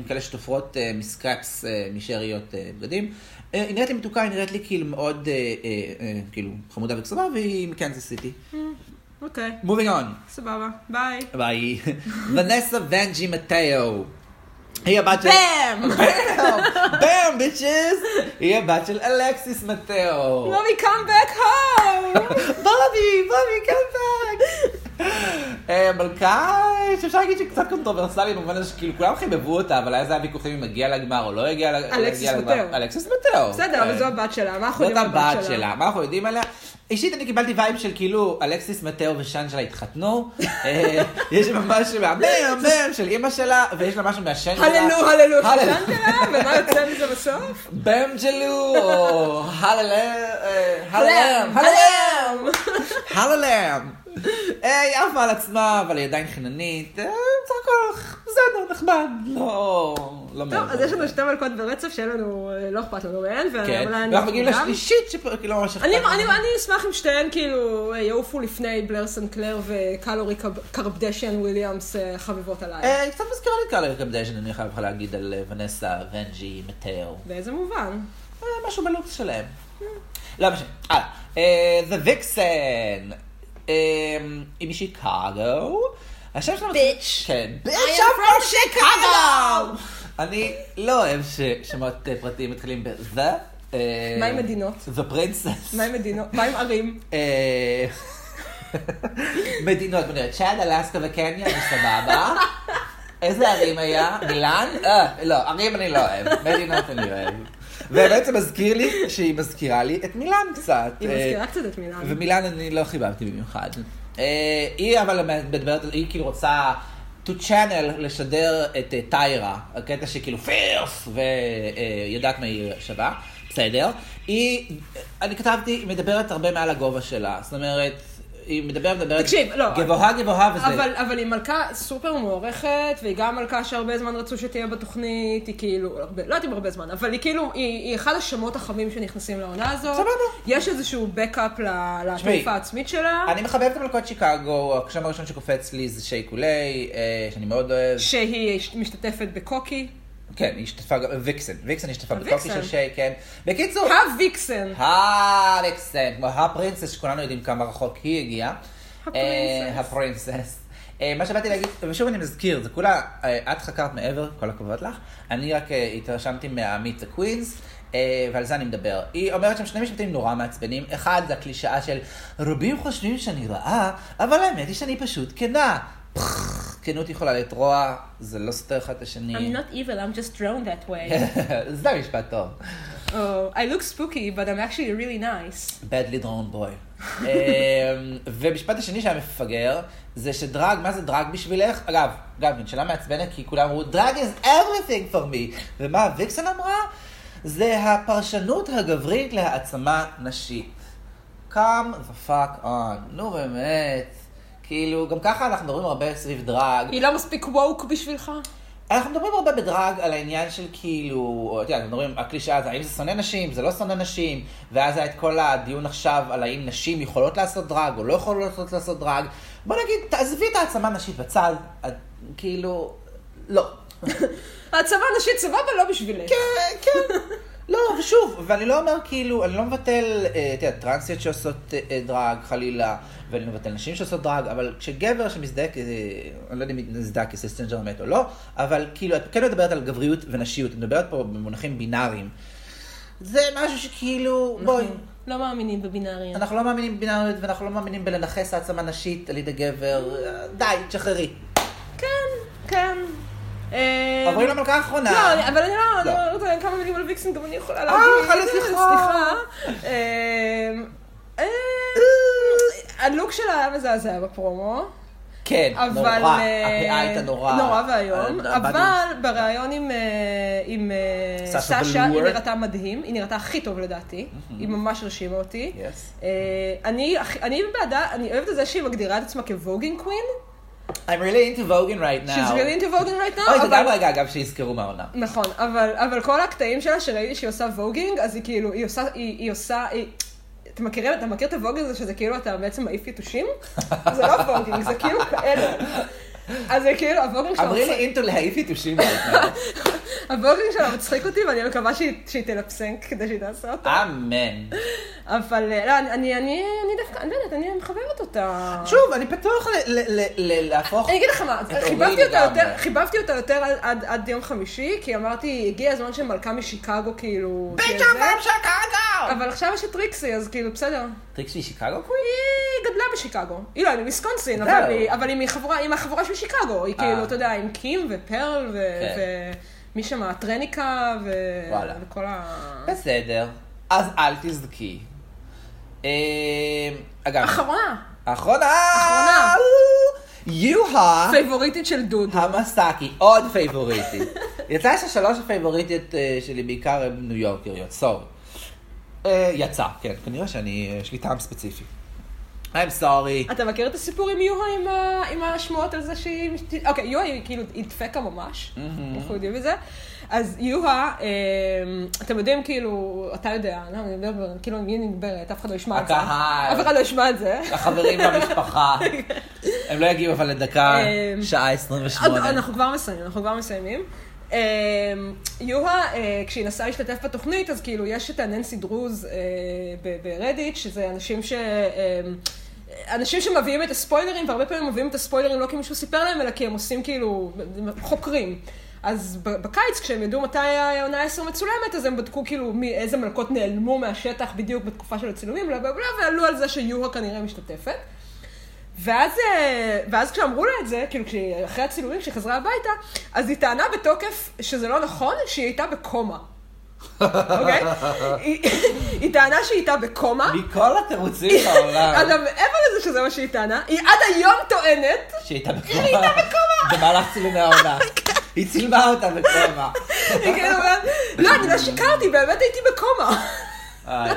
כאלה שתופרות אה, מסקרפס, אה, משאריות אה, בגדים. אה, היא נראית לי מתוקה, היא נראית לי כאילו מאוד, אה, אה, אה, כאילו, חמודה וקסומה, והיא מקנזס סיטי.
אוקיי,
moving on.
סבבה, ביי.
ביי. ונסה ונג'י מתאו. היא הבת של...
באם!
באם, ביצ'ס! היא הבת של אלכסיס מתאו.
מומי, come back home!
בובי, בובי, קמפק! מלכה אה, שאפשר להגיד שהיא קצת קונטרוברסלית במובן הזה שכאילו כולם חיבבו אותה, אבל אז היה ויכוחים אם הגיע לגמר או לא הגיע לגמר. כן.
אלכסיס מתאו.
אלכסס מטאו.
בסדר, אבל זו הבת שלה, מה אנחנו
אוקיי. זאת
יודעים על
הבת שלה, מה אנחנו יודעים עליה? אישית אני קיבלתי וייב של כאילו אלכסיס מטאו ושאנג'לה התחתנו, אה, יש ממש מהמם של אימא שלה, ויש לה משהו מהשאנג'לה.
הללו, הללו, חשבת לה? ומה יוצא מזה בסוף?
במג'לו, או הללם, אה, הללם, הללם.
הלם!
הללם. היי, עפה על עצמה, אבל היא עדיין חיננית. אה, בסך הכל, בסדר, נחמד. לא... לא
טוב,
מאוד.
אז יש לנו שתי מלכות ברצף שאין לנו, אה, לא אכפת לנו מהן,
כן,
אבל אני-
ואנחנו מגיעים
גם-
לשלישית, שכאילו ממש אכפת
אני,
לנו.
אני, אני אשמח אם שתיהן כאילו אה, יעופו לפני בלר סנקלר וקלורי קב- קרבדשן וויליאמס אה, חביבות עליי.
אה, היא קצת מזכירה לי קאלה קפדשן, אני חייב לך להגיד על אה, ונסה, ונג'י, מתאו.
באיזה מובן?
אה, משהו בלוקס שלהם. לא משנה. הלאה. אה, The Vixen. אה, היא משיקגו. השם שלה... ביץ'. כן. ביץ'
I am from
I'm from
Chicago.
Chicago. אני לא אוהב ששמות אה, פרטיים מתחילים ב-The.
מה עם מדינות?
The Princess.
מה עם מדינות? מה עם ערים?
אה, מדינות, מדינות, צ'אד, אלסקה וקניה, זה סבבה. איזה ערים היה? מילאן? אה, לא, ערים אני לא אוהב, מדינות אני אוהב. ובעצם מזכיר לי שהיא מזכירה לי את מילאן קצת. אה,
היא מזכירה קצת את מילאן.
ומילאן אני לא חיבבתי במיוחד. אה, היא אבל מדברת, היא כאילו רוצה to channel, לשדר את אה, טיירה, הקטע שכאילו פירס, ויודעת מה היא שווה, בסדר. היא, אני כתבתי, היא מדברת הרבה מעל הגובה שלה, זאת אומרת, היא מדברת, מדברת,
תקשיב, לא.
גבוהה גבוהה וזה.
אבל, אבל היא מלכה סופר מוערכת, והיא גם מלכה שהרבה זמן רצו שתהיה בתוכנית, היא כאילו, הרבה, לא יודעת אם הרבה זמן, אבל היא כאילו, היא, היא אחד השמות החמים שנכנסים לעונה הזאת.
סבבה.
יש איזשהו בקאפ ל-
תשמעי,
לתעופה העצמית שלה.
אני מחבב את המלכות שיקגו, הקשם הראשון שקופץ לי זה שיי קולי, אה, שאני מאוד אוהב.
שהיא משתתפת בקוקי.
כן, היא השתתפה גם, ויקסן, ויקסן השתתפה בקופי
הוויקסן.
של שיי, כן. בקיצור,
הוויקסן.
הלקסן, כמו הפרינסס, שכולנו יודעים כמה רחוק היא הגיעה.
הפרינסס.
אה, הפרינסס. אה, מה שבאתי להגיד, ושוב אני מזכיר, זה כולה, אה, את חקרת מעבר, כל הכבוד לך, אני רק אה, התרשמתי מהמיט הקווינס. אה, ועל זה אני מדבר. היא אומרת שם שני משפטים נורא מעצבנים. אחד זה הקלישאה של רבים חושבים שאני רעה, אבל האמת היא שאני פשוט כנה. פח, כנות יכולה לתרוע, זה לא סותר אחד את השני.
evil, I'm just drawn that way.
זה משפט טוב.
oh, I look spooky, but I'm actually really nice.
Badly drawn boy. אמ, ומשפט השני שהיה מפגר, זה שדרג, מה זה דרג בשבילך? אגב, אגב, זו שאלה מעצבנת, כי כולם אמרו, דרג is everything for me. ומה ויקסן אמרה? זה הפרשנות הגברית להעצמה נשית. come the fuck on. נו באמת. כאילו, גם ככה אנחנו מדברים הרבה סביב דרג.
היא לא מספיק ווק בשבילך?
אנחנו מדברים הרבה בדרג על העניין של כאילו, אתה יודע, אנחנו מדברים, הקלישאה זה האם זה שונא נשים, זה לא שונא נשים, ואז היה את כל הדיון עכשיו על האם נשים יכולות לעשות דרג או לא יכולות לעשות דרג. בוא נגיד, תעזבי את העצמה נשית בצד, את, כאילו, לא.
הצבא נשית סבבה, לא בשבילך.
כן, כן. לא, ושוב, ואני לא אומר כאילו, אני לא מבטל, אה, אתה יודע, טרנסיות שעושות אה, אה, דרג, חלילה, ואני לא מבטל נשים שעושות דרג, אבל כשגבר שמזדהה, כ- אה, אני לא יודע אם מזדהה כסיסטנג'ר מת או לא, אבל כאילו, את כן מדברת על גבריות ונשיות, את מדברת פה במונחים בינאריים. זה משהו שכאילו, בואי,
לא מאמינים בבינאריה.
אנחנו לא מאמינים בבינאריות, ואנחנו לא מאמינים בלנכס העצמה נשית על ידי גבר, אה, די, תשחררי.
כן, כן. אה,
עוברים למלכה האחרונה.
לא, אבל אני לא,
לא.
לא, לא יודעת, כמה מילים על ויקסן גם אני יכולה
אה,
להגיד.
חלאס, סליחה.
סליחה. אה, אה, הלוק שלה היה מזעזע בפרומו.
כן, נורא,
אבל... אה,
הפאה הייתה נורא.
נורא ואיום.
אה,
אבל בריאיון עם, אה, עם אה,
סשה
סשה, היא
בלור.
נראתה מדהים, היא נראתה הכי טוב לדעתי, היא ממש הרשימה אותי.
Yes.
אה, אני הכי- אני בעדה, אני אוהבת את זה שהיא מגדירה את עצמה כווגינג קווין,
I'm really into Vogan right now.
She's really into voguing right now,
אוי, תודה
אבל...
רגע, אגב, שיזכרו מהעונה.
נכון, אבל, אבל כל הקטעים שלה שראיתי שהיא עושה ווגינג, אז היא כאילו, היא עושה, היא, היא עושה, היא... אתה מכיר, אתה מכיר את הווגינג הזה שזה כאילו אתה בעצם מעיף יתושים? זה לא ווגינג, זה כאילו כאלה. אז זה כאילו, הווגינג
I'm
שלה,
really into להעיף יתושים right now.
הווגינג שלה מצחיק אותי ואני מקווה שהיא, שהיא תלפסנק כדי שהיא תעשה אותו.
אמן.
אבל אה, לא, אני, אני, אני, אני דווקא, אני לא יודעת, אני מחבבת אותה.
שוב, אני פתוח ל- ל- ל- ל- להפוך...
אני אגיד לך מה,
את
חיבבתי
אורי
אותה
לגמרי.
יותר, חיבבתי אותה יותר עד- עד- עד יום חמישי, כי אמרתי, הגיע הזמן שמלכה משיקגו כאילו... תהיה
ביץ'
זה.
אמפם שקאגו!
אבל עכשיו יש את טריקסי, אז כאילו, בסדר.
טריקסי שיקגו?
היא גדלה בשיקגו. היא לא, היא מוויסקונסין,
זהו.
אבל היא- אבל היא מחבורה- היא מהחבורה של שיקגו. היא
אה.
כאילו, אתה יודע, עם קים ופרל ו-
כן.
ומי שם, הטרניקה ו-
וואלה.
וכל ה...
בסדר, אז אל תזדקי. אמ, אגב,
אחרונה,
אחרונה!
אחרונה.
יוהה
פייבוריטית של דוד.
המסאקי, עוד פייבוריטית. יצא ששלוש הפייבוריטיות אה, שלי בעיקר הן ניו יורקריות, סורי. אה, יצא, כן, כנראה שאני, אה, יש לי טעם ספציפי. I'm sorry.
אתה מכיר את הסיפור עם יוהה עם, ה... עם השמועות על זה שהיא... משת- אוקיי, יוהה היא כאילו היא דפקה ממש, אנחנו יודעים את זה. אז יוהה, אה, אתם יודעים כאילו, אתה יודע, לא, אני מדבר, כאילו, מי נדברת, אף אחד לא ישמע את זה.
הקהל.
אף אחד לא ישמע את זה.
החברים במשפחה. הם לא יגיעו אבל לדקה,
אמ,
שעה 28.
אנחנו כבר מסיימים, אנחנו כבר מסיימים. אה, יוהה, אה, כשהיא נסעה להשתתף בתוכנית, אז כאילו יש את הננסי דרוז אה, ב- ברדיט, שזה אנשים ש... אה, אנשים שמביאים את הספוילרים, והרבה פעמים מביאים את הספוילרים לא כי מישהו סיפר להם, אלא כי הם עושים כאילו, חוקרים. אז ב- בקיץ, כשהם ידעו מתי העונה 10 מצולמת, אז הם בדקו כאילו מי, איזה מלכות נעלמו מהשטח בדיוק בתקופה של הצילומים, בלה בלה בלה, ועלו על זה שיוהה כנראה משתתפת. ואז, אה, ואז כשאמרו לה את זה, כאילו כשהיא- אחרי הצילומים, כשהיא חזרה הביתה, אז היא טענה בתוקף שזה לא נכון, שהיא הייתה בקומה. אוקיי? היא, היא טענה שהיא הייתה בקומה.
מכל התירוצים בעולם.
אגב, מעבר לזה שזה מה שהיא טענה, היא עד היום טוענת,
שהייתה בקומה. במהלך צילומי העונה. היא צילמה אותה בקומה.
היא כאילו אומרת, לא, אני לא שיקרתי, באמת הייתי בקומה.
איי,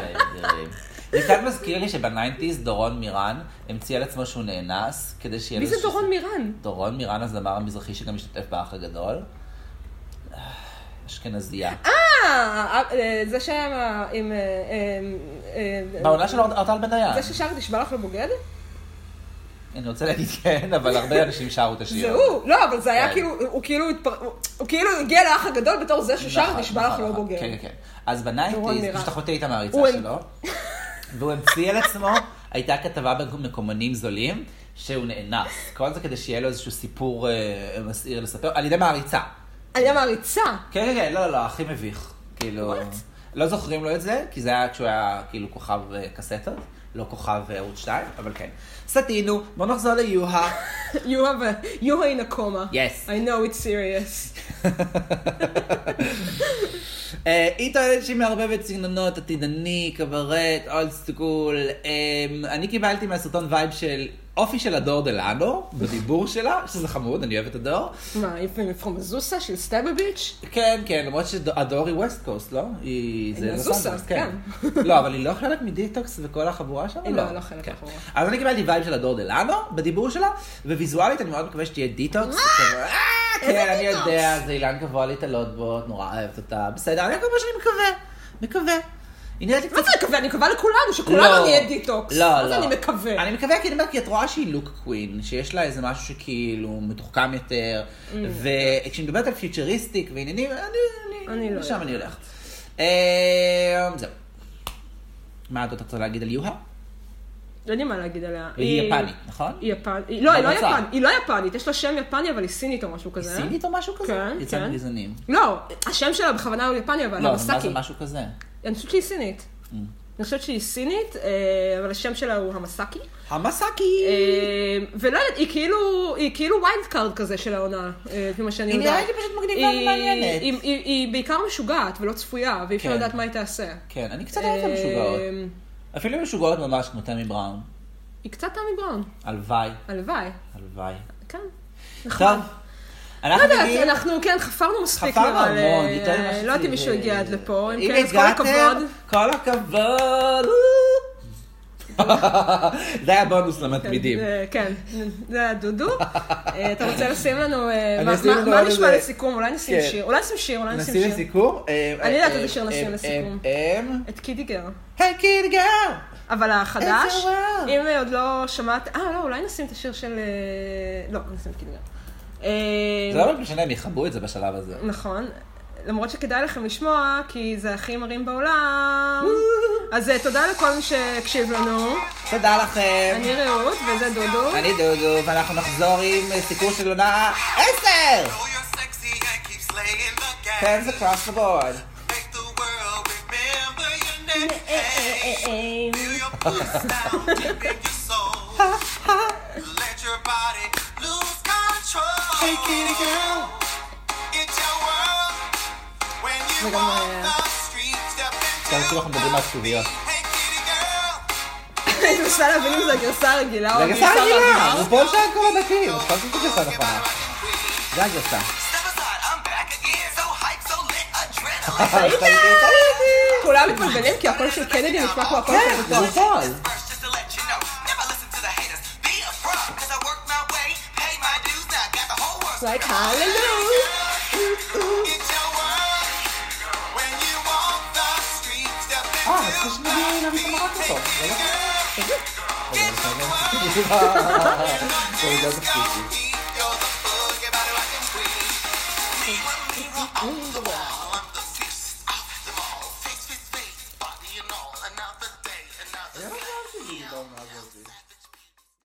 איי, זה קצת מזכיר לי שבניינטיז דורון מירן המציא על עצמו שהוא נאנס, כדי שיהיה...
מי זה
לו ש-
דורון מירן?
דורון מירן, הזמר המזרחי שגם השתתף באח הגדול. אשכנזייה.
אה, אה, זה שהיה עם ה- עם... אה, אה, אה,
בעונה של אורטל בניה.
זה ששר תשבע לך לבוגד?
אני רוצה להגיד כן, אבל הרבה אנשים שרו את השיר.
זה הוא, לא, אבל זה היה
כן.
כאילו, הוא כאילו התפר... הוא- הוא כאילו הגיע לאח הגדול בתור זה ששר
נכון,
נשבע לך
נכון,
לא
נכון.
בוגר.
כן, כן, כן. אז
דורון
בניינטיז,
מירן.
פשוט אחותי הייתה מעריצה
הוא-
שלו, והוא המציא על עצמו, הייתה כתבה במקומונים זולים, שהוא נאנס. כל זה כדי שיהיה לו איזשהו סיפור אה, מסעיר לספר, על ידי מעריצה.
אני מעריצה.
כן, כן, כן, לא, לא, לא, הכי מביך. כאילו, לא זוכרים לו את זה, כי זה היה כשהוא היה כאילו כוכב אה, קסטות, לא כוכב אה, ערוץ 2, אבל כן. סטינו, בוא נחזור ליוהה.
You have a... You are in a coma.
Yes.
I know it's serious.
אה, היא טוענת שהיא מערבבת סגנונות עתידני, קברט, אולד סקול. אני קיבלתי מהסרטון וייב של אופי של הדור דלנו, בדיבור שלה, שזה חמוד, אני אוהב את הדור.
מה, איפה מפרומזוסה של סטאבה ביץ'?
כן, כן, למרות שהדור היא ווסט קוסט, לא? היא... זה לוס
מזוסה,
אנג'לס, לא, אבל היא לא חלק מדטוקס וכל החבורה שם?
כן. היא לא, לא חלק
כן.
מהחבורה.
אז אני קיבלתי וייב של הדור דלנו, בדיבור שלה, וויזואלית אני מאוד מקווה שתהיה דיטוקס. אה, כן, אני
דיטוקס?
יודע, זה אילן גבוה להתעלות בו, את נורא אוהבת אותה, בסדר, אני כל מה שאני מקווה, מקווה. היא נראית לי קצת...
מה זה מקווה? אני מקווה לכולנו, שכולנו
לא.
נהיה דיטוקס.
לא,
מה
לא.
זה אני מקווה?
אני מקווה, כי אני אומרת, כי את רואה שהיא לוק קווין, שיש לה איזה משהו שכאילו מתוחכם יותר,
Mm.
וכשהיא מדברת על פיוטריסטיק ועניינים, אני-
אני
אני...
לא
לשם
יודעת.
אני הולכת. אה, זהו. מה את עוד רוצה להגיד על
אה,
יוהה?
לא יודעים מה להגיד עליה.
היא יפנית, נכון?
היא יפנית. לא, היא לא
ממוצא.
יפנית. היא לא יפנית, יש לה שם יפני, אבל היא סינית או משהו
היא
כזה.
סינית או משהו כזה?
כן,
יצאנו
כן.
גזענים.
לא, השם שלה בכוונה הוא יפני, אבל אה.
לא, אבל מה
המסקי.
זה משהו כזה?
אני חושבת שהיא סינית.
Mm.
אני חושבת שהיא סינית, אה, אבל השם שלה הוא המסאקי.
המסאקי!
אה, ולא יודעת, היא כאילו, היא כאילו ויילד קארד כזה של העונה, אה, לפי מה שאני
היא
יודעת.
נראית לי פשוט מגניבה
היא-
ומעניינת.
היא- היא- היא בעיקר משוגעת ולא צפויה, ואי אפשר
כן.
לדעת מה היא תעשה.
כן, אני קצת אוהבת משוגעות.
אה,
אפילו משוגעות ממש כמו תמי בראון.
היא קצת תמי בראון,
הלוואי,
הלוואי.
הלוואי.
כן.
טוב,
נחמד. לא
אנחנו
יודעת,
מגיעים...
אנחנו, כן, חפרנו מספיק,
חפרנו
אבל, אה,
המון, יותר אה, ממה
לא יודעת
שציפי.
אם מישהו הגיע עד לפה, אם
אם
כן, אז כל הכבוד.
הגעתם, כל הכבוד. אה. זה היה בונוס למתמידים.
אה, כן, זה היה דודו. אה, אתה רוצה לשים לנו, אה,
אני
מה-
אשים
מה-
לנו
מה
עוד
נשמע
איזה-
לסיכום? אולי נשים
כן.
שיר, אולי נשים שיר, אולי נשים
נשים
שיר.
לסיכום? אה,
אני יודעת
אה,
איזה שיר
אה,
נשים
אה,
לסיכום.
אה, אה.
את קידיגר.
היי קיד גאו!
אבל החדש,
איזה רע.
אם אה, עוד לא שמעת, אה, לא, אולי נשים את השיר של... אה, לא, נשים את קידיגר. אה,
זה לא באמת משנה, הם יכבו את זה בשלב הזה.
נכון. למרות שכדאי לכם לשמוע, כי זה הכי מרים בעולם. אז אה, תודה לכל מי שהקשיב לנו.
תודה לכם.
אני רעות, וזה דודו.
אני דודו, ואנחנו נחזור עם אה, סיקור של עונה 10!
Oh, you're sexy and keep slaying
Hands
the game.
כן, across the board.
Make the world remember your name. Feel your pulse down deep in your soul. Let your body lose control. Take it again. It's your world. When you
וגם, אה,
walk the street, step into
כאילו אנחנו מדברים על כתוביות.
the beat. Take it again.
אני מנסה להבין אם זו הגרסה הרגילה או
זה הגרסה הרגילה!
בעבר.
זה פה שם כל הדקים. אז כל זאת הגרסה נכונה. נכון. זה הגרסה.
Step aside, I'm back again. So hyped, so lit, adrenaline.
כולם מתבלבלים כי הקול של קנדי נשמע כמו הקול
כן,
של
זה
דודו.
בפועל.
First, just to let you know, never listen to the haters. Be a pro, 'cause I work my way, pay my dues, now I got the whole world.
Like hallelujah.
It's your world. When you walk the street, step
אה,
into
אז יש
the
לי להביא את המרק
beat.
אותו. זה לא-
Give the world
זה לא תפקיד שלי.
your beat. You're the boogie, body rockin' queen. Mirror, mirror on the wall.